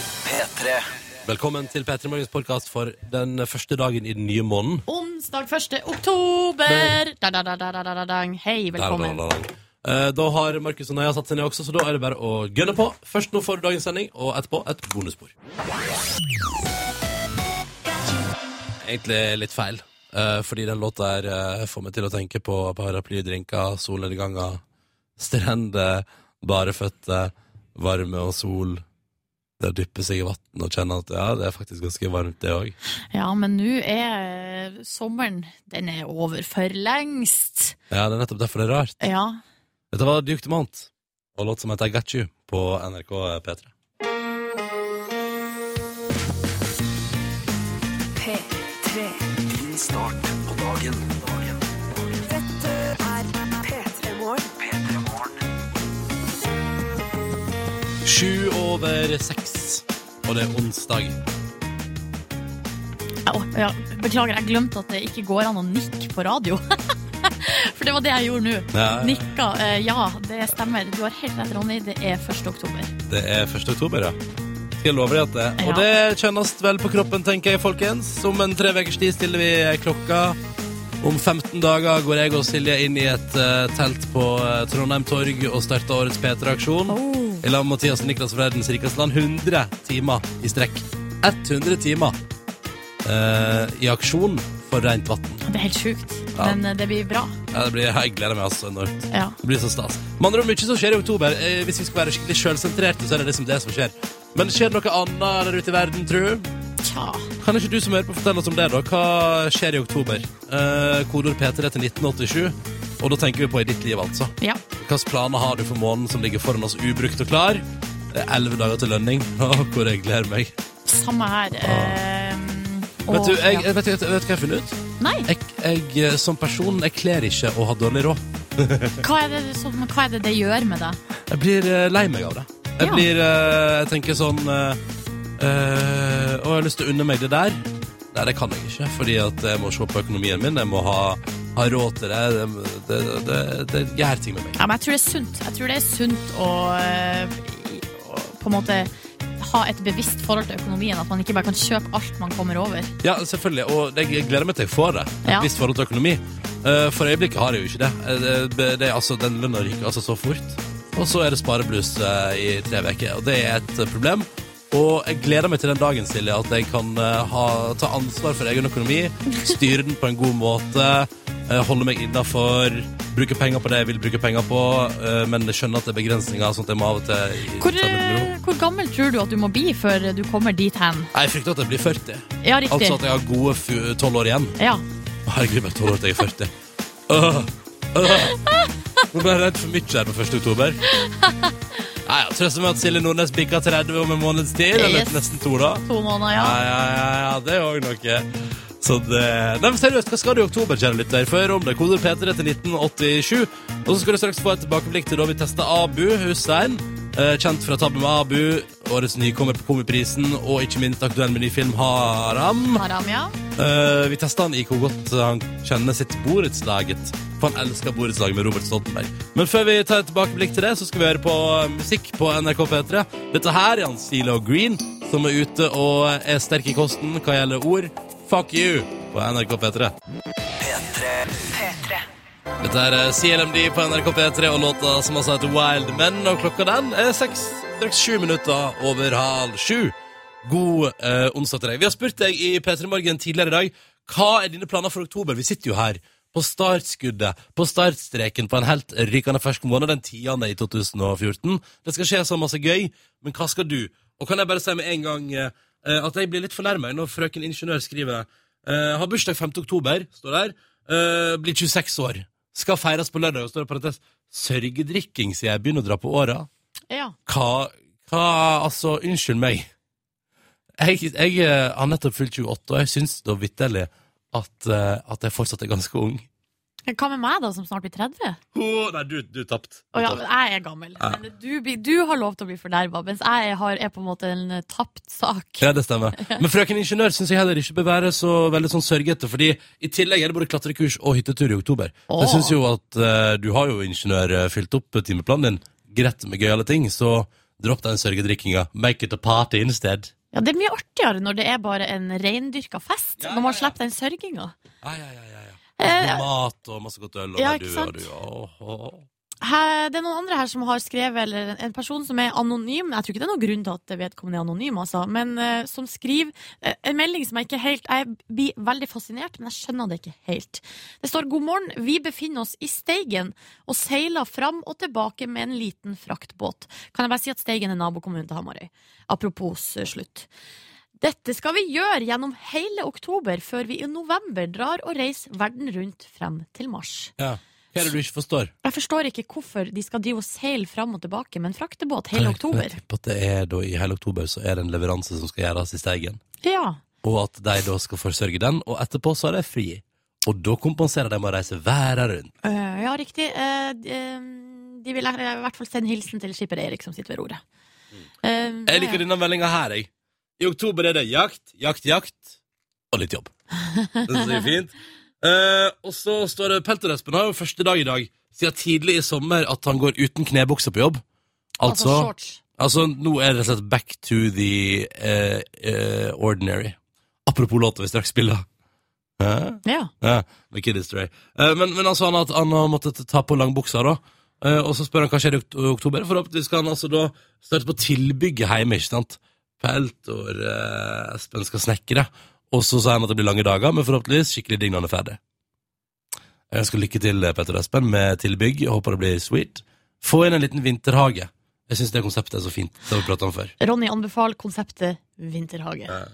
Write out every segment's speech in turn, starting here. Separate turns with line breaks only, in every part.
P3.
Velkommen til P3 Morgens podkast for den første dagen i den nye måneden.
Onsdag 1. oktober. Da, da, da, da, da, da, da, dang. Hei, velkommen.
Der, der, der, der. Eh, Da har Markus og Naya satt seg ned også, så da er det bare å gønne på. Først nå får du dagens sending, og etterpå et bonusspor. Egentlig litt feil, eh, fordi den låta her eh, får meg til å tenke på paraplydrinker, solnedganger, strender, bare føtter, varme og sol. Det å dyppe seg i vann og kjenne at ja, det er faktisk ganske varmt, det òg.
Ja, men nå er eh, sommeren Den er over for lengst.
Ja, det er nettopp derfor det er rart.
Ja.
Dette var Duke Dumont og låt som heter I Got You på NRK P3.
P3.
Din start på dagen. dagen.
Dette er P3 Morgen.
P3 Morgen.
Sju over seks, og det er onsdag.
Au, ja. Beklager, jeg glemte at det ikke går an å nikke på radio. For det var det jeg gjorde nå.
Ja,
Nikka. eh, Ja, det stemmer. Du har helt rett, Ronny. Det er 1. oktober.
Det er 1. oktober, ja. Skal jeg love deg at det Og
Ja.
det kjennes vel på kroppen, tenker jeg, folkens. Om en tre ukers tid stiller vi klokka. Om 15 dager går jeg og Silje inn i et eh, telt på eh, Trondheim Torg og starter årets P3-aksjon. I lag med Mathias og Niklas fra Verdens rikeste land 100 timer i strekk. 100 timer eh, i aksjon for rent vann.
Det er helt sjukt.
Ja.
Men eh, det blir bra.
Ja, det blir, jeg gleder meg altså enormt.
Ja.
Det blir så stas. Med andre ord, mye som skjer i oktober. Eh, hvis vi skal være skikkelig sjølsentrerte, så er det liksom det som skjer. Men skjer det noe annet der ute i verden, tror du?
Tja.
Kan ikke du som hører på fortelle oss om det, da? Hva skjer i oktober? Eh, Kodord P3 til 1987. Og da tenker vi på i ditt liv, altså.
Ja.
Hvilke planer har du for måneden som ligger foran oss ubrukt og klar? Det er Elleve dager til lønning. Åh, hvor jeg gleder meg.
Samme her. eh, og-
Vet du, jeg,
ja.
jeg, vet, du- vet du hva jeg har funnet ut?
Nei,
Jeg, jeg eh, som person jeg kler ikke å ha dårlig råd.
hva er, det, som, hva er det det gjør med deg?
Jeg blir eh, lei meg av det. Jeg
Ja.
blir eh, Jeg tenker sånn eh, eh, Å, jeg har lyst til å unne meg det der. Nei, det kan jeg ikke, fordi at jeg må se på økonomien min. Jeg må ha, ha råd til det. Det, det, det, det gjør ting med meg.
Ja, men jeg tror det er sunt. Jeg tror det er sunt å, eh, i- å på en måte ha et bevisst forhold til økonomien. At man ikke bare kan kjøpe alt man kommer over.
Ja, selvfølgelig. Og det, jeg gleder meg til jeg får det. Et
Ja.
visst forhold til økonomi. Eh, for øyeblikket har jeg jo ikke det. Eh, det, det er altså, den lønna ryker altså så fort. Og så er det sparebluss eh, i tre uker. Og det er et eh, problem. Og jeg gleder meg til den dagen, Silje, at jeg kan eh, ha, ta ansvar for egen økonomi. Styre den på en god måte. eh, holde meg innafor. Bruke penger på det jeg vil bruke penger på. eh, men skjønne at det er begrensninger, sånn at jeg må av og til
Hvor,
ta det med ro.
eh, hvor gammel tror du at du må bli før du kommer dit hen?
Nei, Jeg frykter at jeg blir 40.
Ja, riktig.
Altså at jeg har gode tolv år igjen.
Ja.
Å, Herregud, jeg tåler at jeg er 40. Øh, øh. Nå ble jeg redd for mye her på 1. oktober. Nei, jeg trøster meg at Silje Nordnes bikker 30 om en måneds tid. Eller
Yes.
nesten to, da.
To måneder,
Ja,
ja.
ja, ja, ja det er òg noe. Så det Nei, men seriøst, hva skal du i oktober, kjære lytter? Før om det. Koder P3 til 1987. Og så skal du straks få et tilbakeblikk til da vi testa Abu Hussein. eh, Kjent fra Tabbe med Abu, årets nykommer på Komiprisen og ikke minst aktuell med ny film Haram.
Haram, ja.
Eh, vi testa han i hvor godt eh, han kjenner sitt borettslaget. For han elsker borettslaget med Robert Stoltenberg. Men før vi tar et tilbakeblikk til det, så skal vi høre på eh, musikk på NRK P3. Dette her er han Silo Green, som er ute og er sterk i kosten hva gjelder ord. Fuck you! På NRK P3.
P3.
P3.
Dette er eh, CLMD på NRK P3 og låta som altså heter Wild Men. Og klokka den er seks, straks sju minutter over halv sju. God eh, onsdag til deg. Vi har spurt deg i P3 Morgen tidligere i dag hva er dine planer for oktober. Vi sitter jo her på startskuddet, på startstreken på en helt rykende fersk måned, den 10. i 2014. Det skal skje så masse gøy, men hva skal du? Og kan jeg bare si med en gang eh, at jeg blir litt fornærmet når frøken ingeniør skriver eh, har bursdag 5. oktober, står der, eh, blir 26 år, skal feires på lørdag, og står det i parentes, sørgedrikking, sier jeg, begynner å dra på åra.
ja.
Hva, hva Altså, unnskyld meg. Jeg, jeg eh, har nettopp fylt 28, og jeg syns da vitterlig at, eh, at jeg fortsatt er ganske ung.
Hva med meg, da, som snart blir 30?
Å, nei, du, du tapt.
Å ja, men jeg er gammel. Men du, blir- du har lov til å bli fornærma, mens jeg har, er på en måte en eh, tapt sak.
Ja, det stemmer. Men frøken ingeniør syns jeg heller ikke bør være så veldig sånn sørgete, fordi i tillegg er det både klatrekurs og hyttetur i oktober. Så jeg
Åh.
syns jo at eh, du har jo, ingeniør, eh, fylt opp timeplanen din greit med gøyale ting, så dropp den sørgedrikkinga. Make it a party instead.
Ja, Det er mye artigere når det er bare en reindyrka fest,
Ja,
når man
ja, ja.
slipper den sørginga.
Ja, ja, ja, ja, ja.
Eh,
God mat og masse godt øl og
Ja,
du
ikke
og
sant?
du. Åh, åh.
Her, det er noen andre her som har skrevet, eller en- en person som er anonym. Jeg tror ikke det er noen grunn til at vedkommende er anonym, altså, men eh, som skriver eh, en melding som jeg ikke helt Jeg blir veldig fascinert, men jeg skjønner det ikke helt. Det står 'God morgen, vi befinner oss i Steigen og seiler fram og tilbake med en liten fraktbåt'. Kan jeg bare si at Steigen er nabokommunen til Hamarøy? Apropos eh, slutt. Dette skal vi gjøre gjennom hele oktober, før vi i november drar og reiser verden rundt frem til mars.
Ja. Hva er det du ikke forstår?
Jeg forstår ikke hvorfor de skal drive og seile fram og tilbake med en fraktebåt hele
Kan jeg- kan Jeg
oktober.
tipper at det er da i hele oktober så er det en leveranse som skal gjøres i Steigen.
Ja.
Og at de da skal forsørge den, og etterpå så er de fri. Og da kompenserer de med å reise verden rundt.
Eh, ja, riktig. Eh, de- eh, de vil i hvert fall sende hilsen til skipper Erik som sitter ved roret. Eh,
Mm. Jeg liker denne meldinga her, jeg. I oktober er det jakt, jakt, jakt og litt jobb. Det synes jeg er fint. Eh, og så står det Pelterespen har jo første dag i dag siden tidlig i sommer at han går uten knebukse på jobb.
altså,
Altså, altså,
shorts.
nå er det rett og slett back to the eh, eh, ordinary. Apropos låta vi straks spiller. Hæ?
Ja.
Ja, med Kid History. Eh, men, men altså, han, har- han har måttet ta på langbuksa, da. Eh, og så spør han hva skjer i okt- oktober. Forhåpentligvis skal han altså da starte på tilbygget hjemme, ikke sant? Pelt og eh, Espen skal snekre. Og så sa han at det blir lange dager, men forhåpentligvis skikkelig digg når han er ferdig. Jeg ønsker lykke til, eh, Petter og Espen, med tilbygg. Jeg håper det blir sweet. Få inn en liten vinterhage. Jeg syns det konseptet er så fint. Det har vi pratet om før.
Ronny anbefaler konseptet vinterhage.
Ja.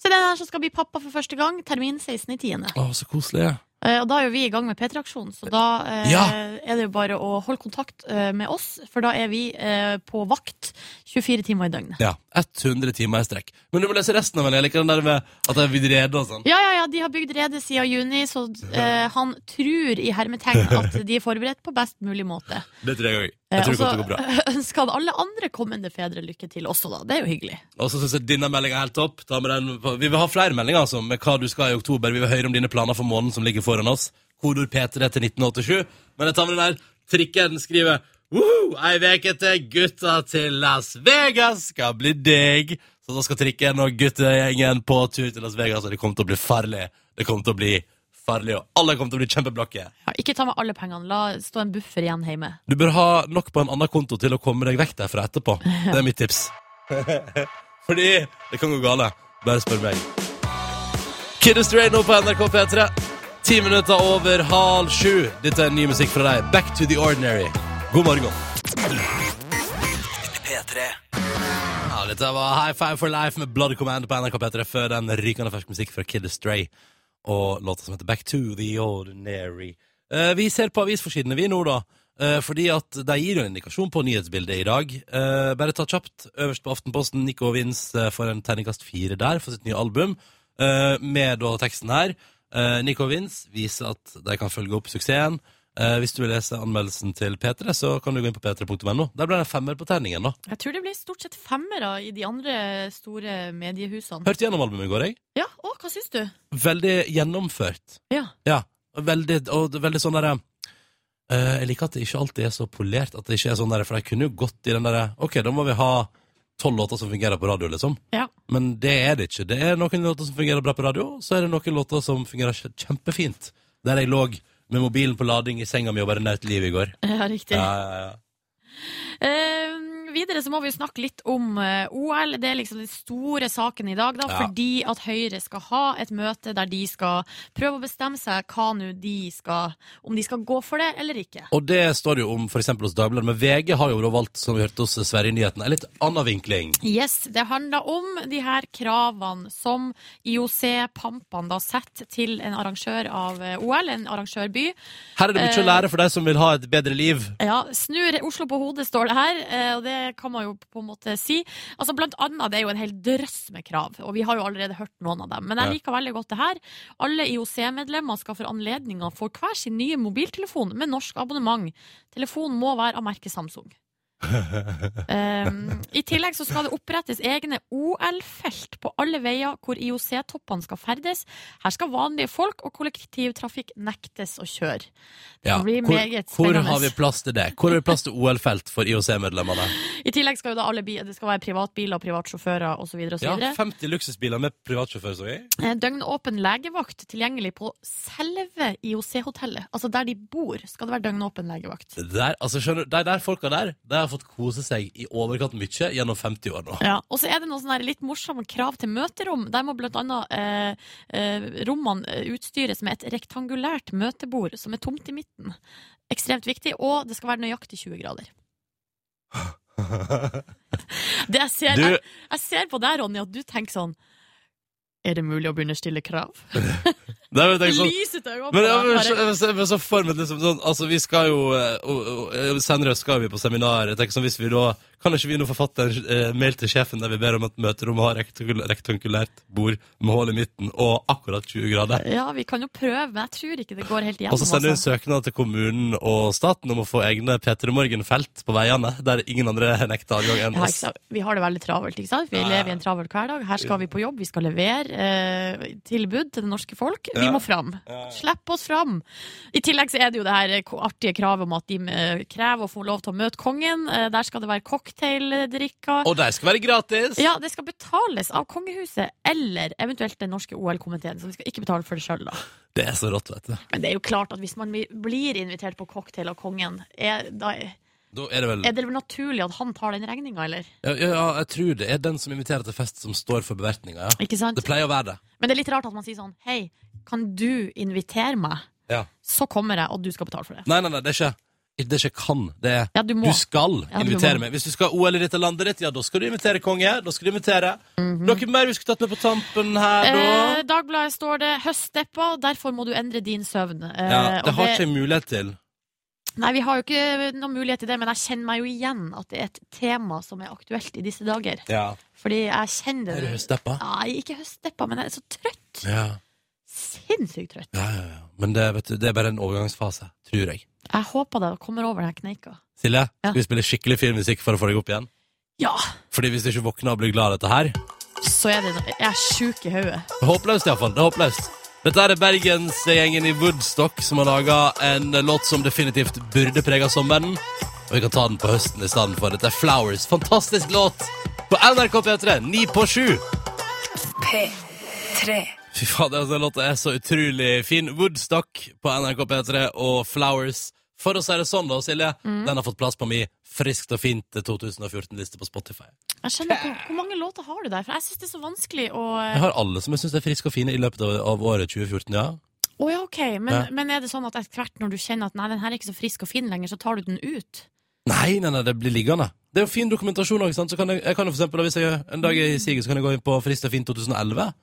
Så det er den som skal bli pappa for første gang, termin 16.10.
Å, så koselig. ja.
Eh, og da er jo vi i gang med P3-aksjonen, så da eh,
Ja.
er det jo bare å holde kontakt eh, med oss, for da er vi eh, på vakt 24 timer i døgnet.
Ja. 100 timer i strekk. Men du må lese resten av den. Jeg liker den der med at jeg vil rede og sånn.
Ja, ja, ja, de har bygd redet siden juni, så eh, han tror i hermetegn at de er forberedt på best mulig måte.
Det tror jeg òg.
Eh,
Jeg
og
tror det
så
kommer til å gå bra.
ønsker han alle andre kommende fedre lykke til også, da. Det er jo hyggelig.
Og så syns jeg denne meldinga er helt topp. Ta med den. på- Vi vil ha flere meldinger altså, med hva du skal i oktober. Vi vil høre om dine planer for måneden som ligger foran oss. Kodord P3 til 1987. Men jeg tar med den der. Trikken skriver Woo, Ei veke til gutta til Las Vegas skal bli digg. Så da skal trikken og guttegjengen på tur til Las Vegas, og det kommer til å bli farlig. Det kommer til å bli farlig, og alle kommer til å bli kjempeblakke.
Ja, ikke ta med alle pengene. La stå en buffer igjen hjemme.
Du bør ha nok på en annen konto til å komme deg vekk derfra etterpå. Det er mitt tips. Fordi det kan gå gale. Bare spør meg. Kid is Rain nå på NRK P3. Ti minutter over halv sju. Dette er ny musikk fra deg. Back to the ordinary. God morgen.
P3
Ja, dette var High Five for Life med Blood Command på NRK P3 før den rykende fersk musikk fra Kid Astray og låta som heter Back to the Ordinary. Eh, vi ser på avisforsidene vi nå, da, eh, fordi at de gir jo en indikasjon på nyhetsbildet i dag. Eh, bare ta kjapt øverst på Aftenposten. Nico Vins eh, får en terningkast fire der for sitt nye album, eh, med da teksten her. Eh, Nico Vins viser at de kan følge opp suksessen. Eh, hvis du vil lese anmeldelsen til P3, så kan du gå inn på p3.no. Der ble det en femmer på terningen, da.
Jeg tror det blir stort sett femmere i de andre store mediehusene.
Hørte gjennom albumet i går, jeg.
Ja, å, hva syns du?
Veldig gjennomført.
Ja.
Ja. og Veldig, og det er veldig sånn derre eh, Jeg liker at det ikke alltid er så polert. At det ikke er sånn derre For de kunne jo gått i den derre Ok, da må vi ha tolv låter som fungerer på radio, liksom.
Ja.
Men det er det ikke. Det er noen låter som fungerer bra på radio, så er det noen låter som fungerer kje- kjempefint. Der jeg lå med mobilen på lading i senga mi og bare nøt livet i går.
Ja, riktig.
Ja, ja, ja.
Eh, videre så må vi jo snakke litt om eh, OL. Det er liksom den store saken i dag, da,
Ja.
fordi at Høyre skal ha et møte der de skal prøve å bestemme seg hva nå de skal Om de skal gå for det eller ikke.
Og det står det jo om f.eks. hos Dagbladet, men VG har jo da valgt, som vi hørte hos Sverre i nyhetene, en litt annen vinkling.
Yes, Det handler om de her kravene som IOC Pampene da setter til en arrangør av eh, OL, en arrangørby.
Her er det mye å
Eh.
lære for deg som vil ha et bedre liv.
Ja, snur Oslo på hodet, står det her, eh, og det kan man jo på en måte si. Altså, blant annet, det er jo en hel drøss med krav, og vi har jo allerede hørt noen av dem. Men jeg liker veldig godt det her. Alle IOC-medlemmer skal for anledninga få hver sin nye mobiltelefon med norsk abonnement. Telefonen må være av merket Samsung. Um, I tillegg så skal det opprettes egne OL-felt på alle veier hvor IOC-toppene skal ferdes. Her skal vanlige folk og kollektivtrafikk nektes å kjøre.
Ja.
blir
Hvor,
meget
hvor
spennende.
har vi plass til det? Hvor har vi plass til OL-felt for IOC-medlemmene?
I tillegg skal jo da alle bi det skal være privatbiler, privatsjåfører osv.
Ja,
videre
50 luksusbiler med privatsjåfør, så jeg.
Eh, Døgnåpen legevakt tilgjengelig på selve IOC-hotellet. Altså der de bor, skal det være døgnåpen legevakt.
Det Der, altså, skjønner du, de der folka der, de har fått kose seg i overkant mye gjennom 50 år nå.
Ja, Og så er det noen sånne her litt morsomme krav til møterom. Der må blant annet eh, eh, rommene eh, utstyres med et rektangulært møtebord som er tomt i midten. Ekstremt viktig. Og det skal være nøyaktig 20 grader. Det jeg ser,
Du-
jeg, jeg ser på deg, Ronny, at du tenker sånn Er det mulig å begynne å stille krav?
Det er jo tenkt sånn,
Lyset øynene på
men, ja,
deg.
men,
bare.
så, men så- men så for meg liksom sånn Altså, vi skal jo eh, og- og- Senere skal vi på seminar. Jeg tenker sånn, hvis vi da Kan ikke vi nå forfatte en eh, mail til sjefen der vi ber om at møterommet har rektangul- rektangulært bord med hull i midten og akkurat 20 grader?
Ja, vi kan jo prøve, men jeg tror ikke det går helt igjennom.
Og så sender vi en
altså.
søknad til kommunen og staten om å få egne P3 Morgen-felt på veiene, der ingen andre nekter adgang enn
ja, ikke
oss.
sant? Vi har det veldig travelt. ikke sant? Vi
Ja.
lever i en travel hverdag. Her skal vi på jobb, vi skal levere eh, tilbud til det norske folk. Vi
Ja.
må fram. Slipp oss fram! I tillegg så er det jo det her eh, ko- artige kravet om at de eh, krever å få lov til å møte kongen. Eh, der skal det være cocktaildrikker.
Og de skal være gratis!
Ja, det skal betales av kongehuset eller eventuelt den norske OL-komiteen. Så vi skal ikke betale for det sjøl, da.
Det er så rått, vet du.
Men det er jo klart at hvis man blir invitert på cocktail av kongen, er, da
Da er det vel
Er det vel naturlig at han tar den regninga, eller?
Ja, ja, ja, jeg tror det er den som inviterer til fest, som står for bevertninga. Ja.
Ikke sant?
Det pleier å være det.
Men det er litt rart at man sier sånn Hei, kan du invitere meg?
Ja.
Så kommer jeg, og du skal betale for det.
Nei, nei, nei, det er ikke Det er ikke kan. Det er
Ja, du må.
du skal
Ja, du
invitere
må.
meg. Hvis du skal ha OL i dette landet ditt, ja, da skal du invitere konge. Da skal du invitere. Noe mer vi skulle tatt med på tampen her, da?
Mhm. Eh, Dagbladet står det 'høstdeppa', derfor må du endre din søvn. Eh,
ja, det
og
har ikke jeg mulighet til.
Nei, vi har jo ikke noen mulighet til det, men jeg kjenner meg jo igjen at det er et tema som er aktuelt i disse dager.
Ja.
Fordi jeg kjenner det.
Er du høstdeppa?
Nei, ikke høstdeppa, men jeg er så trøtt.
Ja.
Sinnssykt trøtt.
Ja, ja, ja. Men det, vet du, det er bare en overgangsfase, tror jeg.
Jeg håper det kommer over den her kneika.
Silje,
Ja.
skal vi spille skikkelig fin musikk for å få deg opp igjen?
Ja,
Fordi hvis du ikke våkner og blir glad av dette her
så er det Jeg er sjuk i hodet.
Det er Håpløst, iallfall. Det er håpløst. Dette er bergensgjengen i Woodstock som har laga en låt som definitivt burde prega sommeren. Og vi kan ta den på høsten i stedet for. Dette er Flowers. Fantastisk låt på NRK P3, ni på sju.
P3
Fy fader, altså, den låta er så utrolig fin. Woodstock på NRK P3 og Flowers. For å si det sånn, da, Silje. Den har fått plass på mi friskt og fint 2014-liste på Spotify.
Jeg skjønner ikke, Hvor mange låter har du der? For jeg syns det er så vanskelig å eh,
Jeg har alle som jeg syns er friske og fine i løpet av, av året 2014, ja.
Å ja, OK. Men,
Ja.
men er det sånn at etter hvert når du kjenner at nei, den her er ikke så frisk og fin lenger, så tar du den ut?
Nei, nei, nei, det blir liggende. Det er jo fin dokumentasjon også, sant? Så kan jeg, jeg kan jo for eksempel, hvis jeg en dag er i siget, så kan jeg gå inn på Frist og Fint 2011.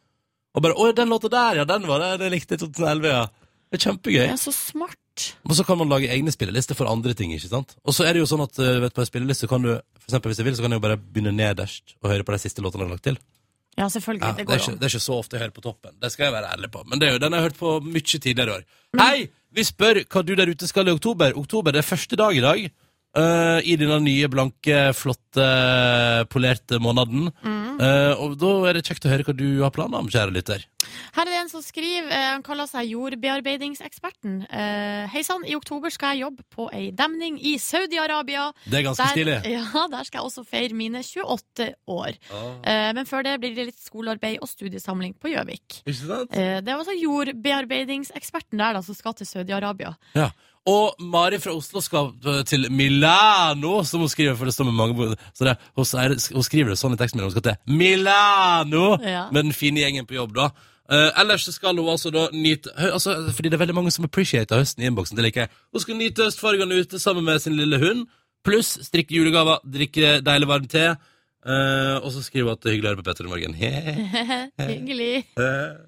Og bare, åja, den låta der, ja, den var det, den likte jeg i 2011, ja. Det er kjempegøy.
Det er så smart.
Og så kan man lage egne spillelister for andre ting, ikke sant? Og så er det jo sånn at, eh, vet du, på en spilleliste kan du, for eksempel hvis jeg vil, så kan jeg jo bare begynne nederst og høre på de siste låtene jeg har lagt til.
Ja, selvfølgelig.
Ja,
det
det, er
går
ikke,
an.
det er ikke så ofte jeg hører på toppen, det skal jeg være ærlig på. Men det er jo, den har jeg hørt på mye tidligere år. Hei, vi spør hva du der ute skal i oktober. Oktober det er første dag i dag. eh, I denne nye, blanke, flotte, polerte måneden. Eh, og da er det kjekt å høre hva du har planer om, kjære lytter.
Her er det en som skriver, eh, han kaller seg jordbearbeidingseksperten. Eh, Hei sann, i oktober skal jeg jobbe på ei demning i Saudi-Arabia.
Det er ganske stilig.
ja, der skal jeg også feire mine 28 år. Eh, Men før det blir det litt skolearbeid og studiesamling på Gjøvik.
Ikke sant?
Eh, Det var altså jordbearbeidingseksperten der da, som skal til Saudi-Arabia.
Ja. Og Mari fra Oslo skal eh, til Milano, som hun skriver. for det står med mange bord. Så det, hun, sier- hun skriver det sånn i tekstmeldingen. Hun skal til Milano
Ja.
med den fine gjengen på jobb, da. Eh, ellers så skal hun altså da nyte hø- altså, Fordi det er veldig mange som appreciater høsten i innboksen. Det liker jeg. Hun skal nyte høstfargene ute sammen med sin lille hund. Pluss strikke julegaver, drikke deilig varm te. eh, og så skriver hun at det er hyggelig å høre på Petter i morgen. He-he.
Hyggelig.
Hei,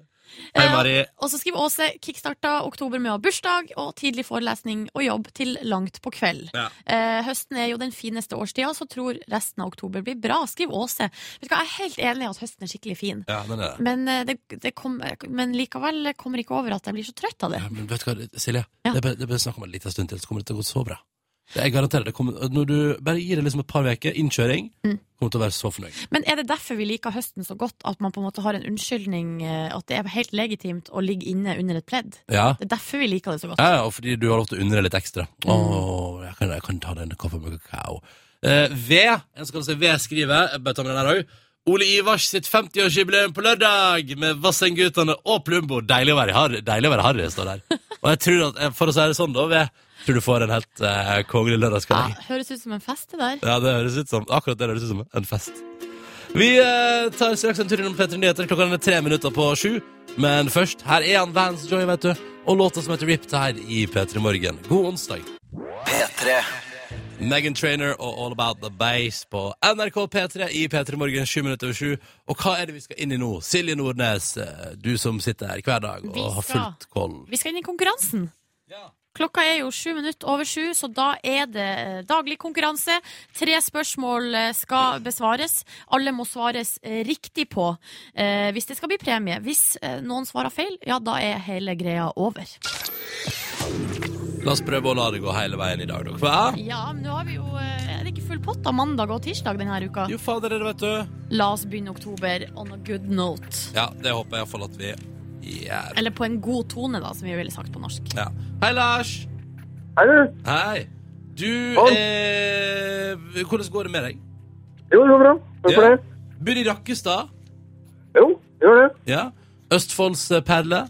Eh,
Mari.
Og så skriver Åse kickstarta oktober med å ha bursdag og tidlig forelesning og jobb til langt på kveld.
Ja.
Eh, høsten er jo den fineste årstida, så tror resten av oktober blir bra. Skriv Åse. Vet du hva, Jeg er helt enig i at høsten er skikkelig fin,
Ja, den er det.
men, eh, det, det kom, men likevel kommer ikke over at jeg blir så trøtt av det.
Ja, men vet du hva, Silje?
Ja.
Det er bare, det er bare snakk om en liten stund til, så kommer det til å gå så bra. Det- Jeg garanterer det kommer, Når du bare gir det liksom et par uker, innkjøring, kommer du til å være så fornøyd.
Men er det derfor vi liker høsten så godt, at man på en måte har en unnskyldning, eh, at det er helt legitimt å ligge inne under et pledd?
Ja.
Det er derfor vi liker det så godt.
Ja, ja, og fordi du har lov til å undre litt ekstra. Åh, jeg, kan, jeg kan ta den kaffen med kakao. Eh, v, en skal si V skriver, jeg bare ta med den her også. Ole Ivars sitt 50-årsjubileum på lørdag med Vassendgutane og Plumbo. Deilig å være i Harry, deilig å være Harry, står der. Og jeg tror at, eh, for å si det sånn da, V, tror du får en helt eh, kongelig
Ja,
lørdagskveld.
høres ut som en fest, det der.
Ja, det høres ut som, akkurat det høres ut som en fest. Vi eh, tar straks en tur innom P3 Nyheter, klokka er tre minutter på sju. Men først, her er han Vans Joy, vet du, og låta som heter Riptide i P3 Morgen. God onsdag.
P3
Megan Trainer og All About The Base på NRK P3 i P3 Morgen 7 minutter over 7. Og hva er det vi skal inn i nå? Silje Nordnes, eh, du som sitter her hver dag og
Vi
har
skal-
fullt koll.
Vi skal inn i konkurransen.
Ja.
Klokka er jo sju minutter over sju, så da er det eh, daglig konkurranse. Tre spørsmål eh, skal besvares. Alle må svares eh, riktig på eh, hvis det skal bli premie. Hvis eh, noen svarer feil, ja, da er hele greia over.
La oss prøve å la det gå hele veien i dag, dere. Hva?
Ja, men nå har vi jo eh, Er det ikke full pott av mandag og tirsdag denne uka?
Jo, fader, dere vet du.
La oss begynne oktober on a good note.
Ja, det håper jeg iallfall at vi gjør.
Eller på en god tone, da, som vi ville sagt på norsk.
Ja. Hei, Lars.
Hei, du.
Hei. Du
Hei.
eh, Hvordan går det med deg?
Jo, det går bra. Takk for
Ja.
det.
Bor i Rakkestad.
Jo, gjør det.
Ja. Østfolds eh, perle.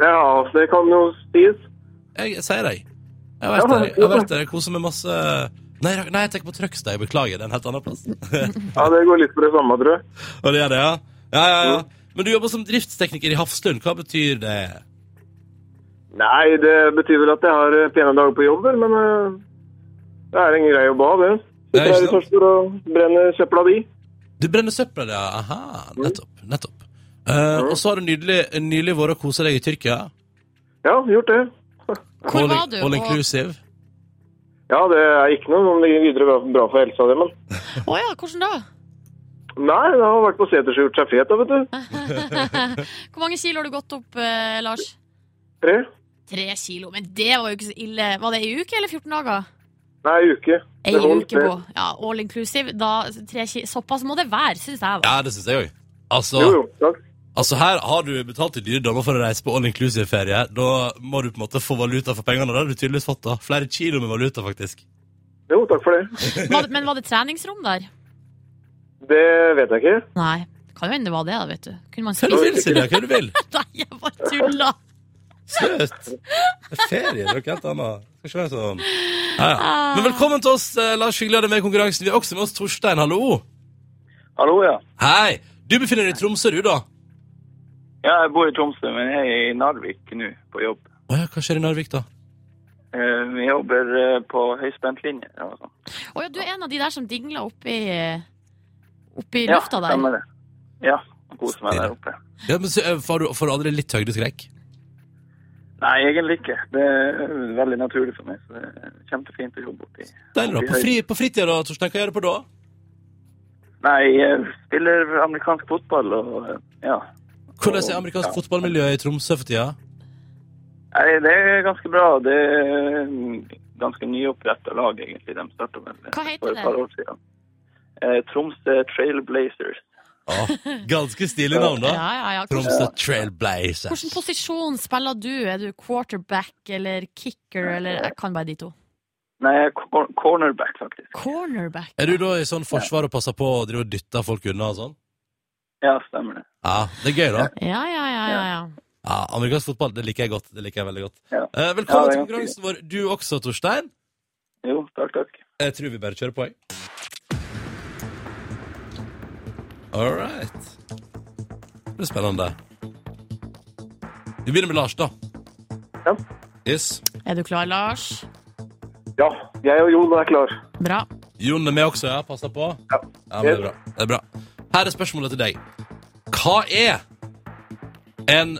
Ja, det kan jo sies.
Jeg, jeg sier deg. Jeg har vært
Ja,
der. Jeg har
ja.
vært der. Jeg koser meg masse Nei, nei, jeg tenker på Trøgstad. Jeg beklager. Det er en helt annen plass.
Ja, det går litt for det samme, tror jeg.
Og det er det, ja? Ja, ja, ja. Men du jobber som driftstekniker i Hafslund. Hva betyr det?
Nei, det betyr vel at jeg har eh, pene dager på jobb, vel, men eh, det er en grei jobb å ha, det.
Ja, ikke
Sitter her i
sant?
Sarpsborg og brenner søpla di.
Du brenner søppel, ja. Aha.
Mm.
Nettopp. Nettopp. Eh, og så har du nydelig, nylig vært og kosa deg i Tyrkia.
Ja, gjort det.
Hvor
all,
var du?
All
Og-
inclusive.
Ja, det er ikke noe som ligger videre bra- bra for helsa, det, men
Å ja, hvordan da?
Nei, det har vært på seters og gjort seg fet, da, vet du.
Hvor mange kilo har du gått opp, eh, Lars?
Tre.
Tre kilo, men det var jo ikke så ille. Var det ei uke eller 14 dager?
Nei, uke.
Ei
Det holdt,
uke
det.
på. Ja, all inclusive. Da, tre ki Såpass må det være, syns jeg. Da.
Ja, det syns jeg òg. Altså,
Jo, jo, takk.
altså, her har du betalt i dyre dommer for å reise på all inclusive-ferie. Da må du på en måte få valuta for pengene. Det har du tydeligvis fått. da Flere kilo med valuta, faktisk.
Jo, takk for det.
Var det, men var det treningsrom der?
Det vet jeg ikke.
Nei. Kan jo hende det var det, da, vet du. Kunne man
Hva du
spist
vil, Silje? Hva du vil?
Nei, jeg bare tulla.
Søt. Det er ferie, det er noe helt annet. Det Skal ikke være sånn. Ja, ja. Men velkommen til oss, eh, Lars Hyggelig er det med i konkurransen. Vi er også med oss Torstein, hallo.
Hallo, ja.
Hei, du befinner deg i Tromsø, du da?
Ja, jeg bor i Tromsø, men jeg er i Narvik nå på jobb.
Åja, hva skjer i Narvik da?
Eh, Vi jobber eh, på høyspentlinje. eller noe sånt.
Å ja, du er en av de der som dingla oppi Oppi
Ja,
lufta der.
stemmer det. Ja, jeg koser meg der oppe.
Ja, men så, eh, får du, får du aldri litt høydeskrekk?
Nei, egentlig ikke. Det er veldig naturlig for meg, så det er kjempefint å jobbe oppi.
Deilig da. På, fri, på fritida da, Torstein, hva gjør du på da?
Nei, jeg spiller amerikansk fotball og eh, ja.
Hvordan er amerikansk fotballmiljø i Tromsø for tida?
Nei, det er ganske bra. Det er eh, ganske nyoppretta lag, egentlig. De starta vel eh,
Hva heter
for
det?
et par år siden. Eh, Tromsø Trailblazers.
Åh, ganske stilig navn
Ja,
da.
ja, ja. Hvordan,
Tromsø Trailblazers.
hvordan posisjon spiller du? Er du quarterback eller kicker eller Jeg kan bare de to.
Nei, cor- cornerback, faktisk.
Cornerback.
Er du da i sånn forsvar og passer på og driver og dytter folk unna og sånn?
Ja, stemmer det.
Ja, det er gøy da.
Ja, ja, ja, ja. ja.
Ja, Amerikansk fotball, det liker jeg godt. det liker jeg veldig godt.
Ja.
Eh, velkommen
Ja, det
til
er
konkurransen vår, du også, Torstein.
Jo, takk, takk.
Jeg tror vi bare kjører på, jeg. All right. Det blir spennende. Vi begynner med Lars, da.
Ja.
Yes.
Er du klar, Lars?
Ja, jeg og Jon er klar.
Bra.
Jon er med også, ja. Passer på.
Ja.
men det, er bra. det er bra. Her er spørsmålet til deg. Hva er en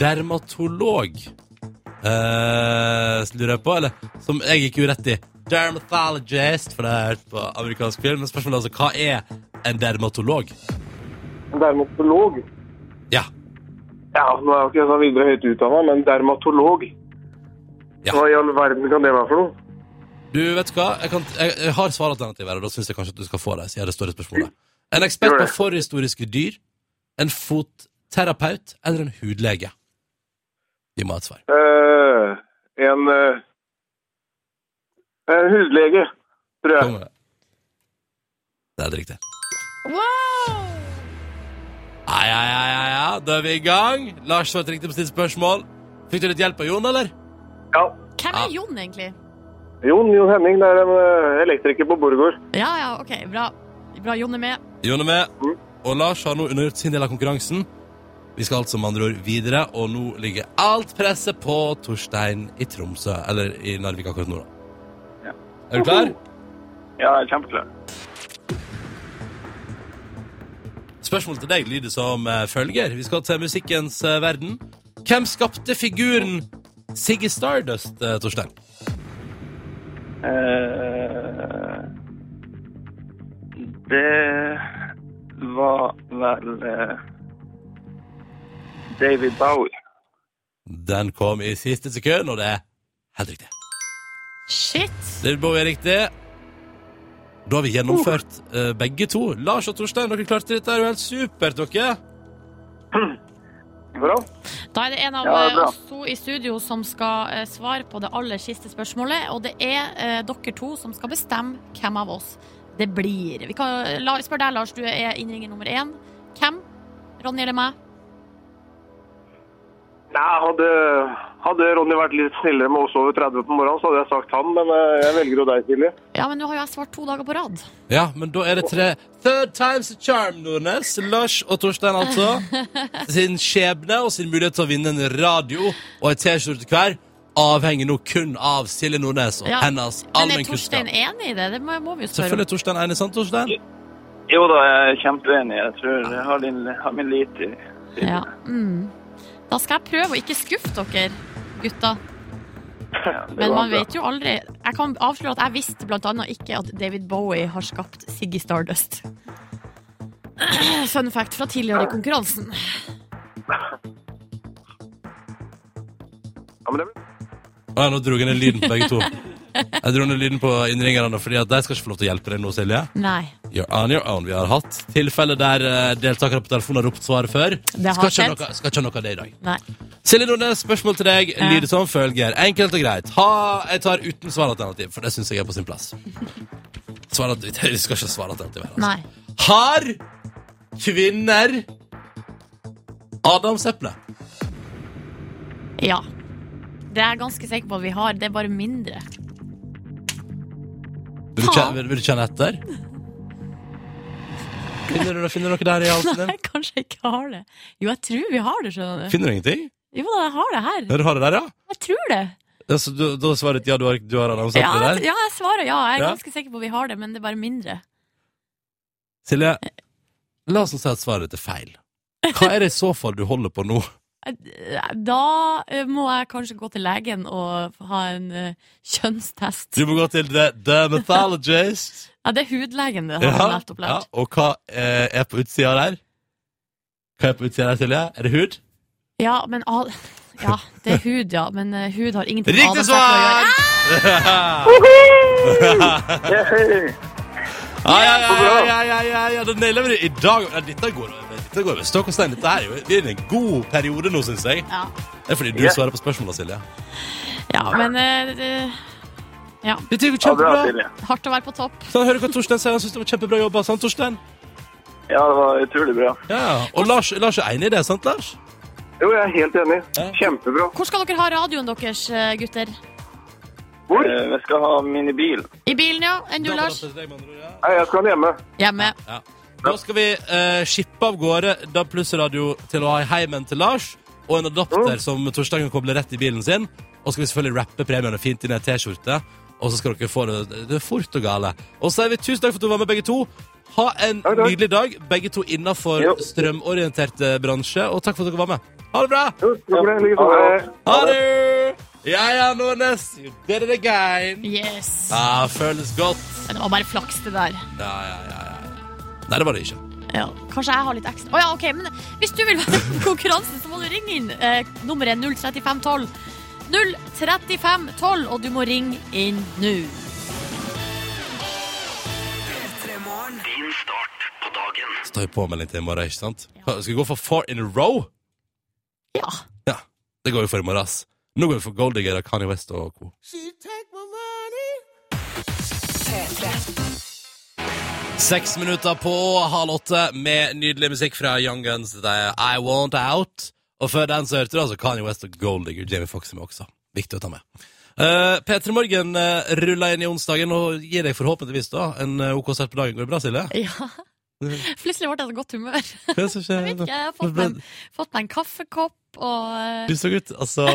dermatolog eh, Lurer jeg på, eller? Som jeg gikk jo rett i. Dermatologist, for det har jeg hørt på amerikansk film. Men spørsmålet er altså hva er en dermatolog?
Dermatolog.
Ja.
Ja, nå er jo ikke jeg så videre høyt utdannet, men dermatolog.
Ja.
Hva i all verden kan det være for noe?
Du, vet du hva? Jeg, kan, jeg, jeg har svaralternativer, og da syns jeg kanskje at du skal få det. siden det står i spørsmålet. En ekspert på forhistoriske dyr, en fotterapeut eller en hudlege? Vi må ha et svar.
Eh, en eh, en hudlege, tror jeg.
Kom med det. Det er det riktige.
Wow!
Ja, ja, ja, ja, ja. Da er vi i gang. Lars svarte riktig på sitt spørsmål. Fikk du litt hjelp av Jon, eller?
Ja.
Hvem
Ja.
er Jon, egentlig?
Jon, Jon Henning, det er en eh, elektriker på Borgård.
Ja, ja, ok, bra. Bra, Jon er med.
Jon er med.
Mm.
Og Lars har nå undergjort sin del av konkurransen. Vi skal altså med andre ord videre, og nå ligger alt presset på Torstein i Tromsø. Eller i Narvik akkurat nå, da.
Ja.
Er du klar?
Ja, jeg er kjempeklar.
Spørsmålet til deg lyder som eh, følger. Vi skal til musikkens eh, verden. Hvem skapte figuren Siggy Stardust, eh, Torstein?
Eh, det var vel eh, David Bowie.
Den kom i siste sekund, og det er helt riktig.
Shit!
Det Bowie er riktig. Da har vi gjennomført
Oh.
eh, begge to. Lars og Torstein, dere klarte dette. Det er jo helt supert, dere.
Bra.
Da er det en av
Ja, det er
eh,
bra.
oss to i studio som skal eh, svare på det aller siste spørsmålet, og det er eh, dere to som skal bestemme hvem av oss det blir. Vi kan eh, la, spør deg, Lars, du er innringer nummer én. Hvem? Ronny eller meg?
Nei, hadde, hadde Ronny vært litt snillere med oss over 30 på morgenen, så hadde jeg sagt han, men eh, jeg velger jo deg, Silje.
Ja, men nå har jo jeg svart to dager på rad.
Ja, men da er det tre Third times a charm, Nordnes. Lars og Torstein, altså. Sin skjebne og sin mulighet til å vinne en radio og en T-skjorte hver avhenger nå kun av Silje Nordnes og
Ja.
hennes
Men er
allmennkunnskap.
Torstein enig i det? Det må, må vi jo spørre
Selvfølgelig
om.
er Torstein enig, sant, Torstein?
Jo da, jeg er kjempeenig. Jeg tror jeg har, din, har min lit i i-
Ja. Mm. Da skal jeg prøve å ikke skuffe dere, gutta.
Ja, det
Men
var
man
bra.
vet jo aldri. Jeg kan avsløre at jeg visste blant annet ikke at David Bowie har skapt Siggy Stardust. Fun fact fra tidligere i konkurransen.
Ja, men det blir...
Å, ja, nå dro jeg ned lyden på begge to. Jeg dro ned lyden på innringerne, fordi at de skal ikke få lov til å hjelpe deg nå, Silje.
Nei.
You're on your own. Vi har hatt tilfeller der eh, deltakere på telefonen har ropt svaret før.
har
Skal ikke ha
skjedd.
noe- skal ikke ha noe av det i dag.
Nei.
Silje Nordnes, spørsmål til deg
Ja.
lyder som følger. Enkelt og greit. Ha, jeg tar uten svaralternativ, for det syns jeg er på sin plass. Svaralternativ, Vi skal ikke ha svaralternativ her.
Nei.
Altså. Har kvinner adamseple?
Ja. Det er jeg ganske sikker på at vi har. Det er bare mindre.
Vil du
Ha.
kjenne, vil, vil du kjenne etter? Finner du, finner du noe der i halsen din?
Nei, kanskje jeg ikke har det. Jo, jeg tror vi har det, skjønner du.
Finner du ingenting?
Jo da, jeg har det her.
Ja, Du har det der, ja?
Jeg tror det.
ja så du, da svarer du ja, du har, du har adamseple
Ja, jeg-
der?
ja, jeg svarer ja. Jeg er
Ja.
ganske sikker på at vi har det, men det er bare mindre.
Silje, la oss nå si at svaret ditt er feil. Hva er det i så fall du holder på nå?
Da eh, må jeg kanskje gå til legen og ha en eh, kjønnstest.
Du må gå til The, the Mythologist.
Ja, det er hudlegen det har jeg nettopp
ja,
lært.
og hva eh, er på utsida der? Hva er på utsida der, Silje? Er det hud?
Ja, men al ja, det er hud, ja. Men eh, hud har ingenting med
Riktig
adamseple å
svar!
gjøre.
Ah, Ja, ja, ja, ja, ja, ja, ja, da nailer vi det i dag. Ja, dette går dette går over stokk og stein. Dette er jo vi er i en god periode nå, syns jeg.
Ja.
Det er fordi du
Ja.
svarer på spørsmåla, Silje.
Ja, men eh, det,
Dette gikk
Ja, bra,
kjempebra.
Silje.
hardt å være på topp.
Sånn, hører du hva Torstein sier? Han syns det var kjempebra jobba, sant, Torstein?
Ja, det var utrolig bra.
Ja, ja. Og Lars, Lars er enig i det, sant, Lars?
Jo, jeg er helt enig.
Ja.
Kjempebra.
Hvor skal dere ha radioen deres, eh, gutter?
Hvor?
Eh, Vi skal ha minibil.
I bilen, ja? Enn du, Lars?
Nei, jeg skal hjemme.
Hjemme.
Ja. Da skal vi eh, shippe av gårde DAB Pluss-radio til å ha i heimen til Lars, og en adapter
Mm.
som Torstein kan koble rett i bilen sin. Og så skal vi selvfølgelig rappe premiene fint inn i en T-skjorte, og så skal dere få det, det er fort og gale. Og så sier vi tusen takk for at du var med, begge to. Ha en
Takk, takk.
nydelig dag, begge to innafor
Jo.
strømorientert eh, bransje, og takk for at dere var med. Ha det bra!
Jo, takk for det. Lykke til.
Ja.
Ha det! Ja, ja, Nordnes. You did it again.
Yes.
Ja, føles godt.
Men Det var bare flaks, det der.
Ja, ja, ja, ja. Nei, det var det ikke.
Ja. Kanskje jeg har litt ekstra Å ja, OK. Men hvis du vil være med på konkurransen, så må du ringe inn. Eh, nummeret er 03512. 03512, og du må ringe inn nå.
Står jo på med litt i morgen, ikke sant?
Ja.
Skal vi gå for four in a row?
Ja.
Ja, det går jo for i morgen, ass. Nå går vi for Gold Digger av Kanye West og co. Seks minutter på halv åtte med nydelig musikk fra Young Guns. Det er I Want Out. Og før den så hørte du altså Kanye West og Gold Digger. Jamie Foxx er med også. Viktig å ta med. Uh, P3 Morgen eh, ruller inn i onsdagen og gir deg forhåpentligvis da en eh, OK start på dagen. Går det bra, Silje?
ja. Plutselig ble jeg så godt humør.
Hva er det som skjer?
Jeg vet ikke, jeg har fått meg, en- fått meg en kaffekopp og eh,
Du så ut, altså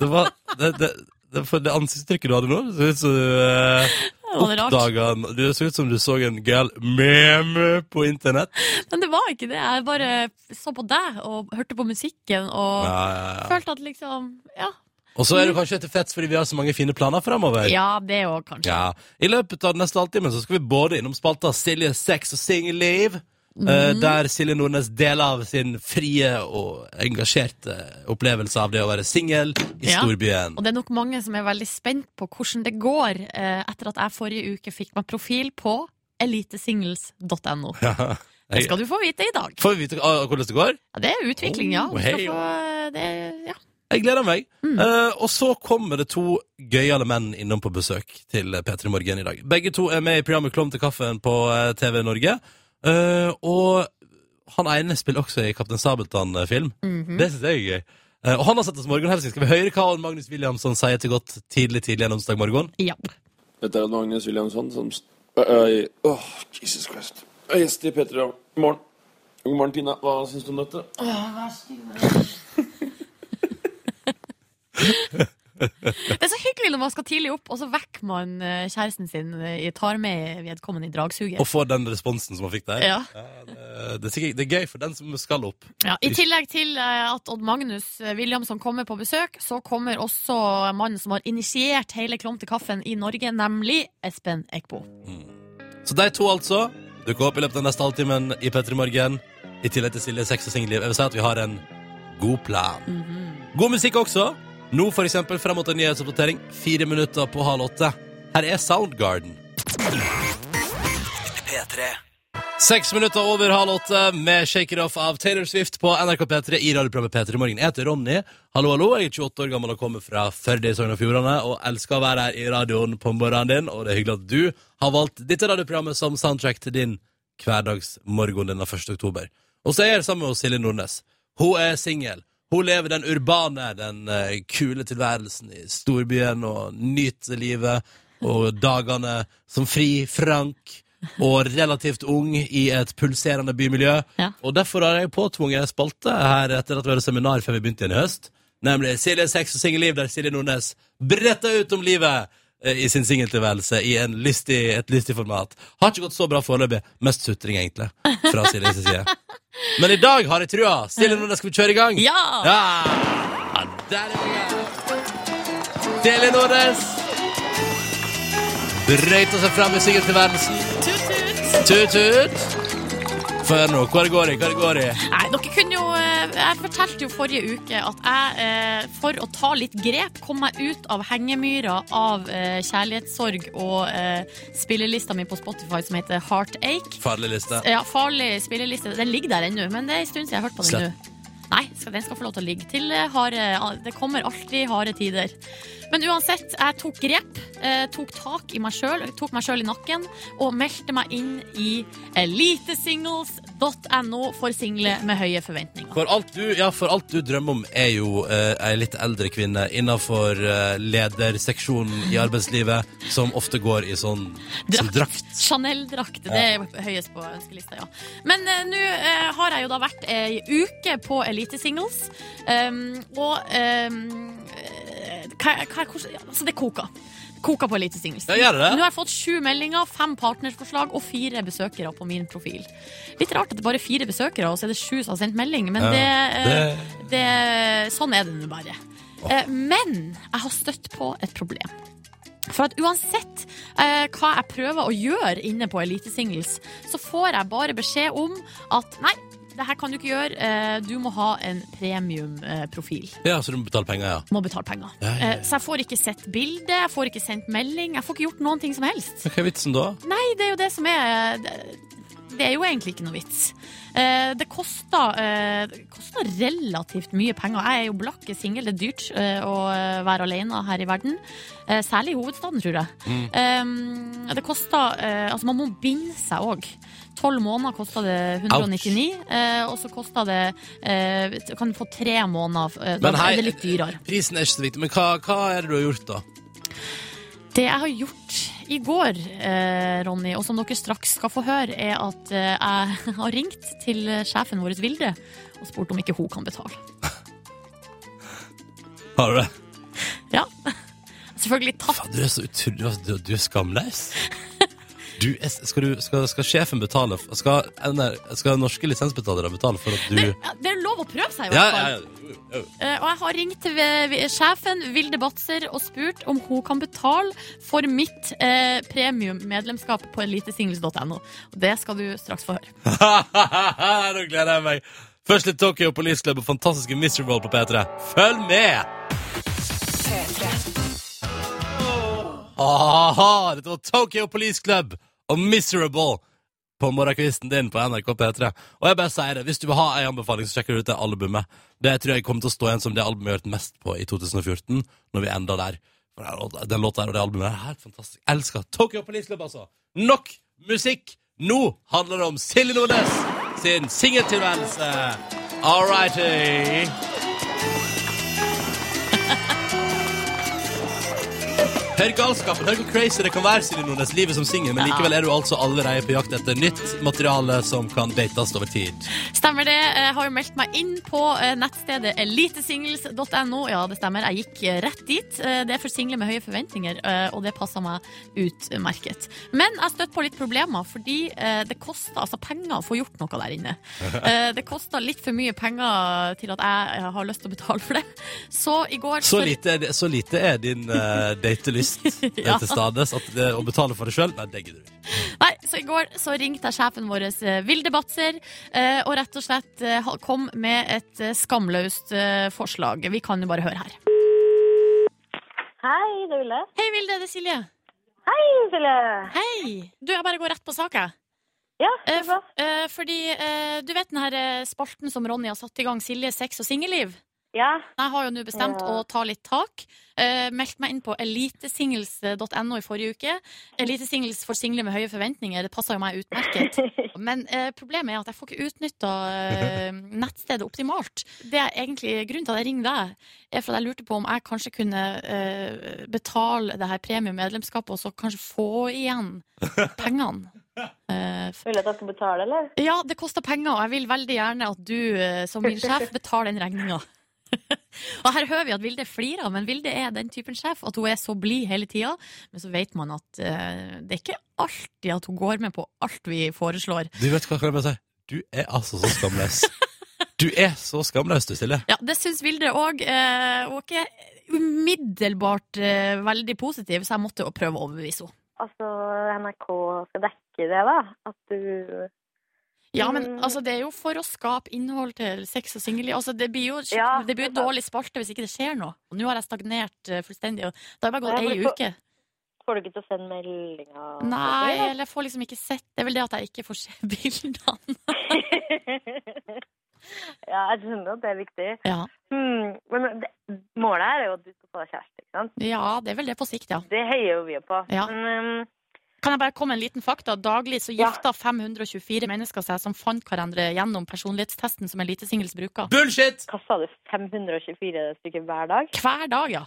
Det var Det, det, det, for det ansiktsuttrykket du hadde nå, så ut som du eh,
det var rart.
oppdaga en- Du så ut som du så en gal meme på internett.
Men det var ikke det. Jeg bare så på deg og hørte på musikken og
Ja, ja, ja.
følte at liksom Ja,
Og så er du kanskje tilfreds fordi vi har så mange fine planer framover.
ja det òg, kanskje.
Ja. I løpet av den neste halvtimen så skal vi både innom spalta Silje sex og singelliv. eh,
Mhm.
Der Silje Nordnes deler av sin frie og engasjerte opplevelse av det å være singel i
Ja.
storbyen.
Og det er nok mange som er veldig spent på hvordan det går eh, etter at jeg forrige uke fikk meg profil på elitesingles.no. Det skal du få vite i dag.
Får vi vite ah, hvordan det går?
Ja, det er utvikling, ja. Du skal
Oh, hei.
få, eh, det, ja.
Jeg gleder meg. Eh, og så kommer det to gøyale menn innom på besøk til eh, P3 Morgen i dag. Begge to er med i programmet Klovn til kaffen på eh, TV Norge. Eh, og han ene spiller også i Kaptein Sabeltann-film. Det syns jeg er gøy. Eh, og han har sett oss morgenhelsing. Skal vi høre hva Magnus Williamson sier til godt tidlig tidlig en onsdag morgen?
ja.
Dette er Magnus Williamson som Øy, Åh, Jesus Christ. Jeg er gjest i P3 God morgen. God morgen, Tina. Hva syns du om dette?
Det er så hyggelig når man skal tidlig opp, og så vekker man eh, kjæresten sin, eh, tar med vedkommende i dragsuget.
Og få den responsen som han fikk der.
Ja.
Eh, det, er sikkert, det er gøy for den som skal opp.
Ja, I tillegg til eh, at Odd Magnus eh, Williamson kommer på besøk, så kommer også mannen som har initiert hele Klom til kaffen i Norge, nemlig Espen Eckbo.
Så de to altså dukker opp i løpet av neste halvtimen i P3 Morgen. I tillegg til Silje Sex og singelliv. Jeg vil si at vi har en god plan. God musikk også. Nå for eksempel frem mot en nyhetsoppdatering. Fire minutter på halv åtte. Her er Soundgarden.
P3
Seks minutter over halv åtte med Shake It Off av Taylor Swift på NRK P3 i radioprogrammet P3 Morgen. Jeg heter Ronny. Hallo, hallo. Jeg er 28 år gammel og kommer fra Førde i Sogn og Fjordane og elsker å være her i radioen på morgenen din. Og det er hyggelig at du har valgt dette radioprogrammet som soundtrack til din hverdagsmorgen denne 1. oktober. Og så er jeg her sammen med Silje Nordnes. Hun er singel. Hun lever den urbane, den eh, kule tilværelsen i storbyen og nyter livet og dagene som fri Frank og relativt ung i et pulserende bymiljø.
Ja.
Og derfor har jeg påtvunget en spalte her etter at vi hadde seminar før vi begynte igjen i høst. Nemlig Silje Sex og Singelliv, der Silje Nordnes bretter ut om livet eh, i sin singeltilværelse i en lystig, et lystig format. Har ikke gått så bra foreløpig. Mest sutring, egentlig, fra Siljes side. Men i dag har jeg trua. Silje Nordnes, skal vi kjøre i gang?
Ja!
Ja! ja der er vi i gang. Silje Nordnes brøyter seg fram i singeltilværelsen.
Tut-tut!
Tut, tut. Før nå, hvor går det, hvor går det?
Nei, dere kunne jo eh, Jeg fortalte jo forrige uke at jeg, eh, for å ta litt grep, kom meg ut av hengemyra av eh, kjærlighetssorg og eh, spillelista mi på Spotify som heter Heartache.
Farlig liste.
Ja, farlig spilleliste. Den ligger der ennå, men det er en stund siden jeg har hørt på den nå. Nei, skal, den skal få lov til å ligge til eh, harde Det kommer alltid harde tider. Men uansett, jeg tok grep, eh, tok tak i meg sjøl, tok meg sjøl i nakken og meldte meg inn i elitesingles.no for single med høye forventninger.
For alt, du, ja, for alt du drømmer om er jo eh, ei litt eldre kvinne innenfor eh, lederseksjonen i arbeidslivet, som ofte går i sånn som drakt.
Chanel-drakt. Det er høyest på ønskelista, ja. Men eh, nå eh, har jeg jo da vært ei uke på Elitesingles, um, og um, eh, hva, hva, hvordan- ja, Altså, det koker. Det Koker på Elitesingles.
Ja, gjør det det?
Nå har jeg fått sju meldinger, fem partnerforslag og fire besøkere på min profil. Litt rart at det bare er fire besøkere, og så er det sju som har sendt melding, men
Ja,
det, eh,
det-
det, sånn er det nå bare. Eh, Men jeg har støtt på et problem. For at uansett eh, hva jeg prøver å gjøre inne på Elitesingles, så får jeg bare beskjed om at nei, det her kan du ikke gjøre, eh, du må ha en premiumprofil.
Ja, så du må betale penger, ja.
Må betale penger.
Ja, ja, ja.
Eh, Så jeg får ikke sett bilde, jeg får ikke sendt melding, jeg får ikke gjort noen ting som helst.
Men Hva er vitsen da?
Nei, det er jo det som er eh, det er jo egentlig ikke noe vits. Eh, det koster, eh, det koster relativt mye penger. Jeg er jo blakk singel, det er dyrt eh, å være alene her i verden. Eh, særlig i hovedstaden, tror jeg.
Mm.
Eh, det koster eh, Altså, man må binde seg òg. Tolv måneder koster det 199, eh, og så koster det eh, Kan du få tre måneder, eh,
Men
da
hei-
er det litt dyrere.
Prisen er ikke så viktig, men hva, hva er det du har gjort, da?
Det jeg har gjort i går, eh, Ronny, og som dere straks skal få høre, er at eh, jeg har ringt til sjefen vår, Vilde, og spurt om ikke hun kan betale.
Har du det?
Ja. Selvfølgelig tatt.
Faen, du er så utrolig altså, du, er- du er skamløs. Du er, skal, du, skal, skal sjefen betale f- Skal, NR, skal norske lisensbetalere betale for at du
Det, ja, det er lov å prøve seg, i
Ja,
hvert
ja,
fall.
ja. Jo, jo.
Eh, Og jeg har ringt til eh, vi- sjefen, Vilde Batzer, og spurt om hun kan betale for mitt eh, premiummedlemskap på elitesingles.no. Og det skal du straks få høre.
Nå gleder jeg meg. Først litt Tokyo Police Club og fantastiske Mystery World på P3. Følg med! Aha, dette var Tokyo Police Club og Miserable på morgenkvisten din på NRK P3. Og jeg bare sier det, hvis du vil ha en anbefaling, så sjekker du ut det albumet. Det tror jeg kommer til å stå igjen som det albumet jeg har hørt mest på i 2014, når vi ender der. For den låta- Den låta her og det albumet her er helt fantastisk. Jeg elsker Tokyo Police Club, altså. Nok musikk! Nå handler det om Silje Nordnes sin singeltilværelse. All righty. Hør galskapen, hør hvor crazy det kan være, Silje Nordnes. Livet som singel, men likevel er du altså allerede på jakt etter nytt materiale som kan dates over tid.
Stemmer det. Jeg har jo meldt meg inn på eh, nettstedet elitesingles.no. Ja, det stemmer. Jeg gikk eh, rett dit. Eh, Det er for single med høye forventninger, eh, og det passa meg utmerket. Men jeg støtte på litt problemer, fordi eh, det koster altså penger å få gjort noe der inne. Eh, Det koster litt for mye penger til at jeg eh, har lyst til å betale for det. Så i går
Så lite er, det- så lite er din eh, datelyst
Ja.
eh, til stades at det, å betale for det sjøl, nei, det gidder du ikke.
Nei, så i går så ringte jeg sjefen vår, eh, Vilde Batzer, eh, og rett og slett eh, ha- kom med et eh, skamløst eh, forslag. Vi kan jo bare høre her.
Hei, det er Ville.
Hei, Vilde, det er Silje.
Hei, Ville.
Hei! Du, jeg bare går rett på sak, jeg.
Ja, det
Eh,
er bra.
f- eh, fordi eh, du vet den her eh, spalten som Ronny har satt i gang, Silje sex og singelliv?
Ja,
Jeg har jo nå bestemt
Ja.
å ta litt tak. Eh, meldt meg inn på elitesingles.no i forrige uke. Elitesingles for single med høye forventninger, det passer jo meg utmerket. Men eh, problemet er at jeg får ikke utnytta eh, nettstedet optimalt. Det er egentlig Grunnen til at jeg ringer deg, er for at jeg lurte på om jeg kanskje kunne eh, betale det her premiemedlemskapet og så kanskje få igjen pengene. Eh,
Ville at jeg skal betale, eller?
ja, det koster penger, og jeg vil veldig gjerne at du eh, som min sjef betaler den regninga. og her hører vi at Vilde flirer, men Vilde er den typen sjef at hun er så blid hele tida. Men så vet man at eh, det er ikke alltid at hun går med på alt vi foreslår.
Du vet hva kan jeg bare si? Du er altså så skamløs. Du er så skamløs, du, Silje.
Ja, det syns Vilde òg. Eh, hun er ikke umiddelbart eh, veldig positiv, så jeg måtte jo prøve å overbevise henne.
Altså, NRK skal dekke det, da. At du
Ja, men
Mm.
altså, det er jo for å skape innhold til sex og singelliv. Altså, det blir jo
Ja,
det blir jo
det er sant.
dårlig spalte hvis ikke det skjer noe. Og nå har jeg stagnert eh, fullstendig. Og det har bare gått
Ja,
ei
men så-
uke.
Får du ikke til å sende meldinger?
Nei, eller jeg får liksom ikke sett Det er vel det at jeg ikke får se bildene.
ja, jeg skjønner at det er viktig.
Ja.
Hmm, men det, målet her er jo at du skal få deg kjæreste, ikke sant?
ja, det er vel det på sikt, ja.
Det heier jo vi på.
Ja.
Men um,
Kan jeg bare komme med en liten fakta? Daglig så
Ja.
gifter 524 mennesker seg som fant hverandre gjennom personlighetstesten som elitesingels bruker.
Bullshit!
hva sa du, 524 stykker hver dag?
Hver dag, ja.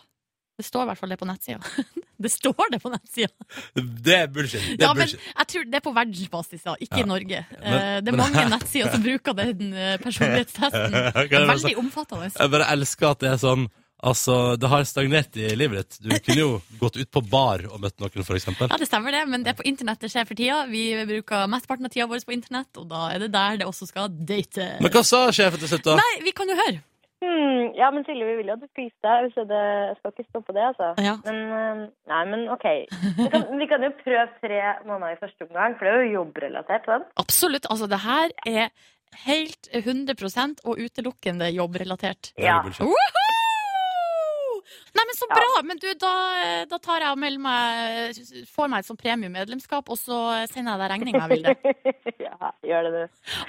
Det står i hvert fall det på nettsida. Det står det på nettsida!
Det er bullshit. Det er
Ja, men
bullshit.
jeg tror det er på verdensbasis, da, ikke i
Ja.
Norge.
Men-
Eh, det er
men-
mange nettsider som bruker den eh, personlighetstesten.
Kan jeg bare si-
Veldig omfattende.
Jeg bare elsker at det er sånn Altså, det har stagnert i livet ditt. Du kunne jo gått ut på bar og møtt noen, for eksempel.
Ja, det stemmer det, men det er på internett det skjer for tida. Vi bruker mesteparten av tida vår på internett, og da er det der det også skal date.
Men hva sa sjefen til slutt, da?
Nei, vi kan jo høre!
Hmm, ja, men Silje, vi vil jo at du skal gifte deg, så det jeg skal ikke stoppe det, altså.
Ja.
Men, eh, nei, men OK. Vi kan, vi kan jo prøve tre måneder i første omgang, for det er jo jobbrelatert. sånn.
Absolutt. Altså, det her er helt 100 og utelukkende jobbrelatert.
Det er jo bullshit.
Woohoo! Nei, men så bra! Men du, da, da tar jeg og melder meg Får meg et sånt premiemedlemskap, og så sender jeg deg regninga, Vilde.
ja, gjør det, du.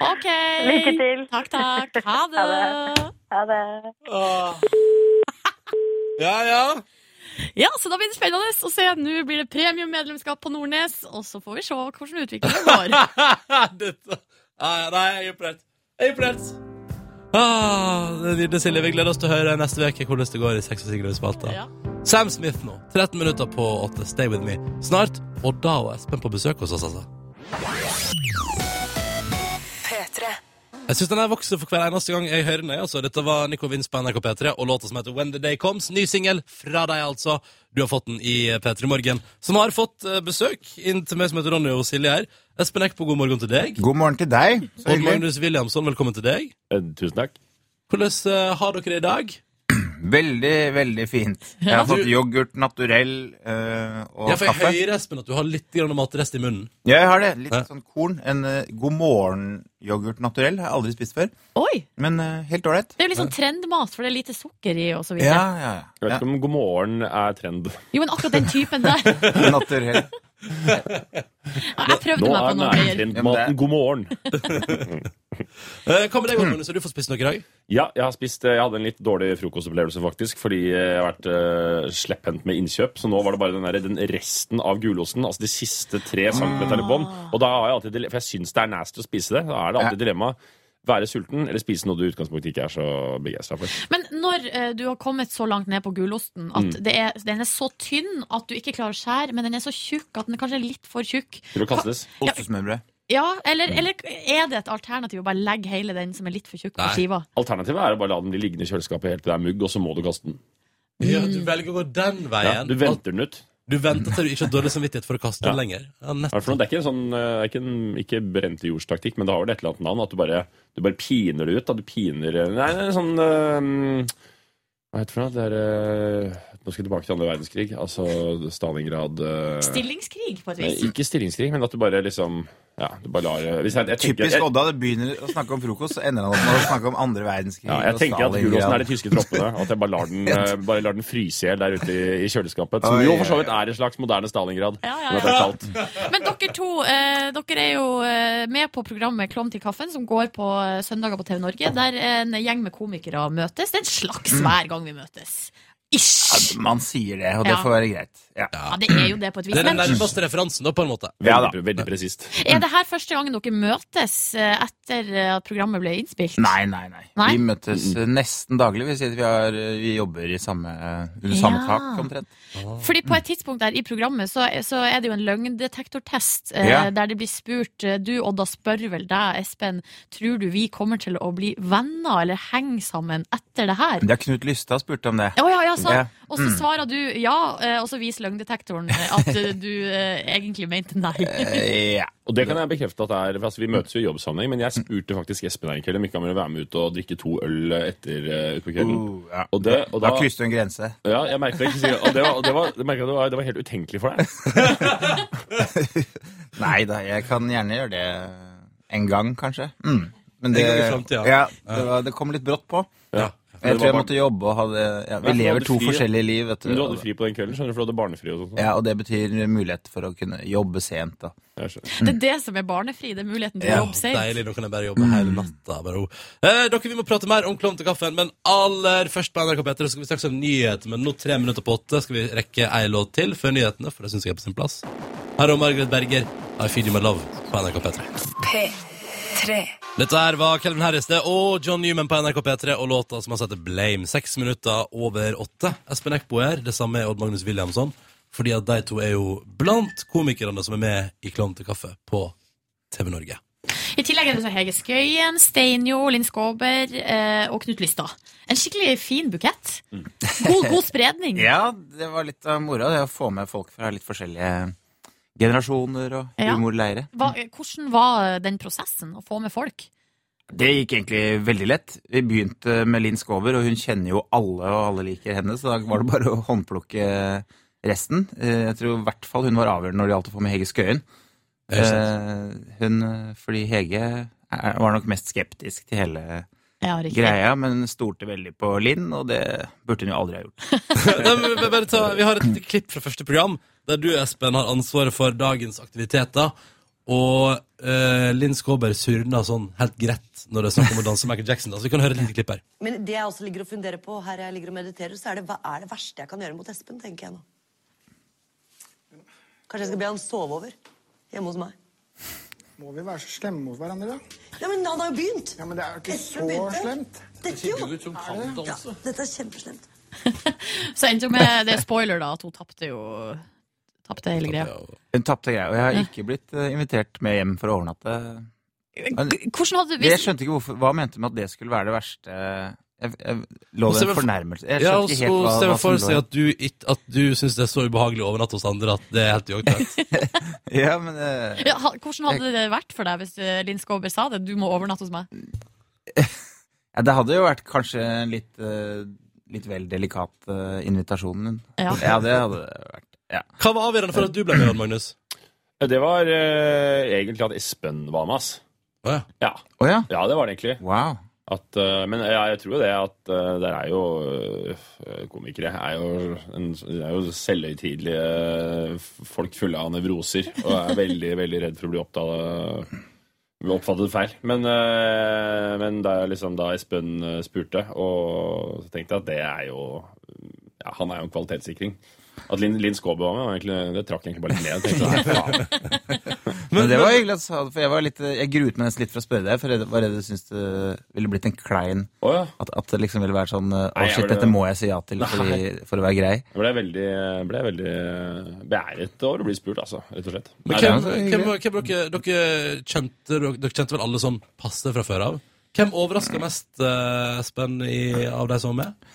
OK.
Lykke til.
Takk, takk. Ha det.
Ha Ha det.
Ja, ja.
Ja, så da blir det spennende å se. Nå blir det premiummedlemskap på Nordnes, og så får vi se hvordan utviklingen går.
Dette. Ah, nei, jeg er imponert. Jeg er imponert. Ah, det er nydelig, Silje. Vi gleder oss til å høre neste uke hvordan det går i Sex og Sigrid-spalta.
Ja.
Sam Smith nå. 13 minutter på 8. Stay with me. Snart Odda og Espen på besøk hos oss, altså.
P3.
Jeg syns den her vokser for hver eneste gang jeg hører den. jeg, Altså. Dette var Nico Vince på NRK P3 og låta som heter When the Day Comes. Ny singel fra deg, altså. Du har fått den i P3 Morgen, som har fått eh, besøk inn til meg som heter Ronny og Silje her. Espen Eckbo, god morgen til deg.
God morgen til deg. Så
Og
hyggelig.
Magnus Williamson, velkommen til deg.
Tusen takk.
Hvordan eh, har dere det i dag?
Veldig, veldig fint. Jeg har
Du-
fått yoghurt, naturell eh, og
Ja, for jeg
kaffe.
hører Espen at du har litt grann matrest i munnen.
Ja, jeg har det. Litt
Ja.
sånn korn. En eh, god morgen-yoghurt naturell har jeg aldri spist før.
Oi!
Men eh, helt
Det
ålreit.
er jo litt sånn trendmat, for det er lite sukker i og så
Ja,
videre.
ja,
Jeg vet
ja.
ikke om god morgen er trend.
Jo, men akkurat den typen der.
ja. Naturell.
Ja, Jeg prøvde
Nå
meg på
er
noen greier.
Ja, men
næringstrendmaten god morgen.
Eh, Hva
Hmm.
med deg, Magnus? Har du fått spist noe i dag?
Ja, jeg har spist eh, Jeg hadde en litt dårlig frokostopplevelse, faktisk, fordi jeg har vært uh, slepphendt med innkjøp. Så nå var det bare den, der, den resten av gulosten, altså de siste tre centimeterne bånd. Og da har jeg alltid dile- For jeg syns det er nasty å spise det. Da er det alltid dilemma. Være sulten eller spise noe du i utgangspunktet ikke er så begeistra for.
Men når eh, du har kommet så langt ned på gulosten at
Mm.
det er, den er så tynn at du ikke klarer å skjære, men den er så tjukk at den kanskje er litt for tjukk
Til å kastes.
Ostesmørbrød.
Ja,
Mm.
eller, eller er det et alternativ å bare legge hele den som er litt for tjukk på
Nei.
skiva?
Alternativet er å bare la den bli liggende i kjøleskapet helt til det er mugg, og så må du kaste den.
Ja, du velger å gå den
Mm. Ja,
veien.
du venter den ut.
At du venter til du ikke har dårlig samvittighet for å kaste den
Ja.
lenger. Ja,
Hva er det for noe?
nettopp.
Det er ikke en sånn, eh, det er ikke, en, ikke brente jordstaktikk, men det har vel et eller annet navn. At du bare, du bare piner det ut. Da. Du piner Nei, det er en sånn eh, Hva heter det for noe? Det er eh, Nå skal jeg tilbake til andre verdenskrig. Altså Stalingrad eh,
Stillingskrig, på et
nei,
vis.
Ikke stillingskrig, men at du bare liksom Ja, du bare lar eh, hvis jeg, jeg tenker,
Typisk
jeg,
Odda. Det begynner å snakke om frokost, så ender han opp med å snakke om andre verdenskrig.
ja, jeg
og
tenker at
Stalingrad.
gulosen er de tyske troppene. At jeg bare lar den, eh, bare lar den fryse i hjel der ute i, i kjøleskapet. Som
Oi,
jo for
oi,
så vidt er en slags moderne Stalingrad.
Ja, ja,
men at det er kaldt.
Men dere to eh, dere er jo eh, med på programmet Klovn til kaffen, som går på eh, søndager på TV Norge, der en gjeng med komikere møtes. Det er en slags
Mm.
hver gang vi møtes. Ish!
Man sier det, og det
Ja.
får være greit. Ja.
Ja, det er jo det, på et vis.
Det er den
Men
nærmeste referansen, da, på en måte.
Ja, da.
Veldig, veldig presist.
er det her første gangen dere møtes eh, etter eh, at programmet ble innspilt?
Nei, nei, nei,
Nei?
Vi møtes eh, nesten daglig. Vi, sier at vi, har, eh, vi jobber i samme, eh, under samme
Ja.
tak, omtrent.
Fordi på et tidspunkt der i programmet så, så er det jo en løgndetektortest eh,
Ja.
der det blir spurt eh, Du, Odda, spør vel deg, Espen, tror du vi kommer til å bli venner eller henge sammen etter det her?
Det har Knut Lystad spurt om det.
Å ja, ja, sant.
Ja. Mm.
Og så svarer du ja, eh, og så viser løgndetektoren eh, at eh, du eh, egentlig mente nei.
Eh, ja.
Og det kan jeg bekrefte at det er, for altså Vi møtes jo i jobbsammenheng, men jeg spurte faktisk Espen her en kveld om ikke han ville være med ut og drikke to øl etter eh, ut på kvelden.
Uh, ja.
Og det- og
da
da-
krysset du en grense.
Ja, jeg merket det ikke sikkert. Og det var, og det var, jeg merket det, var, det var helt utenkelig for deg.
Nei da, jeg kan gjerne gjøre det en gang, kanskje. Mm. Men
En gang i fremtiden.
ja, det, var, det kom litt brått på.
Ja.
Jeg tror
Det
jeg
var
måtte jobbe og hadde ja,
Nei,
Vi
for du
lever
hadde
to
fri.
forskjellige liv, vet
Men du hadde
du.
fri på den kvelden, skjønner du, for du hadde barnefri og sånn.
Ja, og det betyr mulighet for å kunne jobbe sent, da.
Jeg skjønner.
Det er det som er barnefri. Det er muligheten til å
Ja,
jobbe sent.
Deilig, da kan jeg bare jobbe hele natta. Bare. ro. Eh, dere, Vi må prate mer om Klovn til kaffen, men aller først på NRK P3 så skal vi snakke om nyheter. Men nå tre minutter på åtte skal vi rekke ei låt til før nyhetene, for det syns jeg er på sin plass. Her er Margaret Berger, I Feed You My Love på NRK P3.
P3.
Dette her var Kelvin Harris det, og John Newman på NRK P3 og låta som altså heter Blame. Seks minutter over åtte. Espen Eckbo er her, det samme er Odd Magnus Williamson. Fordi at de to er jo blant komikerne som er med i Klovn til kaffe på TV Norge.
I tillegg er det så Hege Skøyen, Steinjo, Linn Skåber eh, og Knut Lystad. En skikkelig fin bukett.
Mm.
God, god spredning.
Ja, det var litt av moroa, det å få med folk fra litt forskjellige generasjoner og
Ja.
humorleire.
Hva, hvordan var eh, den prosessen å få med folk?
Det gikk egentlig veldig lett. Vi begynte med Linn Skåber, og hun kjenner jo alle, og alle liker henne, så da var det bare å håndplukke resten. Eh, Jeg tror i hvert fall hun var avgjørende når det gjaldt å få med Hege Skøyen.
Det er sant.
Eh, Hun, fordi Hege er- var nok mest skeptisk til hele
Ja, riktig.
greia, men stolte veldig på Linn, og det burde hun jo aldri ha gjort.
Nei, men vi- bare ta, vi har et lite klipp fra første program, der du, Espen, har ansvaret for dagens aktiviteter. Og eh, Linn Skåber surner sånn helt greit når det er snakk om å danse Michael Jackson. Altså, vi kan høre et lite klipp her.
Men det jeg også ligger og funderer på her jeg ligger og mediterer, så er det hva er det verste jeg kan gjøre mot Espen, tenker jeg nå. Kanskje jeg skal be han sove over hjemme hos meg.
Må vi være så slemme mot hverandre, da?
Ja, men han har jo begynt!
Ja, men det er jo ikke
Espen
så
begynte.
slemt.
Dette, jo.
Sigurd som kan
Er det det?
danse.
Ja, dette er kjempeslemt.
Så endte jo med Det er spoiler, da, at hun tapte jo Tapte hele greia.
Hun tapte greia, og jeg har ikke blitt eh, invitert med hjem for å overnatte.
Hvordan hadde du
Jeg skjønte ikke hvorfor, Hva mente hun med at det skulle være det verste? Jeg, jeg, lå det en fornærmelse? Jeg
Ja,
skjønte
og
ikke
og
helt hva,
se
hva
for
som
seg
lå i
at du, ikke- at du syns det er så ubehagelig å overnatte hos andre at det er helt i
ja, men eh,
ja, ha- Hvordan hadde det vært for deg hvis eh, Linn Skåber sa det? Du må overnatte hos meg.
ja, Det hadde jo vært kanskje en litt, eh, litt vel delikat eh, invitasjon. men-
Ja.
ja, det hadde vært. Ja.
Hva var avgjørende for at du ble med, Magnus?
Det var eh, egentlig at Espen var med, ass. ja.
ja?
det var det egentlig. At, eh, men jeg, jeg tror jo det at uh, der er jo eh, komikere er jo, en, det er jo selvhøytidelige eh, folk fulle av nevroser og er veldig, veldig redd for å bli opptatt bli oppfattet feil. Men, eh, men da, liksom, da Espen eh, spurte, og så tenkte jeg at det er jo ja, Han er jo en kvalitetssikring. At Linn, Linn Skåbe var med, var egentlig, det trakk egentlig bare litt ned. Jeg tenkte, sånn, "Nei, faen."
Men det var hyggelig at du sa det, for jeg, var litt, jeg gruet meg nesten litt for å spørre deg, for jeg var redd du syntes det ville blitt en klein at, at det liksom ville være sånn eh, Å,
Nei, jeg
shit,
ble-
dette må jeg si ja til fordi,
Nei.
for å være grei.
Jeg ble veldig, ble veldig beæret over å bli spurt, altså, rett og slett.
Men hvem, hvem, hvem dere, dere, kjente, dere, dere kjente vel alle sånn passe fra før av? Hvem overraska mest, eh, Espen, i, av de som var med?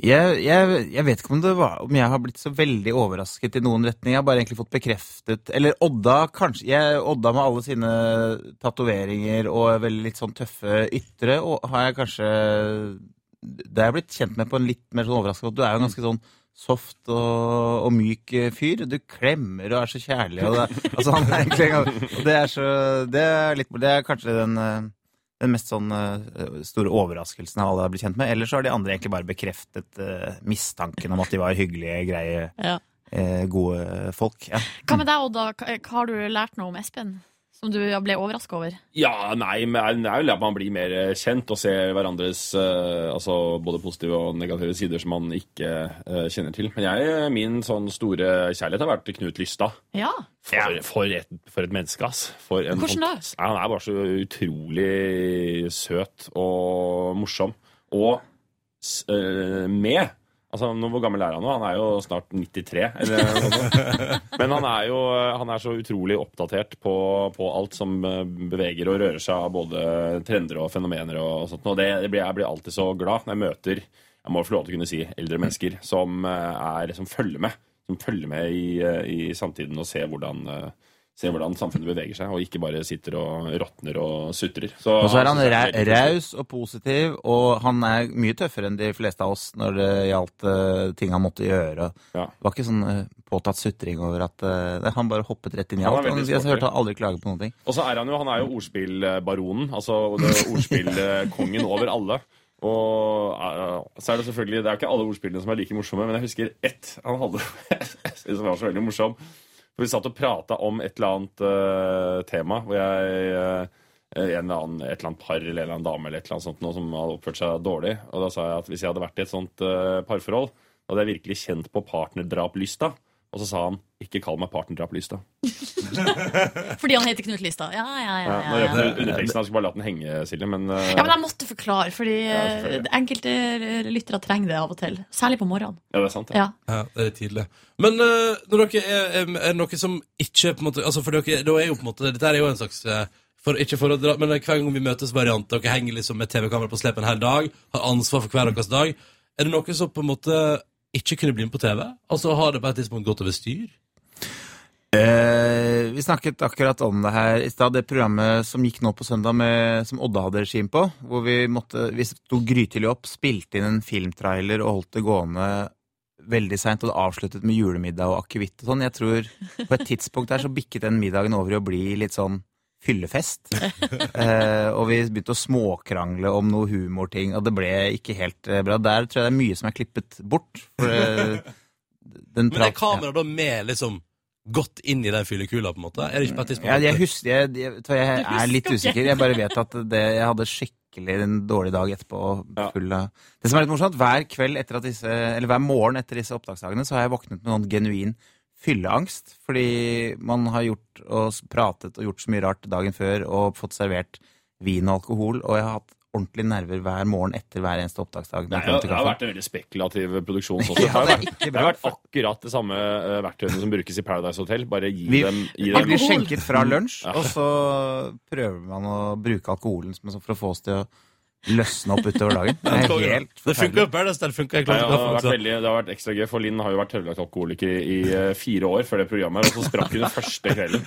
Jeg, jeg, jeg vet ikke om, det var, om jeg har blitt så veldig overrasket i noen retning. Jeg har bare egentlig fått bekreftet Eller Odda, kanskje. Jeg, Odda med alle sine tatoveringer og veldig litt sånn tøffe ytre og har jeg kanskje Det har jeg blitt kjent med på en litt mer sånn overraskende måte. Du er jo en ganske sånn soft og, og myk eh, fyr. Du klemmer og er så kjærlig. Og det, altså, han er egentlig, en gang- og det er så Det er, litt, det er kanskje den eh, den mest sånn eh, store overraskelsen av alle jeg har blitt kjent med. Ellers så har de andre egentlig bare bekreftet eh, mistanken om at de var hyggelige, greie,
Ja.
eh, gode folk. Ja.
Hva med deg, Odda? Hva hva har du lært noe om Espen? Som du ble overraska over?
Ja, nei, men det er jo at man blir mer eh, kjent og ser hverandres eh, altså både positive og negative sider som man ikke eh, kjenner til. Men jeg, min sånn store kjærlighet har vært Knut Lystad.
Ja.
For, for, et, for et menneske, ass. For en
Hvordan da?
fant- Nei, han er bare så utrolig søt og morsom. Og s- eh, med. Altså, nå, Hvor gammel er han nå? Han er jo snart 93. Eller, noe sånt. Men han er jo han er så utrolig oppdatert på, på alt som eh, beveger og rører seg av både trender og fenomener. og sånt. Og det, det blir, Jeg blir alltid så glad når jeg møter jeg må få lov til å kunne si eldre mennesker som, eh, er, som følger med. Som følger med i, eh, i samtiden og ser hvordan, eh, ser hvordan samfunnet beveger seg, og ikke bare sitter og råtner og sutrer. Så-
Og så er han
synes jeg
ra-
det veldig koselig.
raus og positiv, og han er mye tøffere enn de fleste av oss når det gjaldt eh, ting han måtte gjøre. og Det var ikke sånn eh, påtatt sutring over at eh, nei, Han bare hoppet rett inn i
Han er
alt. Han,
veldig
jeg
sporty.
hørte han aldri klage på noen ting.
Og så er han jo, han er jo ordspillbaronen, altså det- ordspillkongen over alle. Og eh, så er det selvfølgelig, det er jo ikke alle ordspillene som er like morsomme, men jeg husker ett han hadde jeg synes det var så veldig morsom. For vi satt og prata om et eller annet eh, tema, hvor jeg eh, en eller annen, et eller annet par eller en eller annen dame eller et eller annet sånt noe som hadde oppført seg dårlig. Og da sa jeg at hvis jeg hadde vært i et sånt eh, parforhold, da hadde jeg virkelig kjent på partnerdraplysta. Og så sa han 'ikke kall meg partnerdraplysta'.
Fordi han heter Knut Listad. Ja, ja, ja. ja,
Ja, nå
ja.
røper du underteksten. Jeg skulle altså, bare latt den henge, Silje. Men, eh,
Ja, men jeg måtte forklare, fordi
Ja,
eh, enkelte eh, lyttere trenger det av og til. Særlig på morgenen.
ja, det er sant.
Ja.
Ja, det er tidlig. Men eh, når dere er, er, er noe som ikke på en måte, altså for dere, da er jo på en måte, Dette er jo en slags eh, for, Ikke for å dra, men eh, hver gang vi møtes variant, dere henger liksom med TV-kamera på slep en hel dag, har ansvar for hver deres dag. Er det noe som på en måte ikke kunne bli med på TV? Altså Har det på et tidspunkt gått over styr?
Eh, vi snakket akkurat om det her i stad. Det programmet som gikk nå på søndag, med, som Odda hadde regim på. Hvor vi, måtte, vi sto grytidlig opp, spilte inn en filmtrailer og holdt det gående veldig seint. Og det avsluttet med julemiddag og akevitt og sånn. Jeg tror på et tidspunkt der så bikket den middagen over i å bli litt sånn fyllefest. Eh, og vi begynte å småkrangle om noe humorting, og det ble ikke helt eh, bra. Der tror jeg det er mye som er klippet bort. For, eh, den
Men er
prat-
kameraet da med liksom godt inn i den fyllekula, på en måte? Er det ikke på et tidspunkt?
Ja, jeg husker, jeg, jeg, vet du hva, jeg
Du
er litt
husker ikke.
usikker. Jeg bare vet at det, jeg hadde skikkelig en dårlig dag etterpå. Full av... Det som er litt morsomt, hver kveld etter at disse, eller hver morgen etter disse opptaksdagene, så har jeg våknet med noen genuin fylleangst. Fordi man har gjort og s- pratet og gjort så mye rart dagen før og fått servert vin og alkohol. Og jeg har hatt ordentlige nerver hver morgen etter hver eneste opptaksdag. når
Nei, det,
jeg kom
har-
til
det har
kaffen.
vært en veldig spekulativ produksjon. Sånn.
Ja,
sett. det, har
det er
vært,
ikke
det
bra.
har vært akkurat det samme eh, verktøyene som brukes i Paradise Hotel. Bare gi
Vi,
dem gi
vi
dem-
blir skjenket fra lunsj,
Ja.
og så prøver man å bruke alkoholen som en sånn for å få oss til å løsne opp utover dagen. Det er helt
Det funker jo
forferdelig.
på Paradise, det funker jeg
Nei,
klart
ja,
ikke for
det, har
meg,
vært
så.
veldig, det har vært ekstra gøy, for Linn har jo vært tørrlagt alkoholiker i, i eh, fire år før det programmet, her, og så sprakk hun den første kvelden.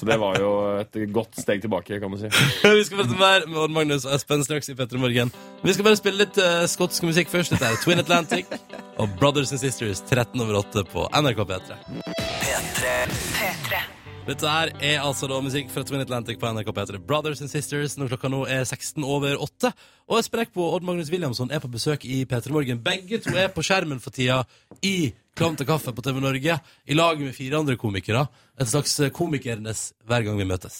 Så det var jo et godt steg tilbake, kan man si.
Vi skal prate mer med Odd Magnus og Espen straks i Petter i Morgen. Vi skal bare spille litt eh, skotsk musikk først. Dette er Twin Atlantic og Brothers and Sisters 13 over 8 på NRK P3. Dette her er altså da musikk fra Twin Atlantic på NRK P3 Brothers and Sisters når klokka nå er 16 over 8. Og Espen Eckbo og Odd Magnus Williamson er på besøk i P3 Morgen. Begge to er på skjermen for tida i Klam til kaffe på TV Norge i lag med fire andre komikere. Et slags komikernes hver gang vi møtes.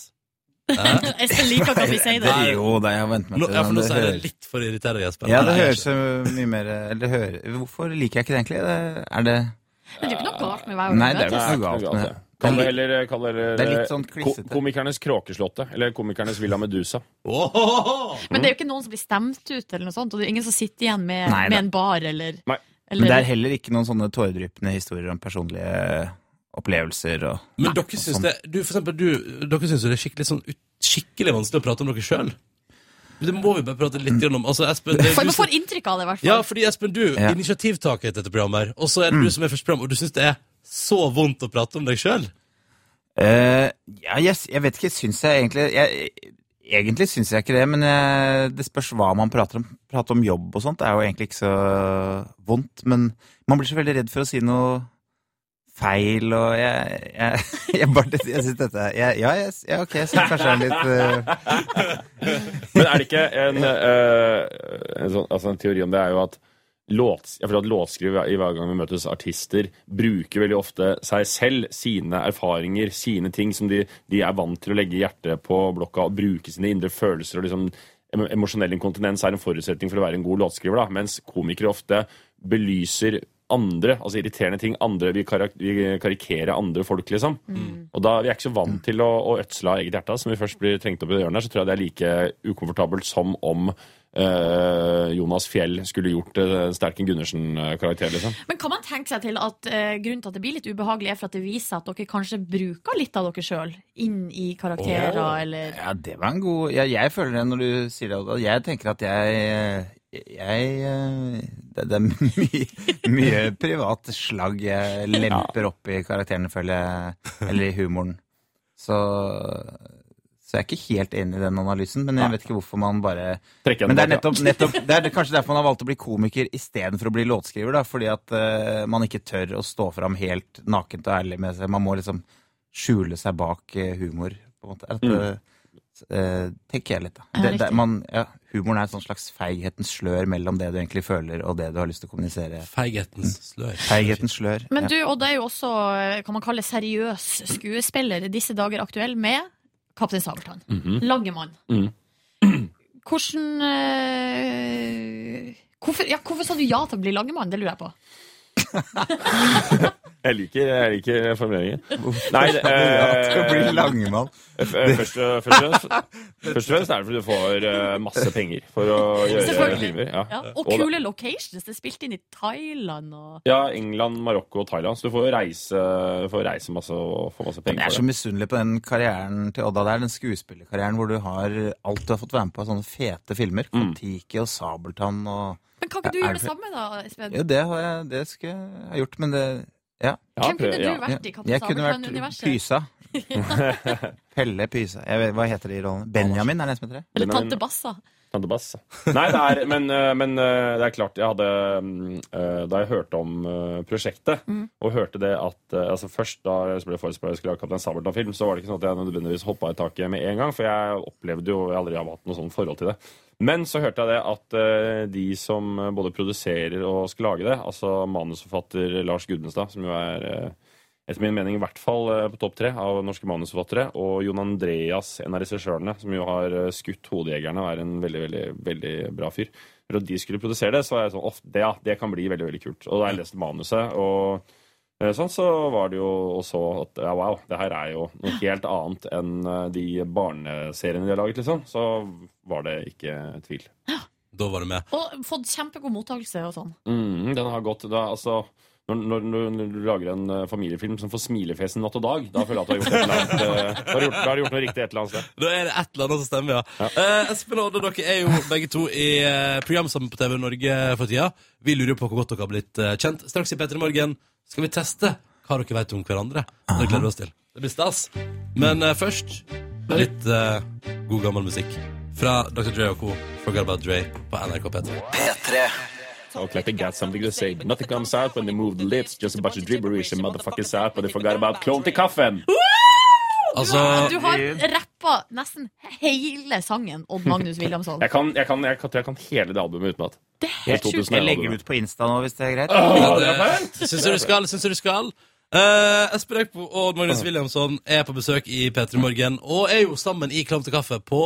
Espen liker ikke at vi sier det.
Nei, Jo, det har jeg vent meg
Nå,
til.
ja, for nå
men
sier jeg
hører-
det litt for å irritere Jesper.
Ja, det
Nei, jeg
høres jo mye mer eller det hører, Hvorfor liker jeg ikke det egentlig? Det- Er det
Men det er jo ikke noe galt med hver gang vi
Nei, det er jo
møtes.
ikke noe galt med det.
Kall det heller, kall det heller
Det er litt sånn
eh,
klissete.
ko- Komikernes Kråkeslottet. Eller Komikernes Villa Medusa.
Men det er jo ikke noen som blir stemt ut, eller noe sånt, og det er ingen som sitter igjen med,
Mm. Nei,
med
det-
en bar, eller, eller
Men det er heller ikke noen sånne tåredryppende historier om personlige opplevelser og
Men dere syns det du, For eksempel, du, dere syns jo det er skikkelig, sånn, ut- skikkelig vanskelig å prate om dere sjøl. Det må vi bare prate litt grann om. Altså, Espen, det, er
For-
du
Man
som-
får inntrykk av det, i hvert fall.
ja, Mm. fordi Espen, du er initiativtaker til dette programmet, her, og så er det du som er første program, og du syns det er så vondt å prate om deg sjøl.
Eh, ja, jeg, s- jeg vet ikke, syns jeg egentlig jeg, Egentlig syns jeg ikke det, men jeg, det spørs hva man prater om. Prate om jobb og sånt er jo egentlig ikke så vondt, men man blir så veldig redd for å si noe feil, og jeg Jeg, jeg, bare- jeg syns dette er jeg, Ja, jeg, ja, ok, jeg syns kanskje det er litt eh,
Men er det ikke en, eh, en, sånn, altså en teori om det er jo at låts, jeg føler at låtskriver i hver gang vi møtes artister, bruker veldig ofte seg selv, sine erfaringer, sine ting som de, de er vant til å legge hjertet på blokka og bruke sine indre følelser og liksom em- Emosjonell inkontinens er en forutsetning for å være en god låtskriver, da, mens komikere ofte belyser andre, altså irriterende ting, andre, vi, karak vi karikerer andre folk, liksom. Og da, Vi er ikke så vant til å, å ødsle av eget hjerte. Så når vi først blir trengt opp i det hjørnet, her, så tror jeg det er like ukomfortabelt som om eh, Jonas Fjell skulle gjort uh, Sterken Gundersen-karakter. liksom.
Men kan man tenke seg til at eh, grunnen til at det blir litt ubehagelig, er for at det viser at dere kanskje bruker litt av dere sjøl inn i karakterer,
Åh.
eller
Ja, det var en god ja, Jeg føler det når du sier det. Oda. Jeg tenker at jeg jeg eh, Det, det er mye, mye privat slagg jeg lemper opp i karakterene, føler jeg. Eller i humoren. Så, så jeg er ikke helt enig i den analysen, men jeg vet ikke hvorfor man bare
Trekker den
Men det er,
bak,
nettopp,
ja.
nettopp, det er kanskje derfor man har valgt å bli komiker istedenfor å bli låtskriver, da, fordi at eh, man ikke tør å stå fram helt nakent og ærlig med seg. Man må liksom skjule seg bak eh, humor, på en måte.
Mm.
Er dette- eh, tenker jeg litt, da.
Ja,
Det, det,
riktig.
man, ja, humoren er et sånn slags feighetens slør mellom det du egentlig føler, og det du har lyst til å kommunisere.
Feighetens slør.
Feighetens slør.
Men
ja.
du, Odd, er jo også, eh, kan man kalle seriøs skuespiller, disse dager aktuell med Kaptein Sabeltann.
Mhm.
Langemann.
Mm.
Hvordan eh, hvorfor, ja, hvorfor sa du ja til å bli langemann? Det lurer jeg på.
Jeg liker, jeg liker formuleringen.
Hvorfor
Nei,
sa du ja til å bli
eh,
langemann?
f- eh, Først og først og fremst først og fremst er det fordi du får eh, masse penger for å gjøre
Selvfølgelig.
filmer.
Ja,
Eh,
og
det-
kule locations. Det er spilt inn i Thailand og
Ja, England, Marokko og Thailand. Så du får jo reise, får reise masse og få masse
Jeg
penger
er så
for det.
misunnelig på den karrieren til Odda der, den skuespillerkarrieren hvor du har alt du har fått være med på av sånne fete filmer.
Mm.
Kon-Tiki og Sabeltann og
Men kan ikke du
Ja, er
gjøre det
det-
samme, da, Espen?
Jo, det, har jeg, det skulle jeg ha gjort, men det ja.
Hvem kunne du vært i Kaptein
Jeg kunne
Sabeltann-universet?
vært Pysa. Pelle Pyse. Jeg vet, hva heter de rollene? Benjamin er det en som heter det?
Eller tante Bassa.
Tante Bass. Nei, det er, men, eh, men eh, det er klart jeg hadde mm, eh, Da jeg hørte om eh, prosjektet,
Mm.
og hørte det at eh, altså Først da jeg ble forespurt om jeg skulle lage Kaptein Sabeltann-film, så var det ikke sånn at jeg nødvendigvis hoppa i taket med en gang, for jeg opplevde jo Jeg aldri har hatt noe sånn forhold til det. Men så hørte jeg det at eh, de som både produserer og skal lage det, altså manusforfatter Lars Gudenstad, som jo er eh, etter min mening i hvert fall eh, på topp tre av norske manusforfattere. Og Jon Andreas, en av regissørene, som jo har eh, skutt Hodejegerne og er en veldig veldig, veldig bra fyr. Når de skulle produsere det, så var jeg sånn Off, det, ja, det kan bli veldig veldig kult. Og da jeg leste manuset, og eh, sånn, så var det jo og så at ja, wow, det her er jo noe helt annet enn eh, de barneseriene de har laget, liksom. Så var det ikke tvil.
Da var du med.
Og fått kjempegod mottakelse og sånn.
Mm, den har gått da, altså, når, når, når når du lager en eh, familiefilm som får smilefjesen natt og dag, da føler jeg at du har gjort, et eller annet, eh, da har du gjort, da har du gjort noe riktig et eller annet sted.
Da er det et eller annet som stemmer, ja. Eh, Espen og Odd, dere er jo begge to i eh, program sammen på TV Norge for tida. Vi lurer på hvor godt dere har blitt eh, kjent. Straks i P3 Morgen skal vi teste hva dere vet om hverandre. Det gleder vi oss til. Det blir stas. Men eh, først litt eh, god gammel musikk fra Dr. Dre og co. Forgot About Dre på NRK P3.
P3. Talk like they got something to say, but nothing comes out when they move the lips. Just a bunch of gibberish and motherfuckers out, but they forgot about clone til kaffen.
Altså, du har rappa nesten hele sangen, Odd Magnus Williamson.
Jeg, kan, jeg, kan, jeg, kan, jeg kan hele det albumet utenat.
Helt sjukt. Jeg legger ut på Insta nå, hvis det er greit.
Ja, det er fælt. Syns du du skal? Syns du du skal? Eh, Espen Eckbo og Magnus Williamson er på besøk i P3 Morgen og er jo sammen i Klam til kaffe på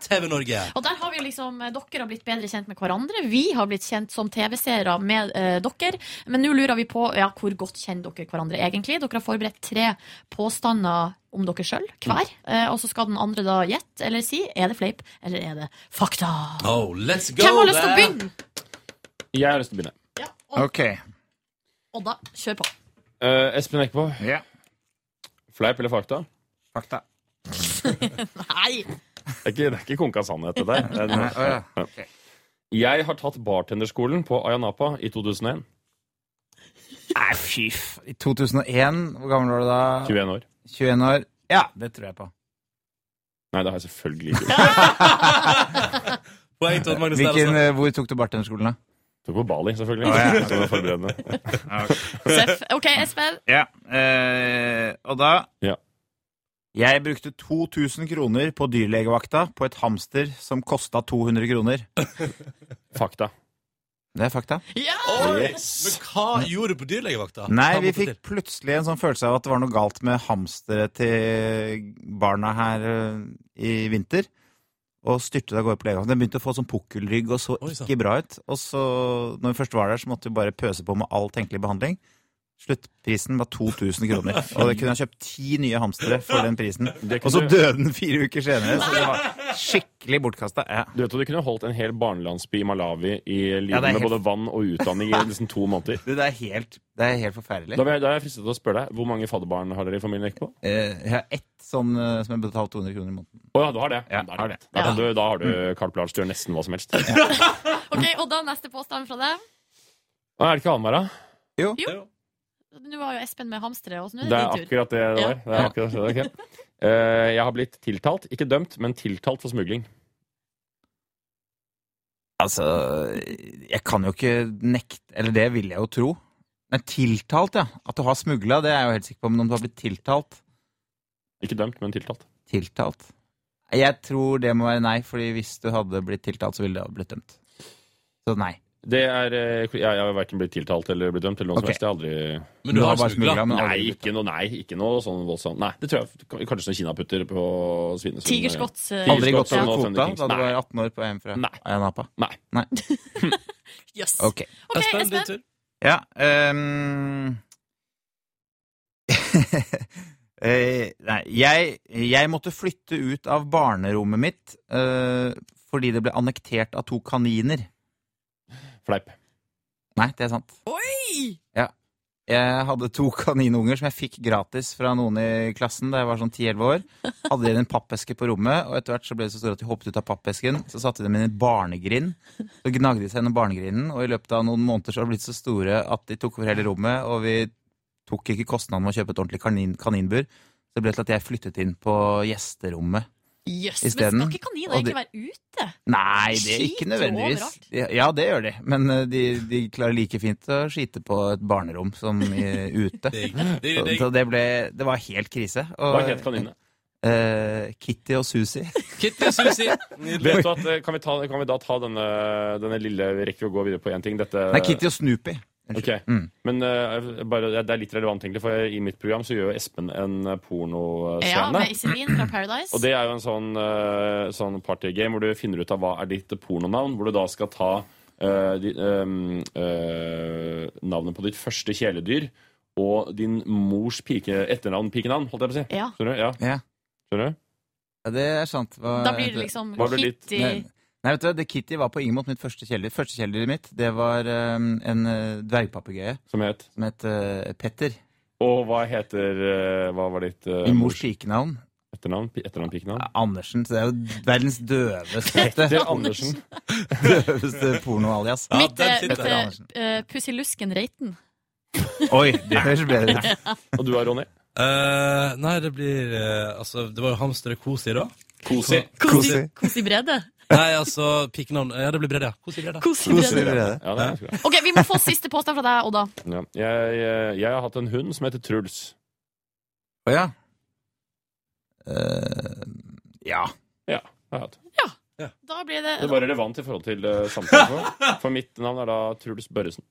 TV Norge.
Og der har vi jo liksom, eh, Dere har blitt bedre kjent med hverandre. Vi har blitt kjent som TV-seere med eh, dere. Men nå lurer vi på ja, hvor godt kjenner dere hverandre egentlig. Dere har forberedt tre påstander om dere sjøl hver. Eh, og så skal den andre da gjette eller si er det fleip eller er det fakta.
Oh, let's go
Hvem har lyst til å
there.
begynne?
Jeg har lyst til å begynne.
Ok.
Odda, kjør på.
Eh, Espen Eckbo. Fleip eller fakta?
Fakta.
Nei!
Det er ikke, det er ikke konka sannhet, det der. Det er
Nei, å ja,
Ja. Jeg har tatt bartenderskolen på Ayanapa i 2001.
Nei, fy f... I 2001, hvor gammel var du da?
21 år.
21 år. Ja, det tror jeg på.
Nei, det har jeg selvfølgelig ikke.
Poeng til Odd Magnus der,
Hvilken,
altså.
eh, hvor tok du bartenderskolen, da?
Tok på Bali, selvfølgelig. Som var forberedende.
Seff. OK, Espen.
Ja, eh, og da
Ja.
Jeg brukte 2000 kroner på dyrlegevakta på et hamster som kosta 200 kroner.
Fakta.
Det er fakta.
Oi, Men hva gjorde du på dyrlegevakta?
eh, Nei,
Hva
vi
måtte
fikk
til?
plutselig en sånn følelse av at det var noe galt med hamstere til barna her eh, i vinter. Og styrtet av gårde på legevakten. Den begynte å få sånn pukkelrygg og så
Oi, sann.
ikke bra ut. Og så, når vi først var der, så måtte vi bare pøse på med all tenkelig behandling. Sluttprisen var 2000 kroner. Og jeg kunne ha kjøpt ti nye hamstere for den prisen.
Det
Og så
kunne-
døde den fire uker senere, så det var skikkelig bortkasta. Ja.
Du vet at du kunne holdt en hel barnelandsby i Malawi i livet
Ja, det er
med
helt-
både vann og utdanning i nesten to måneder.
Du, det er helt, det er helt forferdelig.
Da, er jeg- da er jeg fristet til å spørre deg, Hvor mange fadderbarn har dere i familien Ekbo?
Eh, Jeg har ett sånn eh, som jeg betalte 200 kroner i måneden.
Å ja, du har det? da, har det. Da, kan du, da har du Carl Blanche. Du gjør nesten hva som helst.
Ok, Odda, neste påstand fra deg.
Å, er det ikke Hamar, da?
Jo.
Nå var jo Espen med hamstere, og så nå
Det er
er det din tur.
akkurat det det var. Det er akkurat det, ok. Eh, jeg har blitt tiltalt, ikke dømt, men tiltalt for smugling.
Altså, jeg kan jo ikke nekte Eller det vil jeg jo tro. Nei, tiltalt, ja. At du har smugla, det er jeg jo helt sikker på. Men om du har blitt tiltalt
Ikke dømt, men tiltalt.
Tiltalt? Jeg tror det må være nei, fordi hvis du hadde blitt tiltalt, så ville du ha blitt dømt. Så nei.
Det er, eh, jeg, jeg har verken blitt tiltalt eller blitt dømt eller noe som
Ok.
helst. Jeg har aldri...
Men du har
bare
smuglet.
smuglet, men aldri
nei,
blitt
ikke noe, nei, ikke noe sånn voldsomt. Nei, det tror jeg kanskje sånn kinaputter på Svinesund.
Tigerskott, eh,
Aldri
Tigerskott
gått over
og
kvota
Thunder Kings.
da du
Nei.
var 18 år på EM fra
Nei.
Ayanapa?
Nei.
Nei.
Yes.
Ok.
Ok, Espen,
din tur.
Ja ehm. Eh, Nei, jeg, jeg måtte flytte ut av barnerommet mitt eh, fordi det ble annektert av to kaniner.
eh, Fleip.
Nei, det er sant.
Oi!
Ja. Jeg hadde to kaninunger som jeg fikk gratis fra noen i klassen da jeg var sånn 10-11 år. Hadde de i en pappeske på rommet, og etter hvert så ble de så store at de hoppet ut av pappesken. Så satte de dem i en barnegrind. Så gnagde de seg gjennom barnegrinden, og i løpet av noen måneder så har de blitt så store at de tok over hele rommet, og vi tok ikke kostnaden med å kjøpe et ordentlig kanin, kaninbur. Så det ble til at jeg flyttet inn på gjesterommet
Jøss,
isteden.
men skal ikke kaniner
Og de-
egentlig være ute?
Nei, det er
Skiter
ikke nødvendigvis.
overalt.
Ja, ja, det gjør de. Men eh, de, de klarer like fint å skite på et barnerom som i, ute.
Digg, digg,
Så,
digg.
så det ble Det var helt krise.
Hva het kaninene?
eh, Kitty og Susi.
Kitty og Susi.
Vet du at, eh, kan, vi ta, kan vi da ta denne, denne lille Vi rekker å gå videre på én ting. Dette,
Nei, Kitty Mm. og Snoopy.
Ok, Men eh, bare, det er litt relevant, egentlig, for i mitt program så gjør jo Espen en eh, pornoscene.
Ja, med Iselin fra Paradise.
Og det er jo en sånn, eh, sånn partygame hvor du finner ut av hva er ditt pornonavn, hvor du da skal ta eh, di, ehm, eh, navnet på ditt første kjæledyr og din mors pike, etternavn, pikenavn, holdt jeg på å si.
Ja.
Skjønner du? Ja.
Ja.
Skjønner du?
Ja, det er sant. Hva-
Da blir det liksom
Hva ble ditt?
Kitty-
Nei, nei, vet du, hva, det Kitty var på ingen måte mitt første kjæledyr. Første kjæledyret mitt, det var eh, en eh, dvergpapegøye.
Som het?
Som het eh, Petter.
Og hva heter eh, Hva var ditt eh,
Min mors pikenavn.
etternavn? pi- etternavn pikenavn?
Andersen. Så det er jo verdens døveste
Petter Andersen.
Døveste porno-alias.
mitt eh, mitt
Petter Andersen.
eh, eh, Pusselusken Reiten.
Oi, det høres bedre ut.
Og du da, Ronny?
nei, det blir eh, Altså, det var jo hamsteret Kosi, da.
Kosi.
Kosi.
Kosi Brede.
Nei, altså pikenavn Ja, det blir Brede, ja. Kosi Brede.
Kosi Brede. Kosi
Brede. Ja, det er ganske bra.
Ok, Vi må få siste påstand fra deg, Odda.
Ja. Jeg, eh, jeg, jeg har hatt en hund som heter Truls.
Å ja. Eh, ja.
Ja, jeg har hatt.
Da blir det
Det var relevant i forhold til eh, samtalen. For, for mitt navn er da Truls Børresen.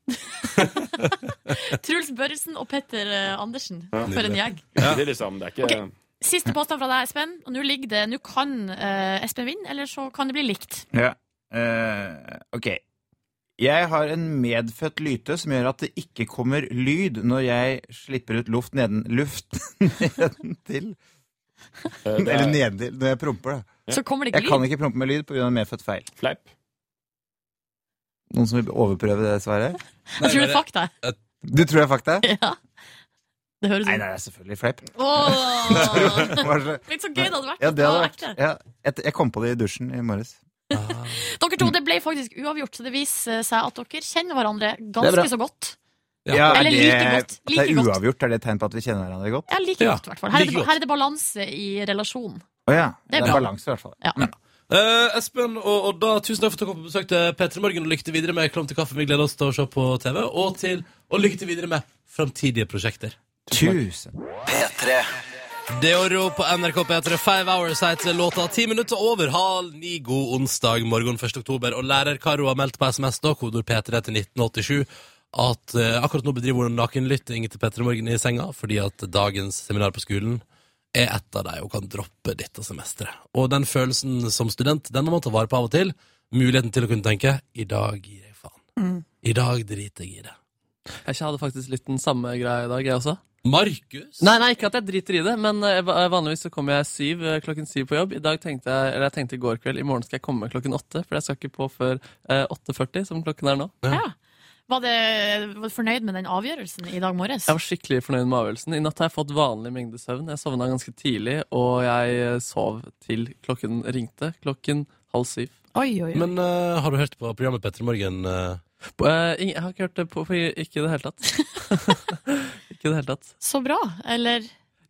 Truls Børresen og Petter eh, Andersen.
Ja.
For en gjeng.
Ikke Det, liksom, det er ikke
Ok. Siste påstand fra deg, Espen. Og nå ligger det Nå kan eh, Espen vinne, eller så kan det bli likt.
ja. Eh, ok. Jeg har en medfødt lyte som gjør at det ikke kommer lyd når jeg slipper ut luft neden, luft nedentil.
Eh, det er-
Eller nedentil, når jeg promper. Da.
Så kommer det ikke
jeg kan
lyd?
ikke prompe med lyd pga. medfødt feil.
Fleip.
Noen som vil overprøve det svaret?
Jeg tror det er fakta.
Du tror det er fakta?
Ja. Det høres
Nei,
ut
nei, det er selvfølgelig fleip.
Åh. Litt så gøy det hadde vært.
Ja,
hvis
det hadde vært.
det var ekte.
Ja, jeg, jeg kom på det i dusjen i morges.
Ah,
Dere to, det ble faktisk uavgjort, så det viser eh, seg at dere kjenner hverandre
Det er bra.
ganske så godt.
Ja,
Eller
er
like godt.
At det
Like
er
godt.
uavgjort, er det et tegn på at vi kjenner hverandre godt?
Ja, like godt, i hvert fall. Her, er det- her er det balanse i relasjonen.
Å ja.
Det er
Det er
bra.
balanse, i hvert fall.
Ja.
Eh, Espen og Odda, tusen takk for at dere kom på besøk til P3 Morgen. Og lykke til videre med Klam til kaffe. Vi gleder oss til å se på TV. Og, til, og lykke til videre med framtidige prosjekter.
Tusen
P3.
Deoro på NRK P3 Five Hours heter låta. Ti minutter over halv ni. God onsdag morgen 1. oktober. Og lærer Karo har meldt på SMS, da, kodord P3 til 1987, at eh, akkurat nå bedriver hun nakenlytting til P3 Morgen i senga, fordi at dagens seminar på skolen er et av de hun kan droppe dette semesteret. Og den følelsen som student, den må man ta vare på av og til. Muligheten til å kunne tenke 'i dag gir jeg faen'. I dag driter jeg i det.
Jeg hadde faktisk litt den samme greia i dag, jeg også.
Markus?
Nei, nei, ikke at jeg driter i det, men eh, va- vanligvis så kommer jeg syv, eh, klokken syv på jobb. I dag tenkte jeg, eller jeg tenkte i går kveld, i morgen skal jeg komme klokken åtte, for jeg skal ikke på før eh, 8.40, som klokken er nå.
Var, det, var du fornøyd med den avgjørelsen i dag morges?
Jeg var skikkelig fornøyd med avgjørelsen. I natt har jeg fått vanlig mengde søvn. Jeg sovna ganske tidlig, og jeg eh, sov til klokken ringte. Klokken halv syv.
Men eh, har du hørt på programmet P3 Morgen? eh?
På, eh, ing- jeg har ikke hørt det på, på ikke i det hele tatt. ikke i det hele tatt.
Så bra, eller?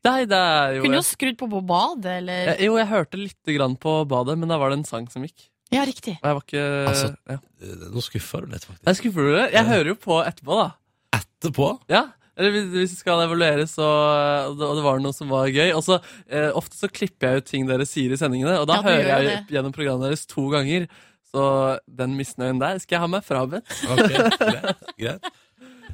Nei, det er jo
Kunne jo skrudd på på badet, eller?
Eh, Jo, jeg hørte lite grann på badet, men da var det en sang som gikk.
Ja, riktig.
Og jeg var ikke
Eh,
Altså,
ja.
Nå skuffer du litt, faktisk. Eh,
Jeg skuffer du det? Jeg hører jo på etterpå, da.
Etterpå?
Ja. Eller hvis- hvis det skal evalueres, og, og det- og det var noe som var gøy. Og så, eh, Ofte så klipper jeg ut ting dere sier i sendingene, og da
Ja, du
hører
gjør
jeg
det.
gjennom programmet deres to ganger. Så den misnøyen der skal jeg ha meg frabedt.
Ok, greit, greit.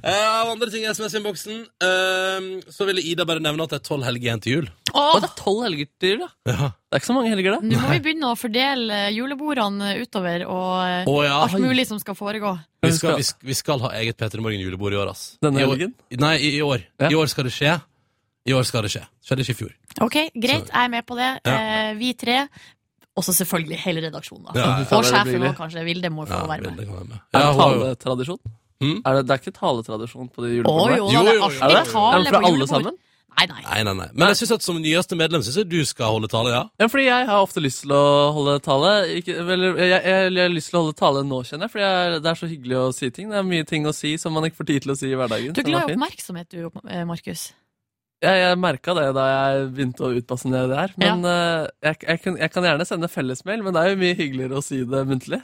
Eh, Av andre ting i SMS-innboksen eh, så ville Ida bare nevne at det er tolv helger igjen til jul.
Å, det er tolv helger til jul, da.
Ja.
Det er ikke så mange helger,
Nå må vi begynne å fordele julebordene utover, og eh,
Å, ja.
alt mulig som skal foregå.
Vi skal, vi, sk- vi skal ha eget P3 Morgen-julebord i år, ass.
Denne
I år,
helgen?
Nei, i, i år. I år skal det skje. I år skal det skje. Skjedde ikke i fjor.
Ok, greit, jeg er med på det.
Ja.
Eh, vi tre. Og så selvfølgelig hele redaksjonen, da.
Ja, ja.
Og sjefen
Billig.
òg, kanskje. Vilde må få
Ja,
være
med.
Er det
hun har jo-
taletradisjon? Er det, det er ikke taletradisjon på de julebordene?
Å, jo da, det er alltid
Er det?
tale
Er det fra
på
alle
julebord.
sammen?
Nei, nei.
Nei, nei, nei. Men jeg synes at som nyeste medlem syns jeg du skal holde tale, ja.
Ja, fordi jeg har ofte lyst til å holde tale. Ikke, vel, jeg, jeg, jeg har lyst til å holde tale nå, kjenner jeg, fordi jeg, det er så hyggelig å si ting. Det er mye ting å si som man ikke får tid til å si i hverdagen.
Du er
så det var
glad i
fint.
oppmerksomhet, du, eh, Markus.
Jeg, jeg merka det da jeg begynte å utbasunere det her. Men eh, jeg, jeg, kan, jeg kan gjerne sende fellesmail, men det er jo mye hyggeligere å si det muntlig.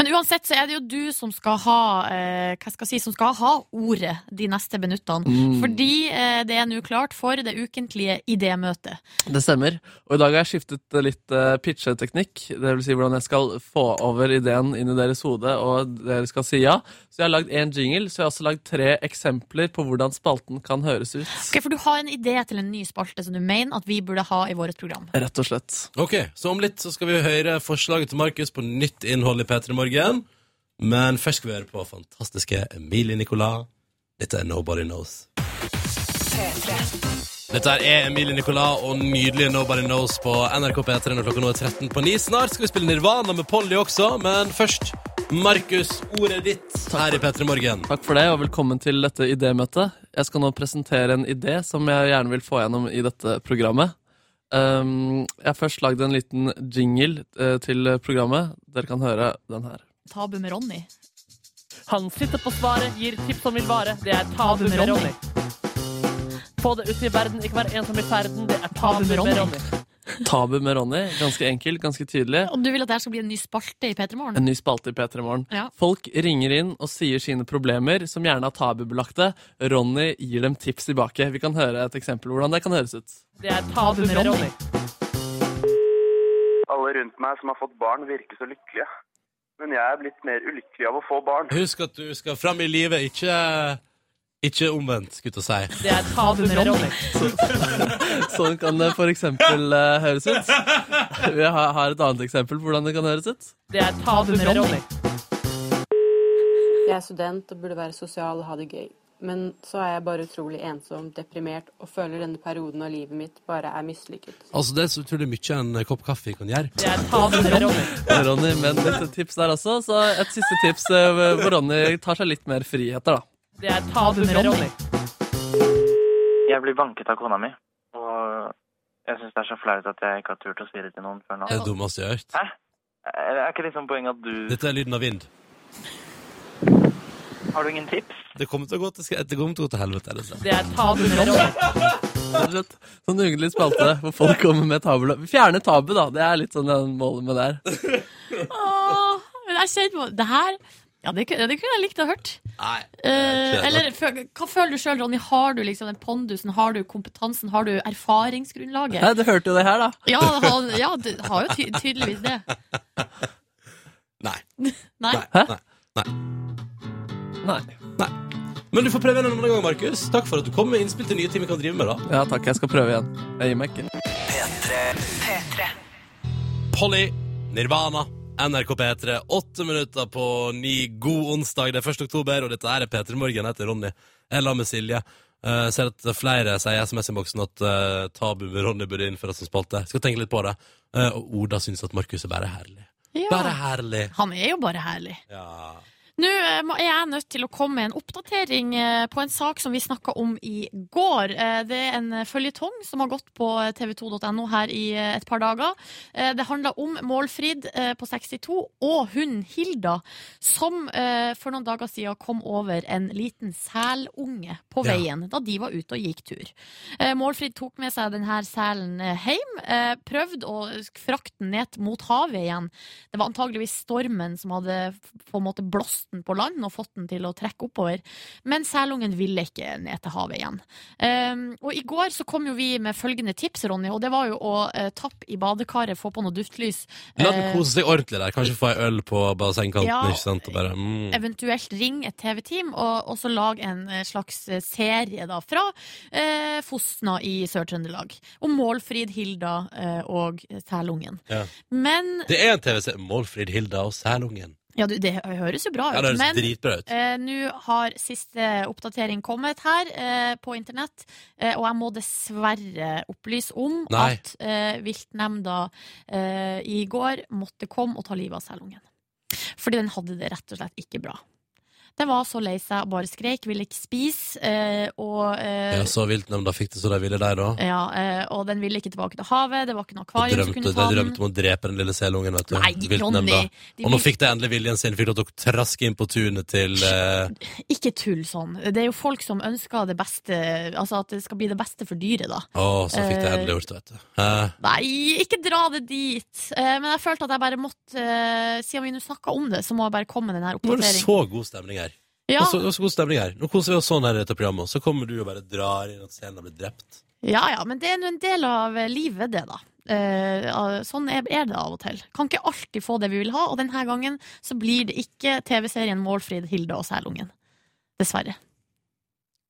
Men uansett så er det jo du som skal ha eh, Hva skal jeg si, som skal ha ordet de neste minuttene.
Mm.
Fordi eh, det er nå klart for det ukentlige idémøtet.
Det stemmer. Og i dag har jeg skiftet eh, litt eh, pitcheteknikk. Det vil si hvordan jeg skal få over ideen inn i deres hode, og dere skal si ja. Så jeg har lagd én jingle, så jeg har også lagd tre eksempler på hvordan spalten kan høres ut.
Ok, for du har en idé til en ny spalte som du mener at vi burde ha i vårt program.
Rett og slett.
Ok, så om litt så skal vi høre forslaget til Markus på nytt innhold i P3 Morgen. Men først skal vi høre på fantastiske Emilie Nicolas. Dette er Nobody Knows. Dette her er Emilie Nicolas og nydelige Nobody Knows på NRK P3 når klokka nå er 13 på 9. Snart skal vi spille Nirvana med Polly også, men først Markus, ordet er ditt her i P3 Morgen.
Takk for det, og velkommen til dette idémøtet. Jeg skal nå presentere en idé som jeg gjerne vil få gjennom i dette programmet. Um, jeg har først lagd en liten jingle eh, til programmet. Dere kan høre den her.
Tabu med Ronny.
Han sitter på svaret, gir tips som vil vare. Det er tabu med Ronny. Få det ut i verden, ikke vær ensom i ferden. Det er tabu med Ronny.
Tabu med Ronny. Ganske enkel, ganske tydelig.
Om du vil at dette skal bli en ny spalte i P3
En
Morgen?
ny spalte i P3 Morgen.
Ja.
Folk ringer inn og sier sine problemer, som gjerne er tabubelagte. Ronny gir dem tips tilbake. Vi kan høre et eksempel hvordan det kan høres ut.
Det er tabu med Ronny.
Alle rundt meg som har fått barn, virker så lykkelige. Men jeg er blitt mer ulykkelig av å få barn.
Husk at du skal fram i livet, ikke, ikke omvendt, skulle jeg til å si.
Det er tabu med Ronny.
Sånn kan det for eksempel eh, høres ut. Vi har, har et annet eksempel på hvordan det kan høres ut.
Det er tabu med Ronny.
Jeg er student og burde være sosial og ha det gøy. Men så er jeg bare utrolig ensom, deprimert og føler denne perioden av livet mitt bare er mislykket.
Altså, det er så utrolig mye en kopp kaffe kan gjøre.
Det er tabu med Ronny.
Ronny, men litt tips der også. Så et siste tips eh, hvor Ronny tar seg litt mer friheter, da.
Det er tabu med Ronny.
Jeg blir banket av kona mi, og jeg syns det er så flaut at jeg ikke har turt å si det til noen før nå.
Det er det dummeste jeg har hørt.
Er er ikke liksom poenget at du
Dette er lyden av vind.
Har du ingen tips?
Det kommer til å gå til, sk- det kommer til, å gå til helvete. Dette.
Det er tabu med Ronny.
Rett og slett. Sånn hyggelig spalte hvor folk kommer med tabu. Fjerne tabu, da. Det er litt sånn jeg måler med der.
Åh, men jeg kjenner på det her ja, det, kunne- det kunne jeg likt å ha hørt.
Nei,
Eh,
kjedelig.
eller fø- hva føler du sjøl, Ronny? Har du liksom den pondusen, har du kompetansen, har du erfaringsgrunnlaget?
Nei, du hørte jo det her, da.
Ja, han, ja du har jo ty tydeligvis det. Nei. Nei.
Hæ? Nei. Men du får prøve en annen gang, Markus. Takk for at du kom med innspill til nye ting vi kan drive med. da
Ja takk, jeg skal prøve igjen. Jeg gir meg ikke.
Polly, Nirvana, NRK P3. Åtte minutter på ni. God onsdag, det er 1. oktober, og dette er P3 Morgen. Jeg heter Ronny. Jeg er sammen med Silje. Eh, ser at flere sier i SMS-innboksen at eh, tabu med Ronny burde innføres som spalte. Skal tenke litt på det. Eh, og Oda syns at Markus er bare herlig.
Ja.
Bare herlig.
Han er jo bare herlig.
Ja.
Nå eh, må- er jeg nødt til å komme med en oppdatering eh, på en sak som vi snakka om i går. Eh, Det er en føljetong som har gått på eh, tv2.no her i eh, et par dager. Eh, Det handla om Målfrid eh, på 62 og hun Hilda, som eh, for noen dager siden kom over en liten selunge på
Ja.
veien da de var ute og gikk tur. Eh, Målfrid tok med seg denne selen eh, hjem, eh, prøvde å frakte den ned mot havet igjen. Det var antageligvis stormen som hadde f- på en måte blåst den på land og fått den til å trekke oppover. Men selungen ville ikke ned til havet igjen. Ehm, og i går så kom jo vi med følgende tips, Ronny, og det var jo å eh, tappe i badekaret, få på noe duftlys.
La den
Eh,
kose seg ordentlig der. Kanskje få ei øl på bassengkanten.
Ja. Eh.
ikke sant? Og bare, mm.
eventuelt ring et TV-team og, og så lag en eh, slags eh, serie da, fra eh, Fosna i Sør-Trøndelag. Om Målfrid, Hilda eh, og Sælungen.
ja.
Men
Det er en TVC. Målfrid Hilda og Sælungen.
Ja, du, det hø- høres jo bra ut.
Ja, det høres
men
dritbra ut.
eh, nå har siste oppdatering kommet her eh, på internett, eh, og jeg må dessverre opplyse om
Nei.
at eh, viltnemnda eh, i går måtte komme og ta livet av selungen. Fordi den hadde det rett og slett ikke bra. Det var så lei seg og bare skrek, ville ikke spise. eh, og, eh,
Ja, så viltnemnda fikk det så de ville der, da.
ja, eh, og den ville ikke tilbake til havet, det var ikke noe
De
akvarium som
drømte,
kunne
de
ta den.
drømte om å drepe den lille selungen, vet du.
Nei,
Viltnemnda.
Ronny, de
Og nå
vil-
fikk de endelig viljen sin. Fikk lov til å traske inn på tunet til eh,
Ikke tull sånn. Det er jo folk som ønsker det beste, altså at det skal bli det beste for dyret, da.
Å, så fikk de
Eh,
endelig gjort det, vet du. Hæ?
Nei, ikke dra det dit! Eh, men jeg følte at jeg bare måtte eh, Siden vi nå snakka om det, så må jeg bare komme med den her
Nå er det
oppdateringen.
så altså- god stemning her.
Ja.
Det var så- det var så god stemning her. Nå koser vi oss sånn her i dette programmet, og så kommer du og bare drar inn at scenen har blitt drept.
Ja ja, men det er nå en del av eh, livet, det, da. Eh, ah, sånn er er det av og til. Kan ikke alltid få det vi vil ha, og denne gangen så blir det ikke TV-serien Målfrid, Hilde og Sælungen. Dessverre.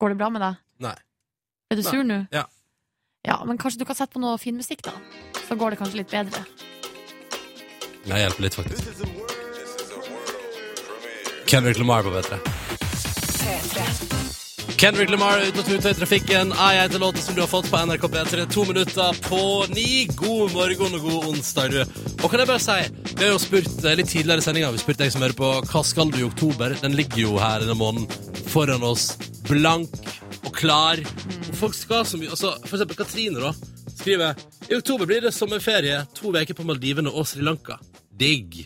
Går det bra med deg?
Nei.
Er du
Nei.
sur nå?
Ja.
Ja, men kanskje du kan sette på noe fin musikk, da. Så går det kanskje litt bedre.
Jeg hjelper litt, faktisk. Kendrick Lamar på bedre. Kendrick Lamar ute og tuta i trafikken. Ei ei til låten som du har fått på NRK P3. To minutter på ni. God morgen og god onsdag, du. Og kan jeg bare si, vi har jo spurt eh, litt tidligere i sendinga, vi spurte deg som hører på, hva skal du i oktober? Den ligger jo her denne måneden foran oss, blank og klar. Og folk skal så mye. Altså, for eksempel Katrine, da, skriver i oktober blir det sommerferie, to uker på Maldivene og Sri Lanka. Digg.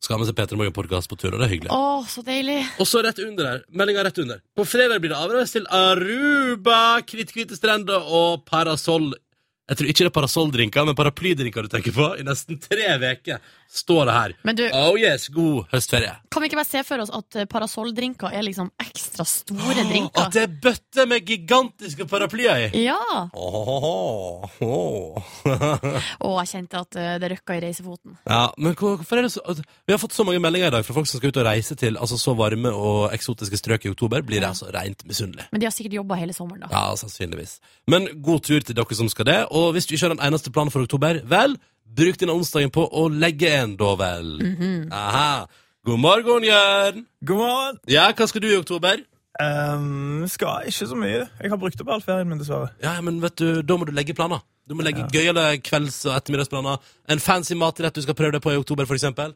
Skal ha med seg P3 Morgen-podkast på tur, og det er hyggelig.
Å, så deilig.
Og så rett under her, meldinga rett under. På fredag blir det avreise til Aruba, hvite strender og parasoll. Jeg tror ikke det er parasolldrinker, men paraplydrinker du tenker på. I nesten tre uker står det her.
Men du-
Oh yes, god høstferie.
Kan vi ikke bare se for oss at eh, parasolldrinker er liksom ekstra store drinker?
At det er bøtter med gigantiske paraplyer i.
Ja!
Åhåhå.
Og jeg kjente at eh, det røkka i reisefoten.
ja, men hvor- hvorfor er det så at- Vi har fått så mange meldinger i dag fra folk som skal ut og reise til altså, så varme og eksotiske strøk i oktober. Blir jeg altså rent misunnelig.
Men de har sikkert jobba hele sommeren, da.
Ja, sannsynligvis. Men god tur til dere som skal det. Og hvis du ikke har den eneste planen for oktober, vel, bruk denne onsdagen på å legge en, da vel.
Mhm.
Aha. God morgen, Jørn.
God morgen.
Ja, hva skal du i oktober?
Ehm, skal ikke så mye. Jeg har brukt opp all ferien min, dessverre.
Ja, men vet du, da må du legge planer. Du må legge gøyale kvelds- og ettermiddagsplaner. En fancy matrett du skal prøve deg på i oktober, for eksempel.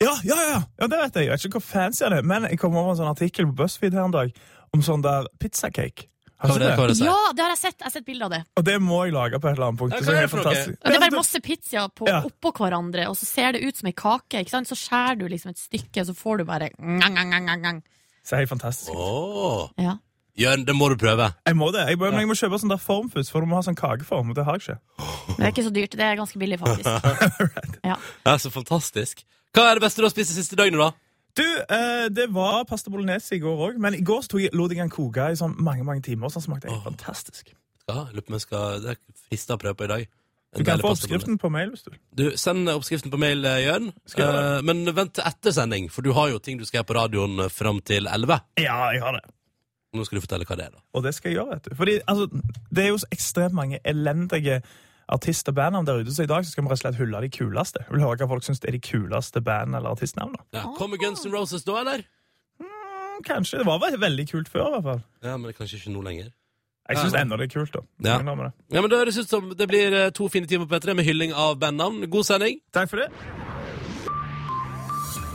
Ja, ja, ja, ja, det vet jeg. Jeg vet ikke hvor fancy han er, men jeg kom over en sånn artikkel på BuzzFeed her en dag om sånn der pizzacake. Har
Hva var
du
det? Hva var det
sett
som-
Ja, det har jeg sett! Jeg har sett bilde av det.
Og det må jeg lage på et eller annet punkt.
Ja, hva
så
er
det
det
er
for noe?
fantastisk.
Og det er bare masse pizza på, oppå hverandre, og så ser det ut som ei kake. Ikke sant? Så skjærer du liksom et stykke, og så får du bare ngang, ngang, ngang, ngang, ngang.
Så helt fantastisk.
Åh.
Ja.
Jørn, det må du prøve.
Jeg må det. Jeg, må- men jeg må kjøpe sånn der form først, for du må ha sånn kakeform. og Det har jeg ikke.
Men det er ikke så dyrt. Det er ganske billig, faktisk. Ja.
Ja, så fantastisk. Hva er det beste du har spist de siste døgnet, da?
Du, eh, det var pasta bolognese i går òg, men i går så tok jeg, lot jeg den koke i sånn mange mange timer. og Sånn smakte det helt fantastisk.
Ja, jeg lurer på om jeg skal Det er frista å prøve på i dag.
Du
En
kan
deilig
få
pasta bolognese.
oppskriften på mail hvis du vil.
Du, Send oppskriften på mail, eh, Jørn.
Skal jeg gjøre
Eh, men vent til etter sending, for du har jo ting du skal gjøre på radioen eh, fram til 11.
Ja, jeg har det.
Nå skal du fortelle hva det er, da.
Og det skal jeg gjøre, vet du. Fordi altså, det er jo så ekstremt mange elendige artist- og bandnavn der ute, så i dag så skal vi rett og slett hylle de kuleste. Jeg vil høre hva folk syns er de kuleste band- eller artistnavnene.
Ja. Kommer Guns N' Roses da, eller?
Mm, Kanskje. Det var vel veldig kult før, i hvert fall.
Ja, men kanskje ikke nå lenger.
Jeg syns
Ja.
ennå det er kult, da.
Ja.
Jeg innrømmer det.
Ja, men Det høres ut som det blir eh, to fine timer på P3 med hylling av bandnavn. God sending.
Takk for det.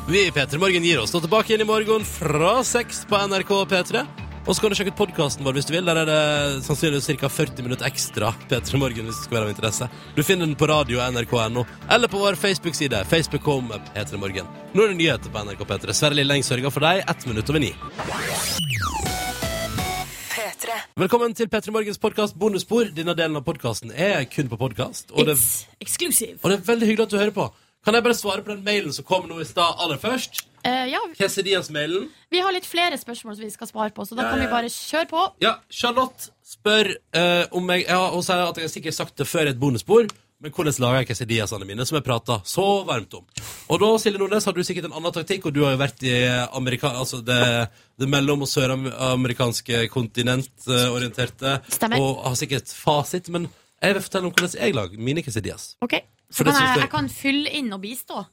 Vi i P3 Morgen gir oss. Stå tilbake igjen i morgen fra seks på NRK P3. Og så kan du sjekke ut podkasten vår hvis du vil. Der er det sannsynligvis ca. 40 minutter ekstra P3 Morgen hvis det skal være av interesse. Du finner den på radio nrk.no eller på vår Facebook-side. Facebook kom P3 Morgen. Nå er det nyheter på NRK P3. Sverre Lilleng sørger for deg ett minutt over ni.
P3.
Velkommen til P3 Morgens podkast Bonusspor. Denne delen av podkasten er kun på podkast. Og, det-
Exclusive.
og det er veldig hyggelig at du hører på. Kan jeg bare svare på den mailen som kom nå i stad aller først?
Eh, ja,
Quesadillas-mailen.
vi har litt flere spørsmål som vi skal svare på, så da
Ja,
kan
ja,
vi
ja.
bare kjøre på.
Ja, Charlotte spør eh, om jeg ja, Hun sier at jeg har sikkert sagt det før i et bonusspor, men hvordan lager jeg quesadillasene mine, som jeg prata så varmt om? Og da, Silje Nordnes, har du sikkert en annen taktikk, og du har jo vært i Amerika, altså det, det mellom- og søramerikanske kontinentorienterte,
Stemmer.
og har sikkert fasit, men jeg vil fortelle om hvordan jeg lager mine quesadillas.
Ok, Så
For det
kan
synes
jeg,
jeg-
jeg kan fylle inn og bistå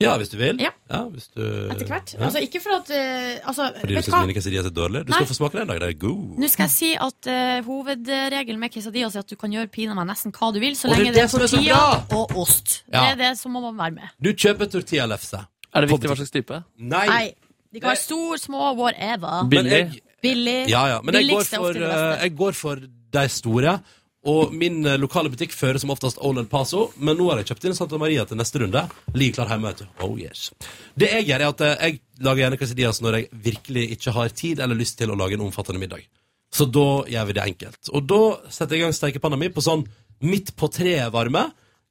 Ja, hvis du vil.
Ja.
hvis du,
etter hvert.
Ja.
Altså, ikke for at eh, altså,
Fordi du
vet du
syns
hva?
mine quesadillas er dårlige? Du skal
Nei.
få smake det en dag. Det er god.
Nå skal jeg si at eh, hovedregelen med quesadillas er at du kan gjøre pinadø meg nesten hva du vil, så
Og det er
lenge det er
det som er så
tortilla
bra!
og ost.
Ja.
Det er det som må man være med.
Du kjøper tortillalefse.
Er det viktig hva slags type?
Nei.
Nei. De kan være stor, små, whatever.
Billig. Men jeg-
Billig.
Ja, ja. Men jeg går,
Billigste er
for,
ofte det beste.
eh, jeg går for de store. Og min eh, lokale butikk fører som oftest Old El Paso, men nå har jeg kjøpt inn Santa Maria til neste runde. Like klar hjemme, vet du. Oh yes. Det jeg gjør, er at eh, jeg lager gjerne quesadillas når jeg virkelig ikke har tid eller lyst til å lage en omfattende middag. Så da gjør vi det enkelt. Og da setter jeg i gang stekepanna mi på sånn midt på treet varme.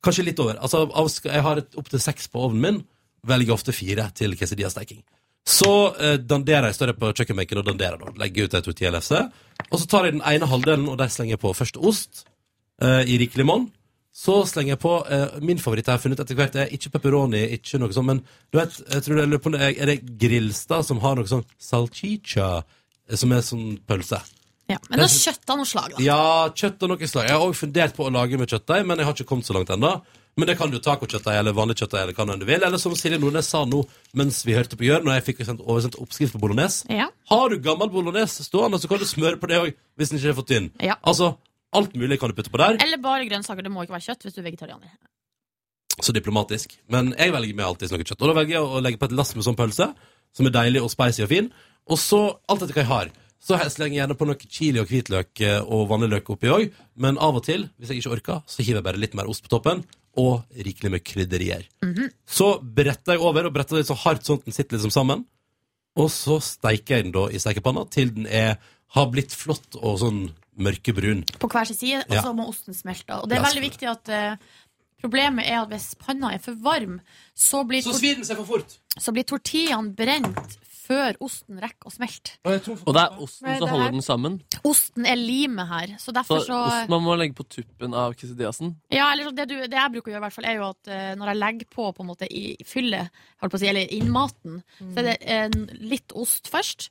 Kanskje litt over. Altså, av- skal- jeg har opptil seks på ovnen min. Velger ofte fire til quesadillasteking. Så eh, danderer jeg står jeg på kjøkkenbenken og danderer da. Legger ut et tortillafse. Og så tar jeg den ene halvdelen, og der slenger jeg på først ost eh, i rikelig monn. Så slenger jeg på eh, Min favoritt jeg har funnet etter hvert, er ikke pepperoni, ikke noe sånt, men du vet, jeg tror det jeg lurer på om det er- Er det Grilstad som har noe sånn salchicha, eh, som er sånn pølse?
Ja, men da kjøtt av noe slag, da.
Ja, kjøtt av noe slag. Jeg har også fundert på å lage med kjøttdeig, men jeg har ikke kommet så langt ennå. Men det kan du tacokjøttdeig eller vanlig kjøttdeig eller hva nå enn du vil. Eller som Silje Nordnes sa nå mens vi hørte på Jørn, når jeg fikk sendt, oversendt oppskrift på bolognese.
Ja.
Har du gammel bolognese stående, så kan du smøre på det òg hvis den ikke er for tynn.
Ja.
Altså, alt mulig kan du putte på der.
Eller bare grønnsaker. Det må ikke være kjøtt hvis du er vegetarianer.
Så diplomatisk. Men jeg velger meg alltid noe kjøtt. Og da velger jeg å legge på et lass med sånn pølse, som er deilig og spicy og fin. Og så, alt etter hva jeg har, så jeg slenger jeg gjerne på noe chili og hvitløk eh, og vanlig løk oppi òg. Men av og til, hvis jeg ikke orker, så hiver jeg bare litt mer ost på toppen, og rikelig med krydderier. Så bretter jeg over, og bretter det så hardt sånn at den sitter liksom sammen. Og så steiker jeg den da i stekepanna til den er, har blitt flott og sånn mørkebrun.
På hver sin side, og
Ja.
så må osten smelte. Og det
Ja,
er veldig viktig at eh, Problemet er at hvis panna er for varm, så blir,
Så svir den seg for fort.
så blir tortillaen brent før osten rekker å smelte.
Og det er osten
Nei, det
som holder
her-
den sammen.
Osten er limet her, så
Så
derfor så
osten man må legge på tuppen av quesadillasen.
Ja, eller så det, du, det jeg bruker å gjøre, i hvert fall, er jo at eh, når jeg legger på på en måte i fyllet, holdt på å si, eller innmaten, så er det en- litt ost først.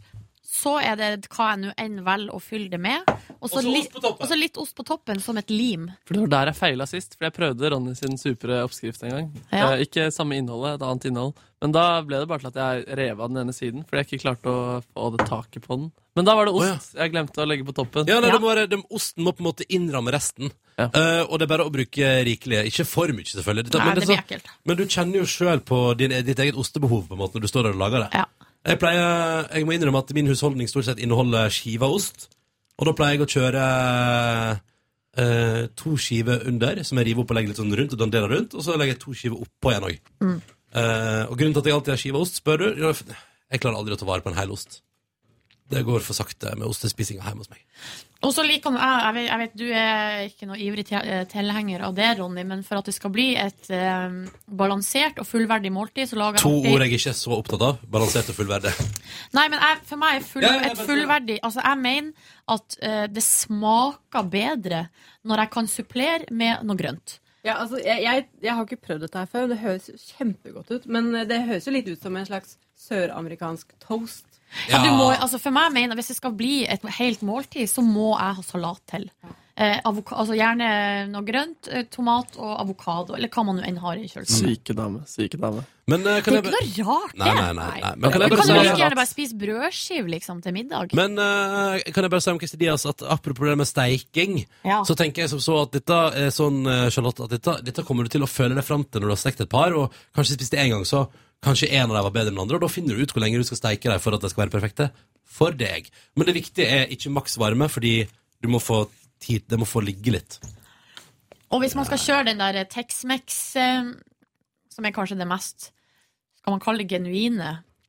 Så er det hva jeg nå enn velger å fylle det med. Og så
Og så
li-
ost på toppen.
og så litt ost på toppen, som et lim.
For det var der jeg feila sist, for jeg prøvde Ronny sin supre oppskrift en gang.
Ja.
Eh, ikke samme innholdet, et annet innhold. Men da ble det bare til at jeg rev av den ene siden, fordi jeg ikke klarte å få det taket på den. Men da var det ost jeg glemte å legge på toppen.
Ja, nei, Det må være, det, Osten må på en måte innramme resten. Eh, og det er bare å bruke rikelige. Ikke for mye, selvfølgelig. Dette-
Nei,
men,
det blir
så-
ekkelt.
men du kjenner jo sjøl på din, e- ditt eget ostebehov på en måte når du står der og lager det.
Ja.
Jeg, pleier, jeg må innrømme at min husholdning stort sett inneholder skive av ost. Og da pleier jeg å kjøre eh, to skiver under, som jeg river opp og legger litt sånn rundt. Og danderer rundt Og så legger jeg to skiver oppå igjen òg.
Mm.
Eh, og grunnen til at jeg alltid har skive ost, spør du Ja, Jeg klarer aldri å ta vare på en hel ost. Det går for sakte med ostespisinga hjemme hos meg.
Og så liker man, jeg, jeg, vet, jeg vet du er ikke noe ivrig te- eh, tilhenger av det, Ronny, men for at det skal bli et eh, balansert og fullverdig måltid, så lager
To
alltid-
ord jeg ikke er så opptatt av. Balansert og fullverdig.
Nei, men jeg, for meg er full,
Ja, ja, ja,
et
bare-
fullverdig Altså, jeg mener at eh, det smaker bedre når jeg kan supplere med noe grønt.
Ja, altså, jeg, jeg, jeg har ikke prøvd dette her før. Det høres kjempegodt ut. Men det høres jo litt ut som en slags søramerikansk toast.
Ja. du må, altså, for meg mener Hvis det skal bli et helt måltid, så må jeg ha salat til. Eh, avoka, altså Gjerne noe grønt. Eh, tomat og avokado, eller hva man nå enn har i kjøleskapet.
Syke dame, syke dame.
Men eh,
Det
kan
er
jeg
ikke
bare
noe rart, det.
Nei, nei, nei, nei.
Du
Men kan jeg
kan
bare
jo like
si
gjerne bare spise brødskive liksom, til middag.
men eh, kan jeg bare si om quesadillas at apropos det med steiking,
Ja.
så tenker jeg som så at dette er sånn, eh, Charlotte, at dette, dette kommer du til å føle deg fram til når du har stekt et par, og kanskje spist det én gang, så kanskje en av dem var bedre enn den andre, og da finner du ut hvor lenge du skal steike dem for at de skal være perfekte for deg. Men det viktige er ikke maks varme, fordi du må få tid, det må få ligge litt.
Og hvis man skal kjøre den der Tex-Mex, eh, som er kanskje det mest Skal man kalle det genuine?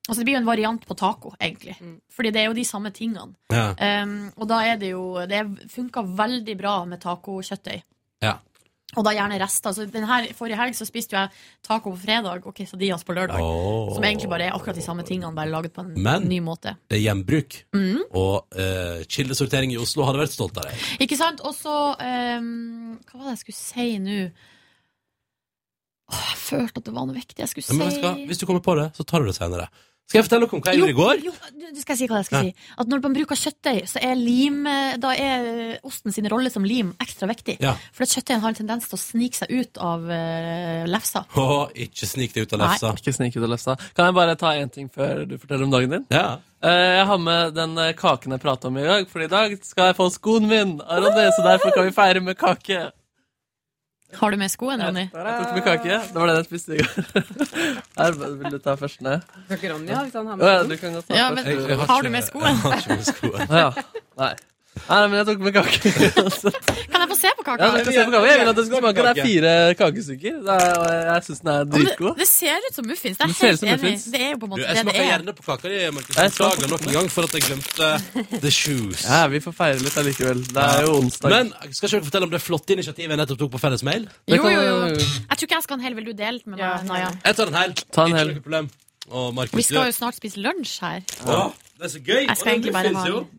Altså Det blir jo en variant på taco, egentlig. Fordi det er jo de samme tingene.
Ja.
Um, og da er det jo Det funka veldig bra med tacokjøttøy.
Ja.
Og da gjerne rester. Så den her, forrige helg så spiste jo jeg taco på fredag og quesadillas altså på lørdag.
Åh.
Som egentlig bare er akkurat de samme tingene, bare laget på en
Men-
ny måte.
Det er gjenbruk.
Mhm.
Og eh, kildesortering i Oslo hadde vært stolt av deg.
Ikke sant? Og så um, Hva var det jeg skulle si nå? Åh, jeg følte at det var noe viktig jeg skulle
Ja,
si.
Men vet du hva? Hvis du kommer på det, så tar du det senere. Skal jeg fortelle dere om hva jeg gjorde i går?
Jo, jo, du- du skal jeg si hva jeg skal
Ja.
si. At når man bruker kjøttdeig, så er lim eh, Da er osten sin rolle som lim ekstra viktig.
Ja.
For at kjøttdeigen har en tendens til å snike seg ut av eh, lefsa.
Å, ikke snik deg ut av lefsa.
Nei, ikke snik ut av lefsa. Kan jeg bare ta én ting før du forteller om dagen din? Eh, Jeg har med den eh, kaken jeg prata om i dag, for i dag skal jeg få skoen min av Ronny, så derfor kan vi feire med kake.
Har du med skoen, Ronny?
Jeg tok med kake. Det var den jeg spiste i går. Her, vil du ta først ned?
Skal ikke Ronny ha, hvis han har med
Ja,
skoen?
du kan godt ta
Ja,
først.
men Jeg- jeg har har ikke- du med skoen? jeg har ikke med skoen.
Å, ja. Nei. Nei, men jeg tok med kake.
Kan jeg få se på kaka?
Ja, du skal se på kake. Jeg vil at du skal smake. Det er fire kakestykker. Det er- og Jeg syns den er dritgod.
Det ser ut som muffins. Det er
Det ser ut
helt
som
enig.
muffins.
Det er jo på en
Du,
måte
jeg
det
smaker
det er.
gjerne på kaka di, Markus. Beklager nok en gang for at jeg glemte the shoes.
Ja, vi får feire litt allikevel. Det er jo onsdag.
Men skal ikke dere fortelle om det flotte initiativet jeg nettopp tok på fellesmail?
Jo, jo, jo. Jeg tror ikke jeg skal ha en hel. Vil du dele den med meg, Naja?
Jeg tar en hel. Ikke noe problem. Å, Markus,
Vi skal jo
du-
snart spise lunsj her.
Å, Det er så gøy.
Jeg skal
Og
egentlig
det
bare
finnes
ha
jo.
en.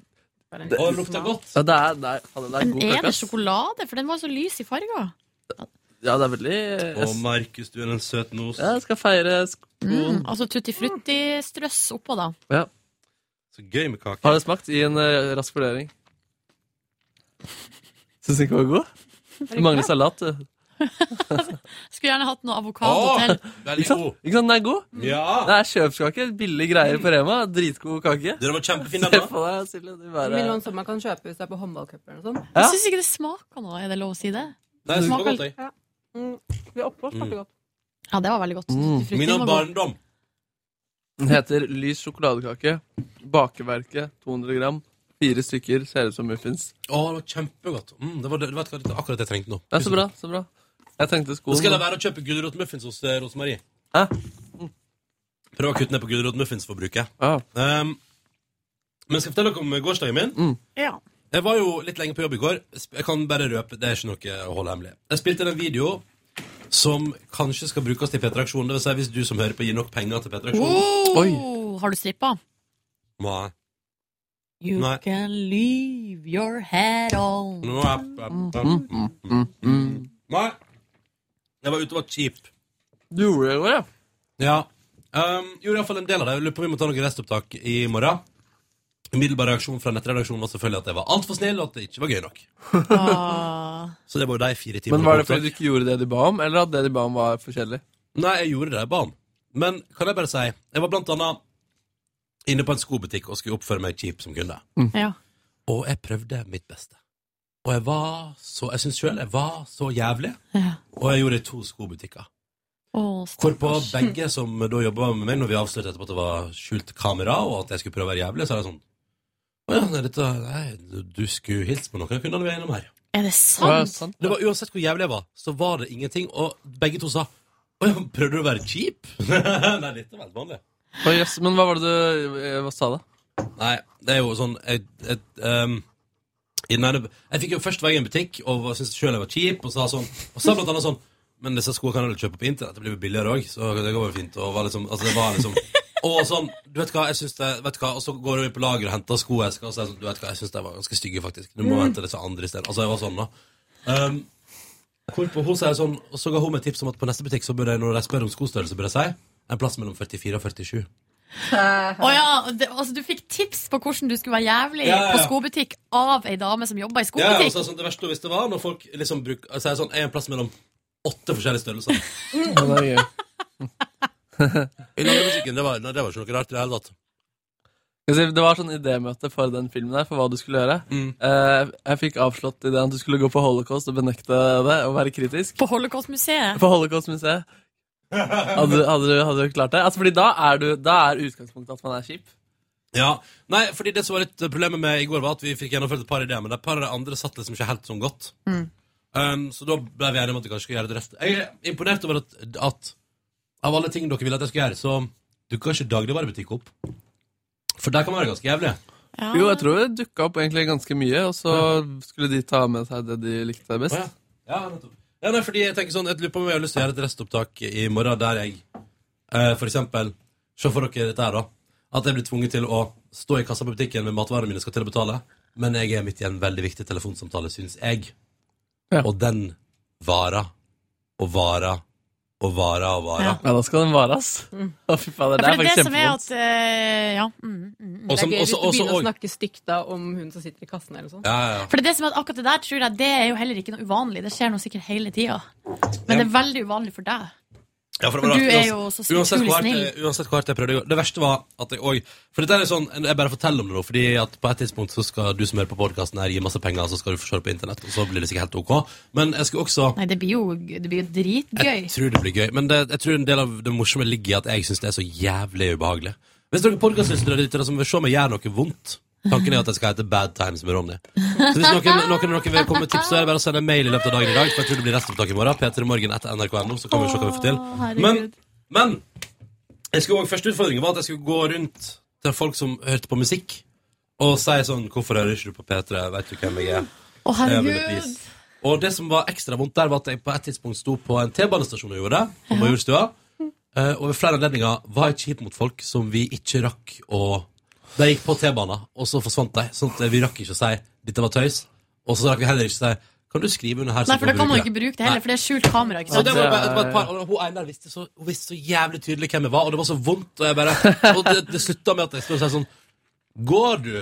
bare en
Å, det
liten
lukter
smak.
godt.
Ja, det er, det er, faen, det er god
Men er
kake.
det
ass.
sjokolade? For den var jo så lys i farger.
Ja, det er veldig
Å, Markus, du er en søt nos.
Ja, jeg skal feire skoen.
Mm, altså tutti frutti-strøss oppå, da.
Ja.
Så gøy med kake.
Har det smakt? Gi en eh, rask vurdering. Syns du ikke den var god? Du mangler salat, du.
Skulle gjerne hatt noe avokado til.
Ikke sant? Ikke sant den er god?
Ja.
Det er kjøpskake. Billige greier på Rema. Dritgod kake.
Dere var kjempefine.
Se på deg, Silje. Du
Det
bare
blir noen som man kan kjøpe hvis det er på håndballcuper eller noe sånt.
Ja.
Jeg syns ikke det smaker noe. Er det lov å si det?
Nei, det smaker
Smaker-
godt, jeg.
Ja. Mm. Vi er oppe og
Mm.
smaker godt.
Ja, det var veldig godt.
Mm.
Tutti frutti
Min
var
om
god.
barndom.
Den heter Lys sjokoladekake. Bakeverket 200 gram. Fire stykker. Ser ut som muffins.
Å, det var kjempegodt. Mm, det var det var akkurat det jeg trengte nå.
Det er så bra. så bra Jeg tenkte
Nå
skoen
skal jeg la være å kjøpe gulrotmuffins hos eh, Rosemarie.
Hæ?
Prøv å kutte ned på gulrotmuffinsforbruket. Um, men skal jeg fortelle dere om gårsdagen min?
Ja.
Jeg var jo litt lenge på jobb i går. Sp- Jeg kan bare røpe, det er ikke noe å holde hemmelig. Jeg spilte inn en video som kanskje skal brukes til P3 Aksjon. Det vil si hvis du som hører på, gir nok penger til P3 Aksjon.
Oh, har du strippa?
Nei.
You
Nei.
can leave your head on.
Nå er- Nei. Jeg var ute og var kjip.
Du gjorde det i går, ja?
Ja. Um, gjorde iallfall en del av det. Jeg lurer på om vi må ta noe restopptak i morgen. Umiddelbar reaksjon fra nettredaksjonen var selvfølgelig at jeg var altfor snill, og at det ikke var gøy nok.
Ah.
Så det var jo de fire timene.
Men var det
på
fordi du ikke gjorde det de ba om, eller at det de ba om, var forskjellig?
Nei, jeg gjorde det jeg ba om. Men kan jeg bare si Jeg var blant annet inne på en skobutikk og skulle oppføre meg kjip som kunde.
Ja.
Og jeg prøvde mitt beste. Og jeg var så Jeg syns sjøl jeg var så jævlig.
Ja.
Og jeg gjorde det i to skobutikker.
Å,
Hvorpå
stakkars.
begge som da jobba med meg, når vi avslørte etterpå at det var skjult kamera, og at jeg skulle prøve å være jævlig, så er det sånn Å ja, nei, dette Nei, du- du skulle hilst på noen av kundene vi er innom her.
Er det sant?
Det var Uansett hvor jævlig jeg var, så var det ingenting. Og begge to sa Å ja, prøvde du å være kjip? nei, dette var helt vanlig.
Å, jøss, men hva var det du eh, Hva sa du?
Nei, det er jo sånn Jeg, jeg, ehm, i den ene, jeg fikk jo først være i en butikk og var- syntes selv jeg var kjip, og sa sånn Og sa blant annet sånn Men disse skoene kan jeg vel kjøpe på internett, det blir jo billigere òg, så det går vel fint. Og var liksom, altså det var liksom Og sånn, du vet hva, jeg synes det Vet du hva, og så går du inn på lageret og henter skoesker, og så er jeg sånn Du vet hva, jeg syns de var ganske stygge, faktisk. Du må
Mm.
hente disse andre isteden. Altså, jeg var sånn, da. Ehm, hvorpå hun sier sånn Og så ga hun meg tips om at på neste butikk så bør jeg, når de spør om skostørrelse, bør jeg si en plass mellom 44 og 47.
Å ja, det, altså, du fikk tips på hvordan du skulle være jævlig
Ja, ja, ja.
på skobutikk av ei dame som jobba i
Ja, og
skobutikk.
så er det sånn, det verste hvis det var når folk liksom bruker, sier sånn, jeg er en plass mellom åtte forskjellige størrelser.
Ja, det er gøy.
I lagebutikken, det var, nei, det var ikke noe rart i det hele tatt.
Skal jeg si, Det var sånn idémøte for den filmen der, for hva du skulle gjøre.
Mm.
Eh, jeg fikk avslått ideen at du skulle gå på holocaust og benekte det og være kritisk.
På Holocaustmuseet.
På Holocaust-museet. Hadde, du- hadde, du- hadde du klart det? Altså, fordi da er, du, da er utgangspunktet at man er kjip.
Ja, nei, fordi det som var litt problemet med i går var at vi fikk gjennomført et par ideer, men et par av de andre satt liksom ikke helt sånn godt.
Mm.
Um, så da ble vi enige om at vi kanskje skulle gjøre det rett. Jeg er imponert over at, at av alle ting dere ville at jeg skulle gjøre, så dukker ikke dagligvarebutikk opp. For der kan man være ganske jævlig.
Jo, jeg tror det dukka opp egentlig ganske mye, og så skulle de ta med seg det de likte best.
Å, Ja, nettopp. Ja, nei, fordi jeg tenker sånn, jeg lurer på om jeg har lyst til å gjøre et restopptak i morgen der jeg, eh, for eksempel, se for dere dette her da, at jeg blir tvunget til å stå i kassa på butikken med matvarene mine skal til å betale, men jeg er midt i en veldig viktig telefonsamtale, synes jeg. Og den varer, og varer, og varer, og varer.
Ja. da skal den vare, ass.
Mm.
Å, fy faen,
Ja, for
det er
det er
faktisk
det som er
kjempevondt.
at eh, Ja. Mm, mm, mm.
Og som-
det er gøy hvis
også-
du begynner
også-
å snakke stygt da om hun som sitter i kassen eller sånn.
Ja, ja, ja.
For det er det som er at akkurat det der tror jeg det er jo heller ikke noe uvanlig. Det skjer noe sikkert hele tida. Men det er veldig uvanlig for deg.
Ja, for det
For
var
du
rart.
er jo
Uans-
så utrolig
uansett hvor hardt-
snill.
eh, Uansett hvor hardt jeg prøvde i går. Det verste var at jeg òg For dette er sånn, jeg bare forteller om det nå, fordi at på et tidspunkt så skal du som hører på podkasten her, gi masse penger, så skal du få se det på internett, og så blir det sikkert helt OK. Men jeg skulle også
Nei, det blir jo, det blir jo dritgøy.
Jeg tror det blir gøy. Men det, jeg tror en del av det morsomme ligger i at jeg syns det er så jævlig ubehagelig. Hvis dere podkastlyttere lyttere som vil se meg gjøre noe vondt Tanken er at jeg skal hete Bad Times med Ronny. Så hvis noen, noen, av dere vil komme med tips, så er det bare å sende en mail i løpet av dagen i dag. For jeg tror det blir restopptak i morgen. P3morgen etter nrk.no, så kan vi se hva vi får til.
herregud.
Men, men jeg skulle også, første utfordringen var at jeg skulle gå rundt til folk som hørte på musikk, og si sånn 'Hvorfor hører ikke du på P3? Vet du hvem jeg er?'
Å, herregud.
Jeg vil pris. Og det som var ekstra vondt der, var at jeg på et tidspunkt sto på en T-banestasjon og gjorde det. på Majorstua, eh, Og ved flere anledninger var jeg kjip mot folk som vi ikke rakk å De gikk på T-banen, og så forsvant de. Sånn at vi rakk ikke å si 'dette var tøys', og så rakk vi heller ikke å si 'kan du skrive under her'? så
Nei, for da
vi
kan man
bruke
jo ikke bruke det heller,
Nei.
for det er skjult kamera. ikke
Så
sant?
det var bare, det var et par, og hun Einar visste så, hun visste så jævlig tydelig hvem jeg var, og det var så vondt. Og, jeg bare, og det, det slutta med at jeg står og sier sånn Går du?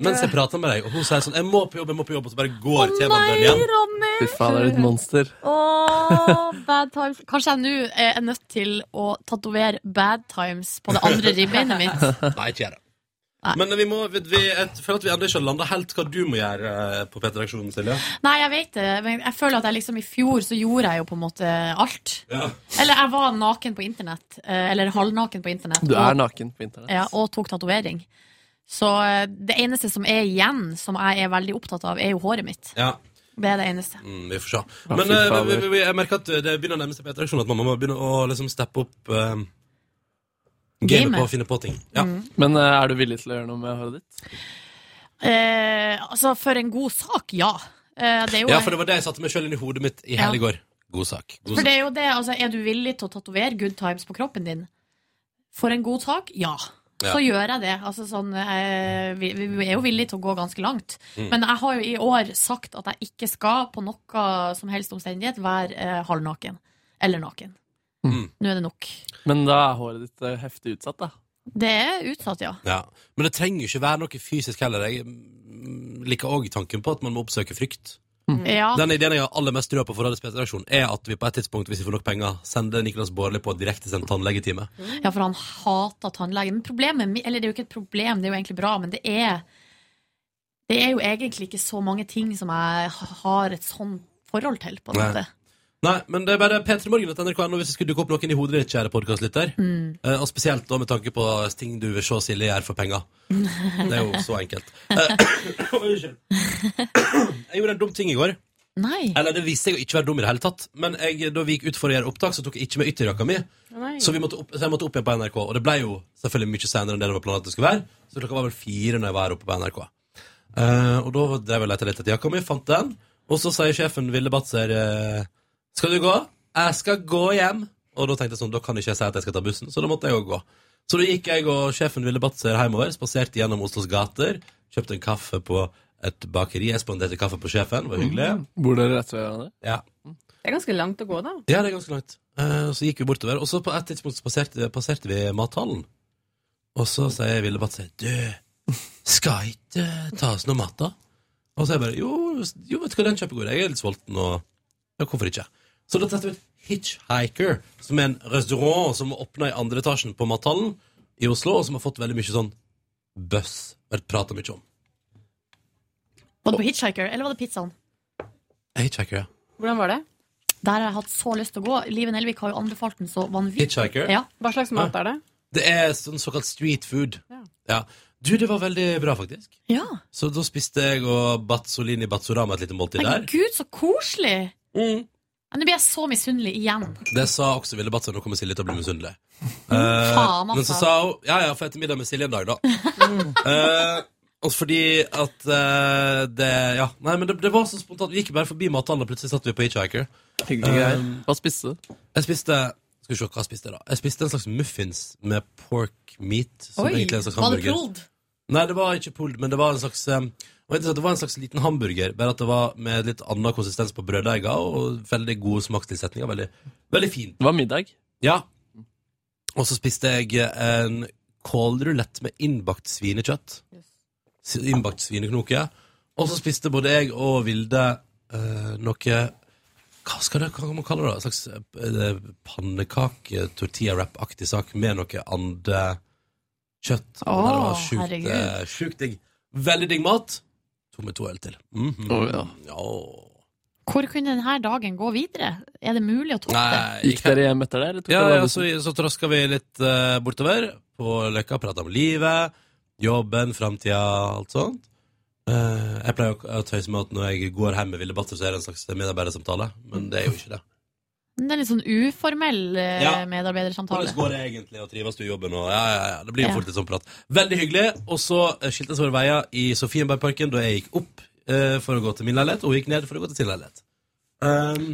Mens jeg prater med deg, og hun sier sånn Jeg må på jobb, jeg må på jobb, og så bare går T-banen
Nei,
igjen.
Ronny!
Fy faen, det er et monster.
Åh, bad times. Kanskje jeg nå er nødt til å tatovere bad times på det andre ribbeinet mitt.
Nei, ikke gjør det. Men vi må, vi, vi, jeg føler at vi ennå ikke har landa helt hva du må gjøre eh, på P3-aksjonen, Silje.
Nei, jeg vet det, men jeg føler at jeg liksom i fjor så gjorde jeg jo på en måte alt.
Ja.
Eller jeg var naken på internett. eh, Eller halvnaken på internett.
Du
og-
er naken på internett.
Ja, og tok tatovering. Så eh, det eneste som er igjen, som jeg er veldig opptatt av, er jo håret mitt.
Ja.
Det er det eneste.
Mm, vi får se.
Ja,
Men
fy
eh,
fader.
vi, vi, vi, jeg merker at det begynner å nærme seg P3-aksjonen, at man må begynne å liksom steppe opp eh, gamet
Gamet. Mm.
på å finne på ting. Ja.
Men eh, er du villig til å gjøre noe med håret ditt?
Eh, altså, for en god sak, ja. Eh, det er jo
ja, for det var det jeg satte meg sjøl inn i hodet mitt i hele
Ja.
går. God sak. God
For
sak.
det er jo det, altså, er du villig til å tatovere good times på kroppen din? For en god sak? Ja.
Ja.
Så gjør jeg det. Altså, sånn, eh, vi, vi er jo villige til å gå ganske langt.
Mm.
Men jeg har jo i år sagt at jeg ikke skal på noe som helst omstendighet være eh, halvnaken. Eller naken.
Mm.
Nå er det nok.
Men da er håret ditt eh, heftig utsatt, da.
Det er utsatt, ja.
Ja. Men det trenger jo ikke være noe fysisk heller. Jeg mm, liker òg tanken på at man må oppsøke frykt.
Ja.
Den ideen jeg har aller mest trua på for Radiospesial redaksjon, er at vi på et tidspunkt, hvis vi får nok penger, sender Niklas Baarli på direktesendt tannlegetime.
Ja, for han hater tannlegen. Men problemet, mi- eller det er jo ikke et problem, det er jo egentlig bra, men det er Det er jo egentlig ikke så mange ting som jeg ha- har et sånn forhold til, på en
Nei.
måte.
Nei, men det er bare p3morgen.nrk.no hvis det skulle dukke opp noen i hodet ditt, kjære podkastlytter.
Mm.
Eh, Og spesielt da med tanke på ting du vil se Silje gjøre for penger. Det er jo så enkelt. Eh, Unnskyld. Jeg gjorde en dum ting i går.
Nei.
Eller det viste seg å ikke være dum i det hele tatt. Men jeg, da vi gikk ut for å gjøre opptak, så tok jeg ikke med ytterjakka mi. Så, vi måtte opp, så jeg måtte opp igjen på NRK. Og det ble jo selvfølgelig mye senere enn det det var planlagt det skulle være. Så klokka var vel fire når jeg var her oppe på NRK. Eh, og da drev jeg og lette litt etter jakka mi, fant den. Og så sier sjefen Ville Batzer eh, Skal du gå? Jeg skal gå hjem. Og da tenkte jeg sånn, da kan ikke jeg si at jeg skal ta bussen, så da måtte jeg jo gå. Så da gikk jeg og sjefen Ville Batzer hjemover, spaserte gjennom Oslos gater, kjøpte en kaffe på et bakeri. Jeg spanderte kaffe på sjefen, det var hyggelig.
Bor dere rett ved hverandre?
Ja.
Det er ganske langt å gå, da.
Ja, det er ganske langt. Eh, og så gikk vi bortover, og så på et tidspunkt så passerte, passerte vi mathallen. Og så sier Ville Batse Du, skal ikke ta oss noe mat, da? Og så er jeg bare Jo, jo vet du hva, den kjøper god. Jeg er litt sulten, og ja, hvorfor ikke? Så da tester vi ut Hitchhiker, som er en restaurant som åpna i andre etasjen på mathallen i Oslo, og som har fått veldig mye sånn buzz. Vært prata mye om.
Var det på Hitchhiker, eller var det pizzaen?
Hitchhiker, ja.
Hvordan var det?
Der har jeg hatt så lyst til å gå. Liven Elvik har jo anbefalt den så vanvittig.
Hitchhiker?
Ja.
Hva slags mat er det?
Det er sånn såkalt street food. Ja. Du, det var veldig bra, faktisk.
Ja.
Så da spiste jeg og Batzolini Batzorama et lite måltid der.
Herregud, så koselig!
Mm.
Nå blir jeg så misunnelig igjen.
Det sa også Ville Batzer. Nå kommer Silje til å bli misunnelig. Eh,
Mm. faen, altså.
men så sa hun Ja, ja, for etter middag med Silje en dag, da. Eh, også fordi at eh, det Ja, nei, men det, det var så spontant. Vi gikk bare forbi mathallen, og plutselig satt vi på Hitchhiker.
Hyggelig greier.
Hva spiste du? Jeg spiste Skal vi se, hva spiste jeg da? Jeg spiste en slags muffins med pork meat. Som
Oi,
egentlig er en slags
var det
hamburger.
pulled?
Nei, det var ikke pulled, men det var en slags eh, og interessant, det var en slags liten hamburger, bare at det var med litt annen konsistens på brøddeiga, og veldig gode smakstilsetninger. Veldig, veldig fint. Det var middag? Ja. Og så spiste jeg en kålrulett med innbakt svinekjøtt. S- Innbakt svineknoke. Og så spiste både jeg og Vilde eh, noe hva skal det, hva man kaller det? da? En slags eh, pannekake-tortilla-wrap-aktig sak med noe andekjøtt. Det
Åh,
var sjukt,
herregud.
eh, sjukt digg. Veldig digg mat. To med to øl til. Mhm.
Å, ja.
Hvor kunne denne dagen gå videre? Er det mulig å toppe
Nei,
det?
Gikk dere hjem etter det? eller tok
Ja,
dere
ja
avisen?
så, så traska vi litt eh, bortover på Løkka, prata om livet, jobben, framtida, alt sånt. Eh, jeg pleier å å tøyse med at når jeg går hjem med Ville Batter, så er det en slags medarbeidersamtale, men det er jo ikke det.
Men Det er litt sånn uformell eh,
Ja.
medarbeidersamtale.
Hvordan går det egentlig, og trives du i jobben? Og, ja, ja, ja, det blir jo fort litt sånn prat. Veldig hyggelig. Og så eh, skiltes våre veier i Sofienbergparken da jeg gikk opp eh, for å gå til min leilighet, og hun gikk ned for å gå til sin leilighet. Um,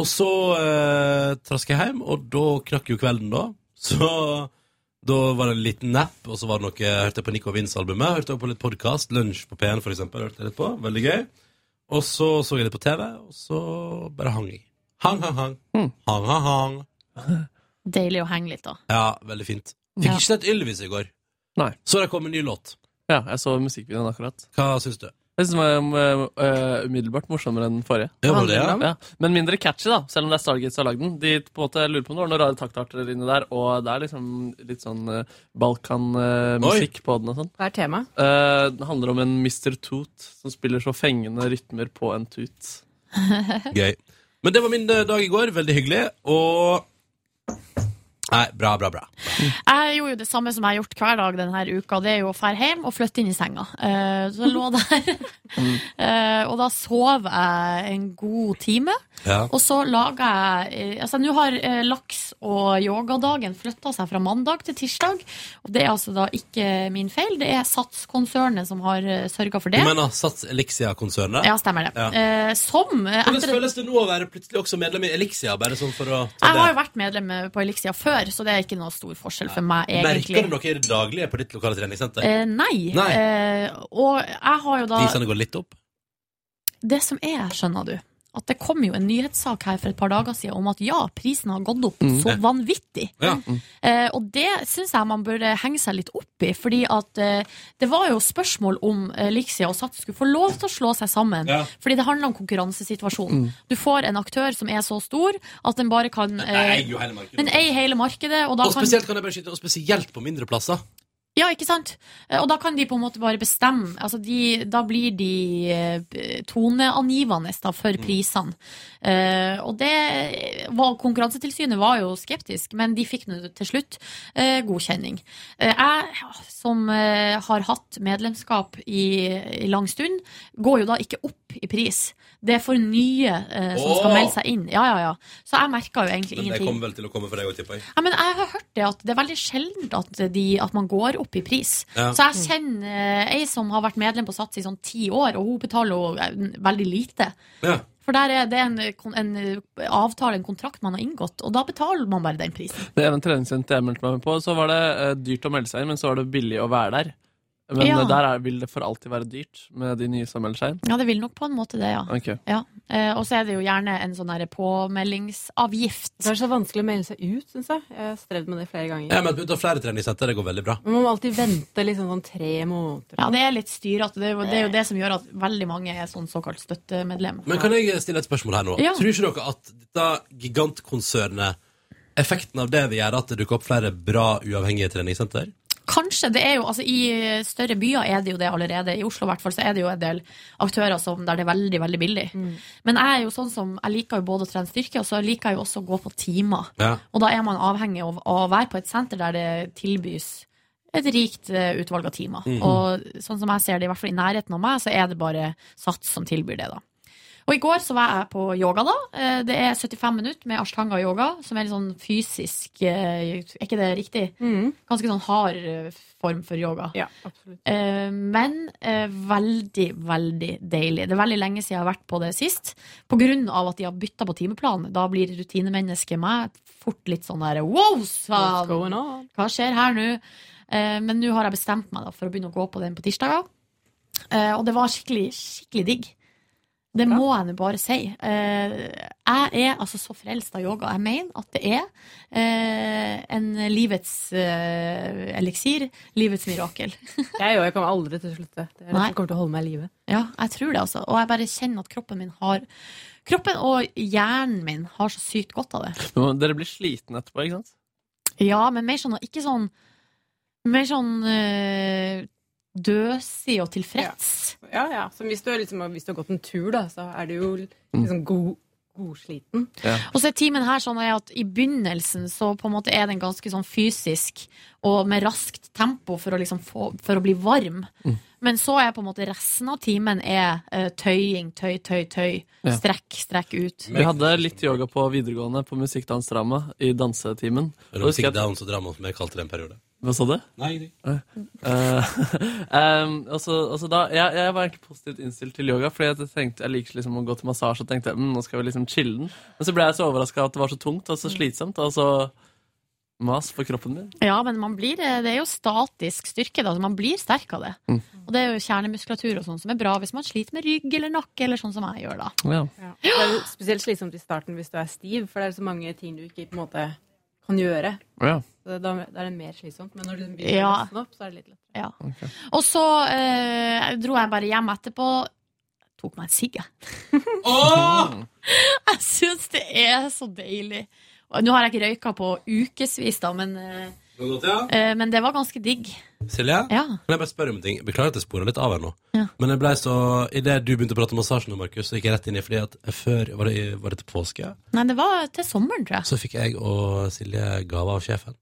og så uh, traska jeg hjem, og da knakk jo kvelden, da. Så da var det en liten napp, og så var det noe, hørte jeg på Nico og Vince-albumet. Hørte også på litt podkast. Lunsj på P1, for eksempel. Hørte jeg litt på. Veldig gøy. Og så så jeg litt på TV, og så bare hang jeg. Hang, hang, hang. Hang, hang, hang.
Deilig å henge litt, da.
Ja, veldig fint. Fikk
Ja.
ikke sett Ylvis i går.
Nei.
Så det kom en ny låt.
Ja, jeg så musikkvideoen akkurat.
Hva syns du?
Jeg synes den var um, uh, umiddelbart morsommere enn den forrige.
Ja, var det, ja?
Ja, Men mindre catchy, da, selv om det er Stargates som har lagd den. De på en måte jeg lurer på om det var noen rare taktarter inni der, og det er liksom litt sånn uh, balkanmusikk på den og sånn.
Hva er temaet?
Eh, det handler om en Mr. Toot som spiller så fengende rytmer på en tut.
Gøy. Men det var min eh, dag i går. Veldig hyggelig. Og Nei, bra, bra, bra.
Jeg gjorde jo det samme som jeg har gjort hver dag denne uka. Det er jo å fære hjem og flytte inn i senga. Eh, Så jeg lå der, Eh, og da sov jeg en god time.
Ja.
Og så laga jeg eh, Altså, nå har eh, laks- og yogadagen flytta seg fra mandag til tirsdag. Og det er altså da ikke min feil. Det er Sats-konsernet som har sørga for
Du
det.
mener Sats Elixia-konsernet?
Ja, stemmer det.
Ja.
Eh, Som eh,
Hvordan
etter
føles det nå å være plutselig også medlem i Elixia? Bare sånn for å ta
jeg har jo
det.
vært medlem på Elixia før, så det er ikke noe stor forskjell for meg, egentlig.
Merker du noe i det daglige på ditt lokale treningssenter?
Eh, nei.
Nei.
Eh, og jeg har jo da
Prisene går litt opp?
Det som er, skjønner du, at det kom jo en nyhetssak her for et par dager siden om at ja, prisen har gått opp
Mm.
så vanvittig.
Ja.
Eh, og det syns jeg man burde henge seg litt opp i, fordi at eh, det var jo spørsmål om Elixia og Sats skulle få lov til å slå seg sammen.
Ja.
Fordi det handler om konkurransesituasjonen.
Mm.
Du får en aktør som er så stor at den bare kan eh,
Nei, jo, hele markedet.
Den eier hele markedet, og da
Og
kan
spesielt kan jeg bare skyte, og spesielt på mindre plasser.
ja, ikke sant? Eh, Og da kan de på en måte bare bestemme. Altså de, da blir de eh, toneangivende da, for
Mm.
prisene. Eh, og det var, Konkurransetilsynet var jo skeptisk, men de fikk nå til slutt eh, godkjenning. Eh, jeg, som eh, har hatt medlemskap i, i lang stund, går jo da ikke opp i pris. Det er for nye eh, som skal
Åh!
melde seg inn. Ja, ja, ja. Så jeg merka jo egentlig
Men det
ingenting.
kommer vel til å komme for deg òg, tipper jeg.
Ja, men jeg har hørt det at det er veldig sjeldent at, de, at man går opp i pris.
Ja.
Så jeg kjenner eh, ei som har vært medlem på Sats i sånn ti år, og hun betaler jo eh, veldig lite.
Ja.
For der er det en, kon- en eh, avtale, en kontrakt man har inngått, og da betaler man bare den prisen.
Det ene treningssenteret jeg meldte meg med på, så var det eh, dyrt å melde seg inn, men så var det billig å være der. Men
Ja.
eh, der er, vil det for alltid være dyrt med de nye som melder seg inn.
Ja, det vil nok på en måte det, ja.
Ok.
ja. Eh, og så er det jo gjerne en sånn her påmeldingsavgift.
Det er så vanskelig å melde seg ut, syns jeg. Jeg har strevd med det flere ganger.
Ja, men ut av flere treningssenter, det går veldig bra.
Man må alltid vente liksom sånn tre måneder.
Ja, det er litt styrete. Det, er jo- det er jo det som gjør at veldig mange er sånn såkalt støttemedlem.
Men kan jeg stille et spørsmål her nå?
Ja.
Tror ikke dere at dette gigantkonsernet, effekten av det vil gjøre at det dukker opp flere bra uavhengige treningssenter?
Kanskje. det er jo, altså I større byer er det jo det allerede. I Oslo i hvert fall, så er det jo en del aktører som, der det er veldig veldig billig. Men jeg er jo sånn som, jeg liker jo både å trene styrke og så liker jeg jo også å gå på timer.
Ja.
Og da er man avhengig av å være på et senter der det tilbys et rikt eh, utvalg av timer.
Mhm.
Og sånn som jeg ser det, i hvert fall i nærheten av meg, så er det bare Sats som tilbyr det, da. Og i går så var jeg på yoga, da. Eh, Det er 75 minutter med ashtanga yoga, som er litt sånn fysisk eh, Er ikke det riktig? Ganske sånn hard eh, form for yoga.
Ja, absolutt.
Eh, Men eh, veldig, veldig deilig. Det er veldig lenge siden jeg har vært på det sist. På grunn av at de har bytta på timeplan. Da blir rutinemennesket meg fort litt sånn der Wow,
What's going
sann! Hva skjer her nå? Eh, Men nå har jeg bestemt meg da for å begynne å gå på den på tirsdager. Eh, Og det var skikkelig, skikkelig digg. Det må jeg nå bare si. Eh, jeg er altså så frelst av yoga. Jeg mener at det er eh, en livets eh, eliksir. Livets mirakel.
Jeg òg. Jeg kommer aldri til å slutte. Det er det
Nei.
som kommer til å holde meg i live.
Ja, jeg tror det, altså. Og jeg bare kjenner at kroppen min har Kroppen og hjernen min har så sykt godt av det.
Nå- Dere blir sliten etterpå, ikke sant?
Ja, men mer sånn Ikke sånn Mer sånn eh, døsig og tilfreds.
Ja, ja. Så hvis du, er liksom, hvis du har gått en tur, da, så er du jo liksom god, godsliten.
Og så er timen her sånn at i begynnelsen så på en måte er den ganske sånn fysisk og med raskt tempo for å, liksom få, for å bli varm.
Mm.
Men så er på en måte resten av timen er eh, tøying, tøy, tøy, tøy.
Ja.
Strekk, strekk ut.
Vi hadde litt yoga på videregående på musikkdansdrama i dansetimen. Og
Eller
da husker jeg at-
Musikkdowns og drama, som jeg kalte det en periode.
Hva sa du?
Nei, ingenting.
Eh, um, altså, altså da, jeg, jeg var egentlig positivt innstilt til yoga, Fordi at jeg tenkte, jeg liker liksom å gå til massasje og tenkte mm, nå skal vi liksom chille den. Men så ble jeg så overraska at det var så tungt og så slitsomt. Og så mas på kroppen min.
Ja, men man blir, eh, det er jo statisk styrke, da. så Man blir sterk av det.
Mm.
Og det er jo kjernemuskulatur og sånn som er bra hvis man sliter med rygg eller nakke, eller sånn som jeg gjør, da.
Ja.
Ja. Det er jo spesielt slitsomt i starten hvis du er stiv, for det er så mange ting du ikke på en måte kan gjøre.
Ja.
Så da, da er det mer slitsomt. Men når du begynner å
Ja.
løsne opp, så er det litt lettere.
Ja. Og så eh, dro jeg bare hjem etterpå. Tok meg en sigg, jeg. jeg syns det er så deilig. Og Nå har jeg ikke røyka på ukevis, da, men, eh,
Det var godt, ja.
eh, men det var ganske digg.
Silje,
Ja.
kan jeg bare spørre om en ting? Beklager at jeg sporer litt av her nå.
Ja.
Men jeg ble så, idet du begynte å prate om massasjen, nå, Markus, så gikk jeg rett inn i fordi at før, var det, var det til påske,
Nei, det var til sommeren, tror jeg.
så fikk jeg og Silje gave av sjefen.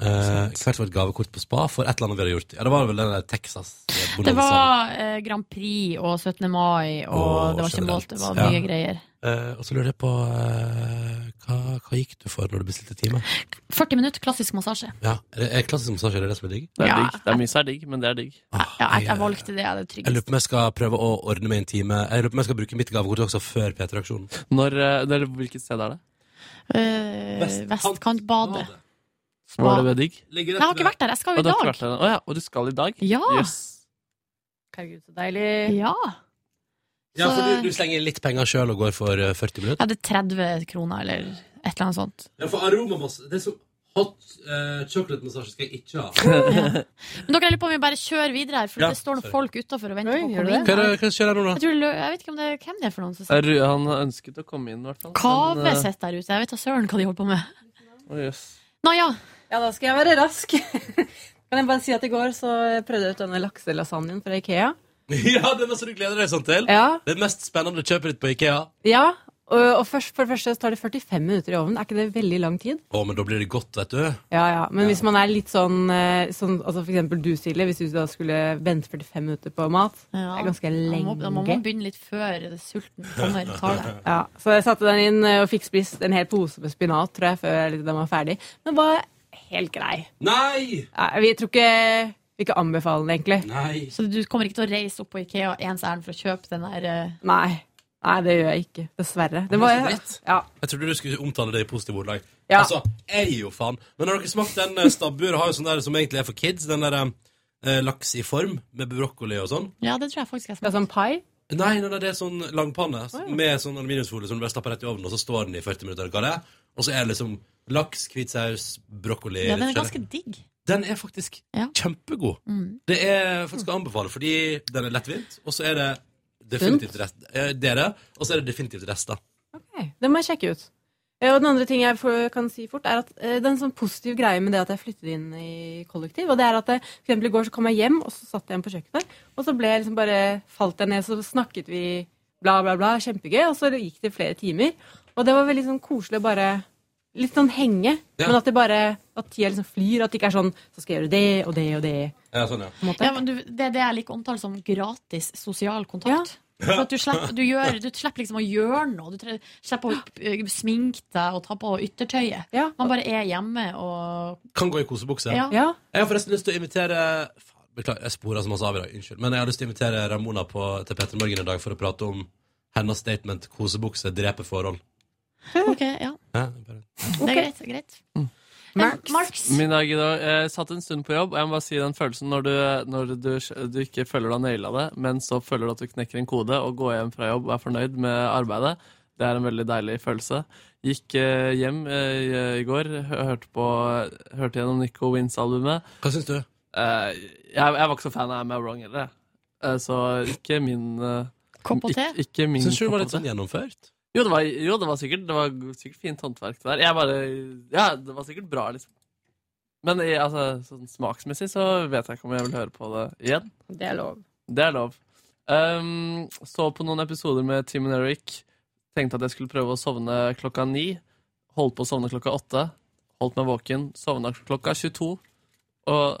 Eh, hvert vårt gavekort på spa for et eller annet vi hadde gjort. Ja, det var vel den der Texas. eh,
Det
bonanzaen.
var eh, Grand Prix og 17. mai, og
Åh,
det var ikke
generelt.
målt, det var
Ja.
mye greier.
Eh, og så lurer jeg på eh, hva, hva gikk du for når du bestilte time?
40 minutter klassisk massasje.
Ja, er det er klassisk massasje det er det som er digg? Ah,
Det er digg. Det er mye som er digg, men det er digg.
Ja, jeg,
Eh,
jeg valgte det, jeg er det
Jeg lurer
tryggeste.
på om jeg skal prøve å ordne meg en time. Jeg lurer på om jeg skal bruke mitt gavekort også før P3-aksjonen.
Når, eh, det er- hvilket sted er det?
Eh, Vestkantbadet.
Var det digg?
Nei, jeg har ikke vært der, jeg skal
Å,
jo i
du har ikke
dag.
vært der ennå. Å ja, og du skal i dag?
Ja.
Jøss.
Herregud, så deilig.
Ja.
Ja, for
Så-
du, du slenger litt penger sjøl og går for eh, 40
Jeg
minutter?
hadde 30 kroner eller et eller annet sånt.
Ja, for aromamasse Det er som hot eh, chocolate-massasje skal jeg ikke ha.
Men dere, jeg lurer på om vi bare kjører videre her, for
Ja,
det står
sorry.
noen folk utafor og venter på å
Hva
komme
er
inn.
det
her.
hva skjer her nå,
Jeg,
da?
tror, det- jeg vet ikke om det er hvem det er for noen som
Er
sitter
du- Han ønsket å komme inn, i hvert fall. eh,
Kave sitter der ute. Jeg vet da søren hva de holder på med.
Å, jøss.
Naja.
Ja, da skal jeg være rask. kan jeg bare si at i går så prøvde jeg ut denne lakselasagnen fra Ikea.
Ja, det var så du gleder deg sånn til?
Ja.
Det mest spennende kjøpet ditt på Ikea?
Ja, og, og først, for det første så tar det 45 minutter i ovnen. Er ikke det veldig lang tid?
Å, men da blir det godt, vet du.
Ja, ja. Men hvis man er litt sånn, eh, sånn altså For eksempel du, Silje. Hvis du da skulle vente 45 minutter på mat, det er ganske
Man
lenge.
må, man må begynne litt før sulten kommer. Tar det.
Ja, så jeg satte den inn eh, og fikk spist en hel pose med spinat, tror jeg, før den var ferdig. Men var helt grei.
Nei!
Ja, vi tror ikke vi ikke anbefaler den, egentlig.
Nei.
Så du kommer ikke til å reise opp på Ikea ens ærend for å kjøpe den der eh,
Nei. det gjør jeg ikke. Dessverre. Det var, ja.
Jeg trodde du skulle omtale det i positive ordlag.
Ja.
Altså, jeg er jo faen. Men har dere smakt den eh, stabbur har jo sånn der som egentlig er for kids? Den der eh, laks i form med brokkoli og sånn?
Ja, det tror jeg faktisk jeg
smakte. Sånn pai?
Nei, nei, nei, det er sånn langpanne s- med sånn aluminiumsfolie som du bare stapper rett i ovnen, og så står den i 40 minutter. eller Hva det er. Og så er det liksom laks, hvit saus, brokkoli
Ja, den er
litt
ganske
gelé.
digg.
Den er faktisk kjempegod.
Mm.
Det er faktisk å anbefale, fordi den er lettvint, og så er det definitivt rest, eh, det er det, og så er det definitivt rester.
Ok, Det må jeg sjekke ut. Eh, Og den andre ting jeg får- kan si fort, er at eh, det er en sånn positiv greie med det at jeg flyttet inn i kollektiv. Og det er at eh, for eksempel i går så kom jeg hjem, og så satt jeg igjen på kjøkkenet. Og så ble jeg liksom bare falt jeg ned, så snakket vi bla, bla, bla. Kjempegøy. Og så gikk det flere timer. Og det var veldig sånn koselig å bare Litt sånn henge.
Ja.
Men at det bare At tida liksom flyr. At det ikke er sånn Så skal jeg gjøre det og det og det.
Ja, sånn, ja.
Ja, men du, det er det jeg liker å omtale som gratis sosial kontakt. For at du slipper, du, gjør, du slipper liksom å gjøre noe. Du tre- slipper å eh, sminke deg og ta på yttertøyet. Man bare er hjemme og
Kan gå i kosebukse.
Ja.
Jeg har forresten lyst til å invitere Faen, Beklager, jeg sporer så masse av i dag. Unnskyld. Men jeg har lyst til å invitere Ramona på, til Petter Morgen i dag for å prate om hennes statement 'kosebukse dreper forhold'.
Ok, ja.
Ja, bare.
Det er greit. det er greit. Marx.
Min dag i dag eh, satt en stund på jobb, og jeg må bare si den følelsen når du, når du, du ikke føler du har naila det, men så føler du at du knekker en kode og går hjem fra jobb og er fornøyd med arbeidet. Det er en veldig deilig følelse. Gikk eh, hjem eh, i- i går, hø- hørte, på, hørte gjennom Nico Wins-albumet.
Hva syns du?
jeg, jeg var ikke så fan av I'm A Wrong heller, jeg. Eh, så ikke min eh,
Kopp og te?
Ikke, ikke min
Syns du det var
kopp og
litt sånn
te.
gjennomført?
Jo, det var, jo, det var sikkert Det var sikkert fint håndverk det der. Jeg bare Ja, det var sikkert bra, liksom. Men i, altså, sånn smaksmessig så vet jeg ikke om jeg vil høre på det igjen.
Det er lov.
Det er lov. Ehm, så på noen episoder med Tim og Eric. Tenkte at jeg skulle prøve å sovne klokka ni. Holdt på å sovne klokka åtte. Holdt meg våken. Sovna klokka 22. Og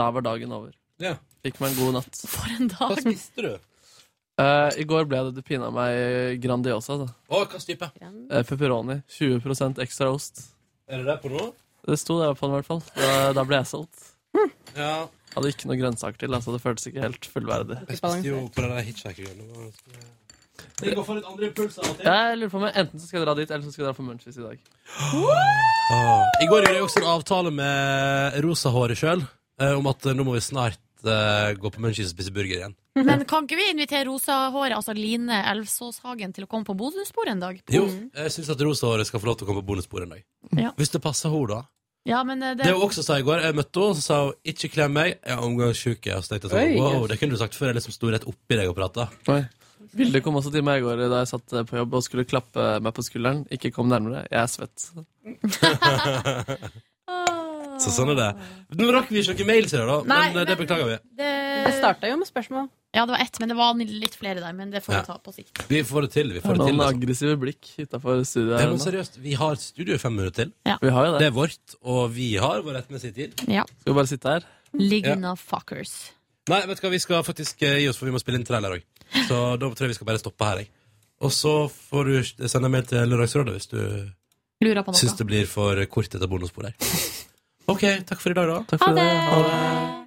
da var dagen over.
Ja.
Fikk meg en god natt.
For en dag.
Hva spiste du?
Eh, I går ble det du pina meg Grandiosa. Da.
Å, hva type?
Eh, pepperoni. 20 ekstra ost.
Er det der på nå?
Det sto det på den, i hvert fall. Da, da ble jeg solgt.
Ja.
Hadde ikke noen grønnsaker til, altså det føltes ikke helt fullverdig.
Jeg spiste jo på den der hitchhikergrillen. Det går for litt andre impulser av og til.
Jeg lurer på meg, Enten så skal jeg dra dit, eller så skal jeg dra på Munchies i dag.
Ah. I går gjorde jeg også en avtale med rosahåret sjøl eh, om at eh, nå må vi snart eh, gå på Munchies og spise burger igjen.
Men kan ikke vi invitere rosahåret, altså Line Elvsåshagen, til å komme på bonusbordet en dag?
Jo, jeg syns at rosahåret skal få lov til å komme på bonusbordet en dag.
Ja.
Hvis det passer henne, da.
Ja, men eh, det,
Det hun også sa i går, jeg møtte henne, så sa hun 'ikke klem meg', jeg er omgangssjuk. Jeg, og så tenkte jeg sånn,
Oi,
wow,
yes.
det kunne du sagt før jeg liksom sto rett oppi deg og prata.
Oi. Vilde kom også til meg i går da jeg satt eh, på jobb og skulle klappe meg på skulderen. Ikke kom nærmere. Jeg er svett.
Ah.
Så sånn er det. Nå rakk vi ikke noen mails i dag, da,
Nei,
men eh, det beklager vi.
det
Jeg starta jo med spørsmål.
Ja, det var ett, men det var litt flere der. Men det får vi
Ja.
ta på sikt.
Vi får det til. Vi får det
Noen
til liksom.
aggressive blikk utafor studioet.
Nei,
her
men
nå.
seriøst, vi har studio i fem minutter til.
Ja.
Vi har jo det.
Det er vårt, og vi har vår rettmessige tid.
Ja.
Skal vi bare sitte her?
Ligna fuckers.
Nei, vet du hva, vi skal faktisk eh, gi oss, for vi må spille inn trailer òg. Så da tror jeg vi skal bare stoppe her, jeg. Og så får du sende en mail til Lørdagsrådet hvis du
Lurer på noe.
syns det blir for kort etter bonusbordet her. OK, takk for i dag, da.
Ha det!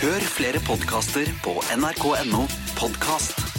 Hør flere podkaster på nrk.no podkast.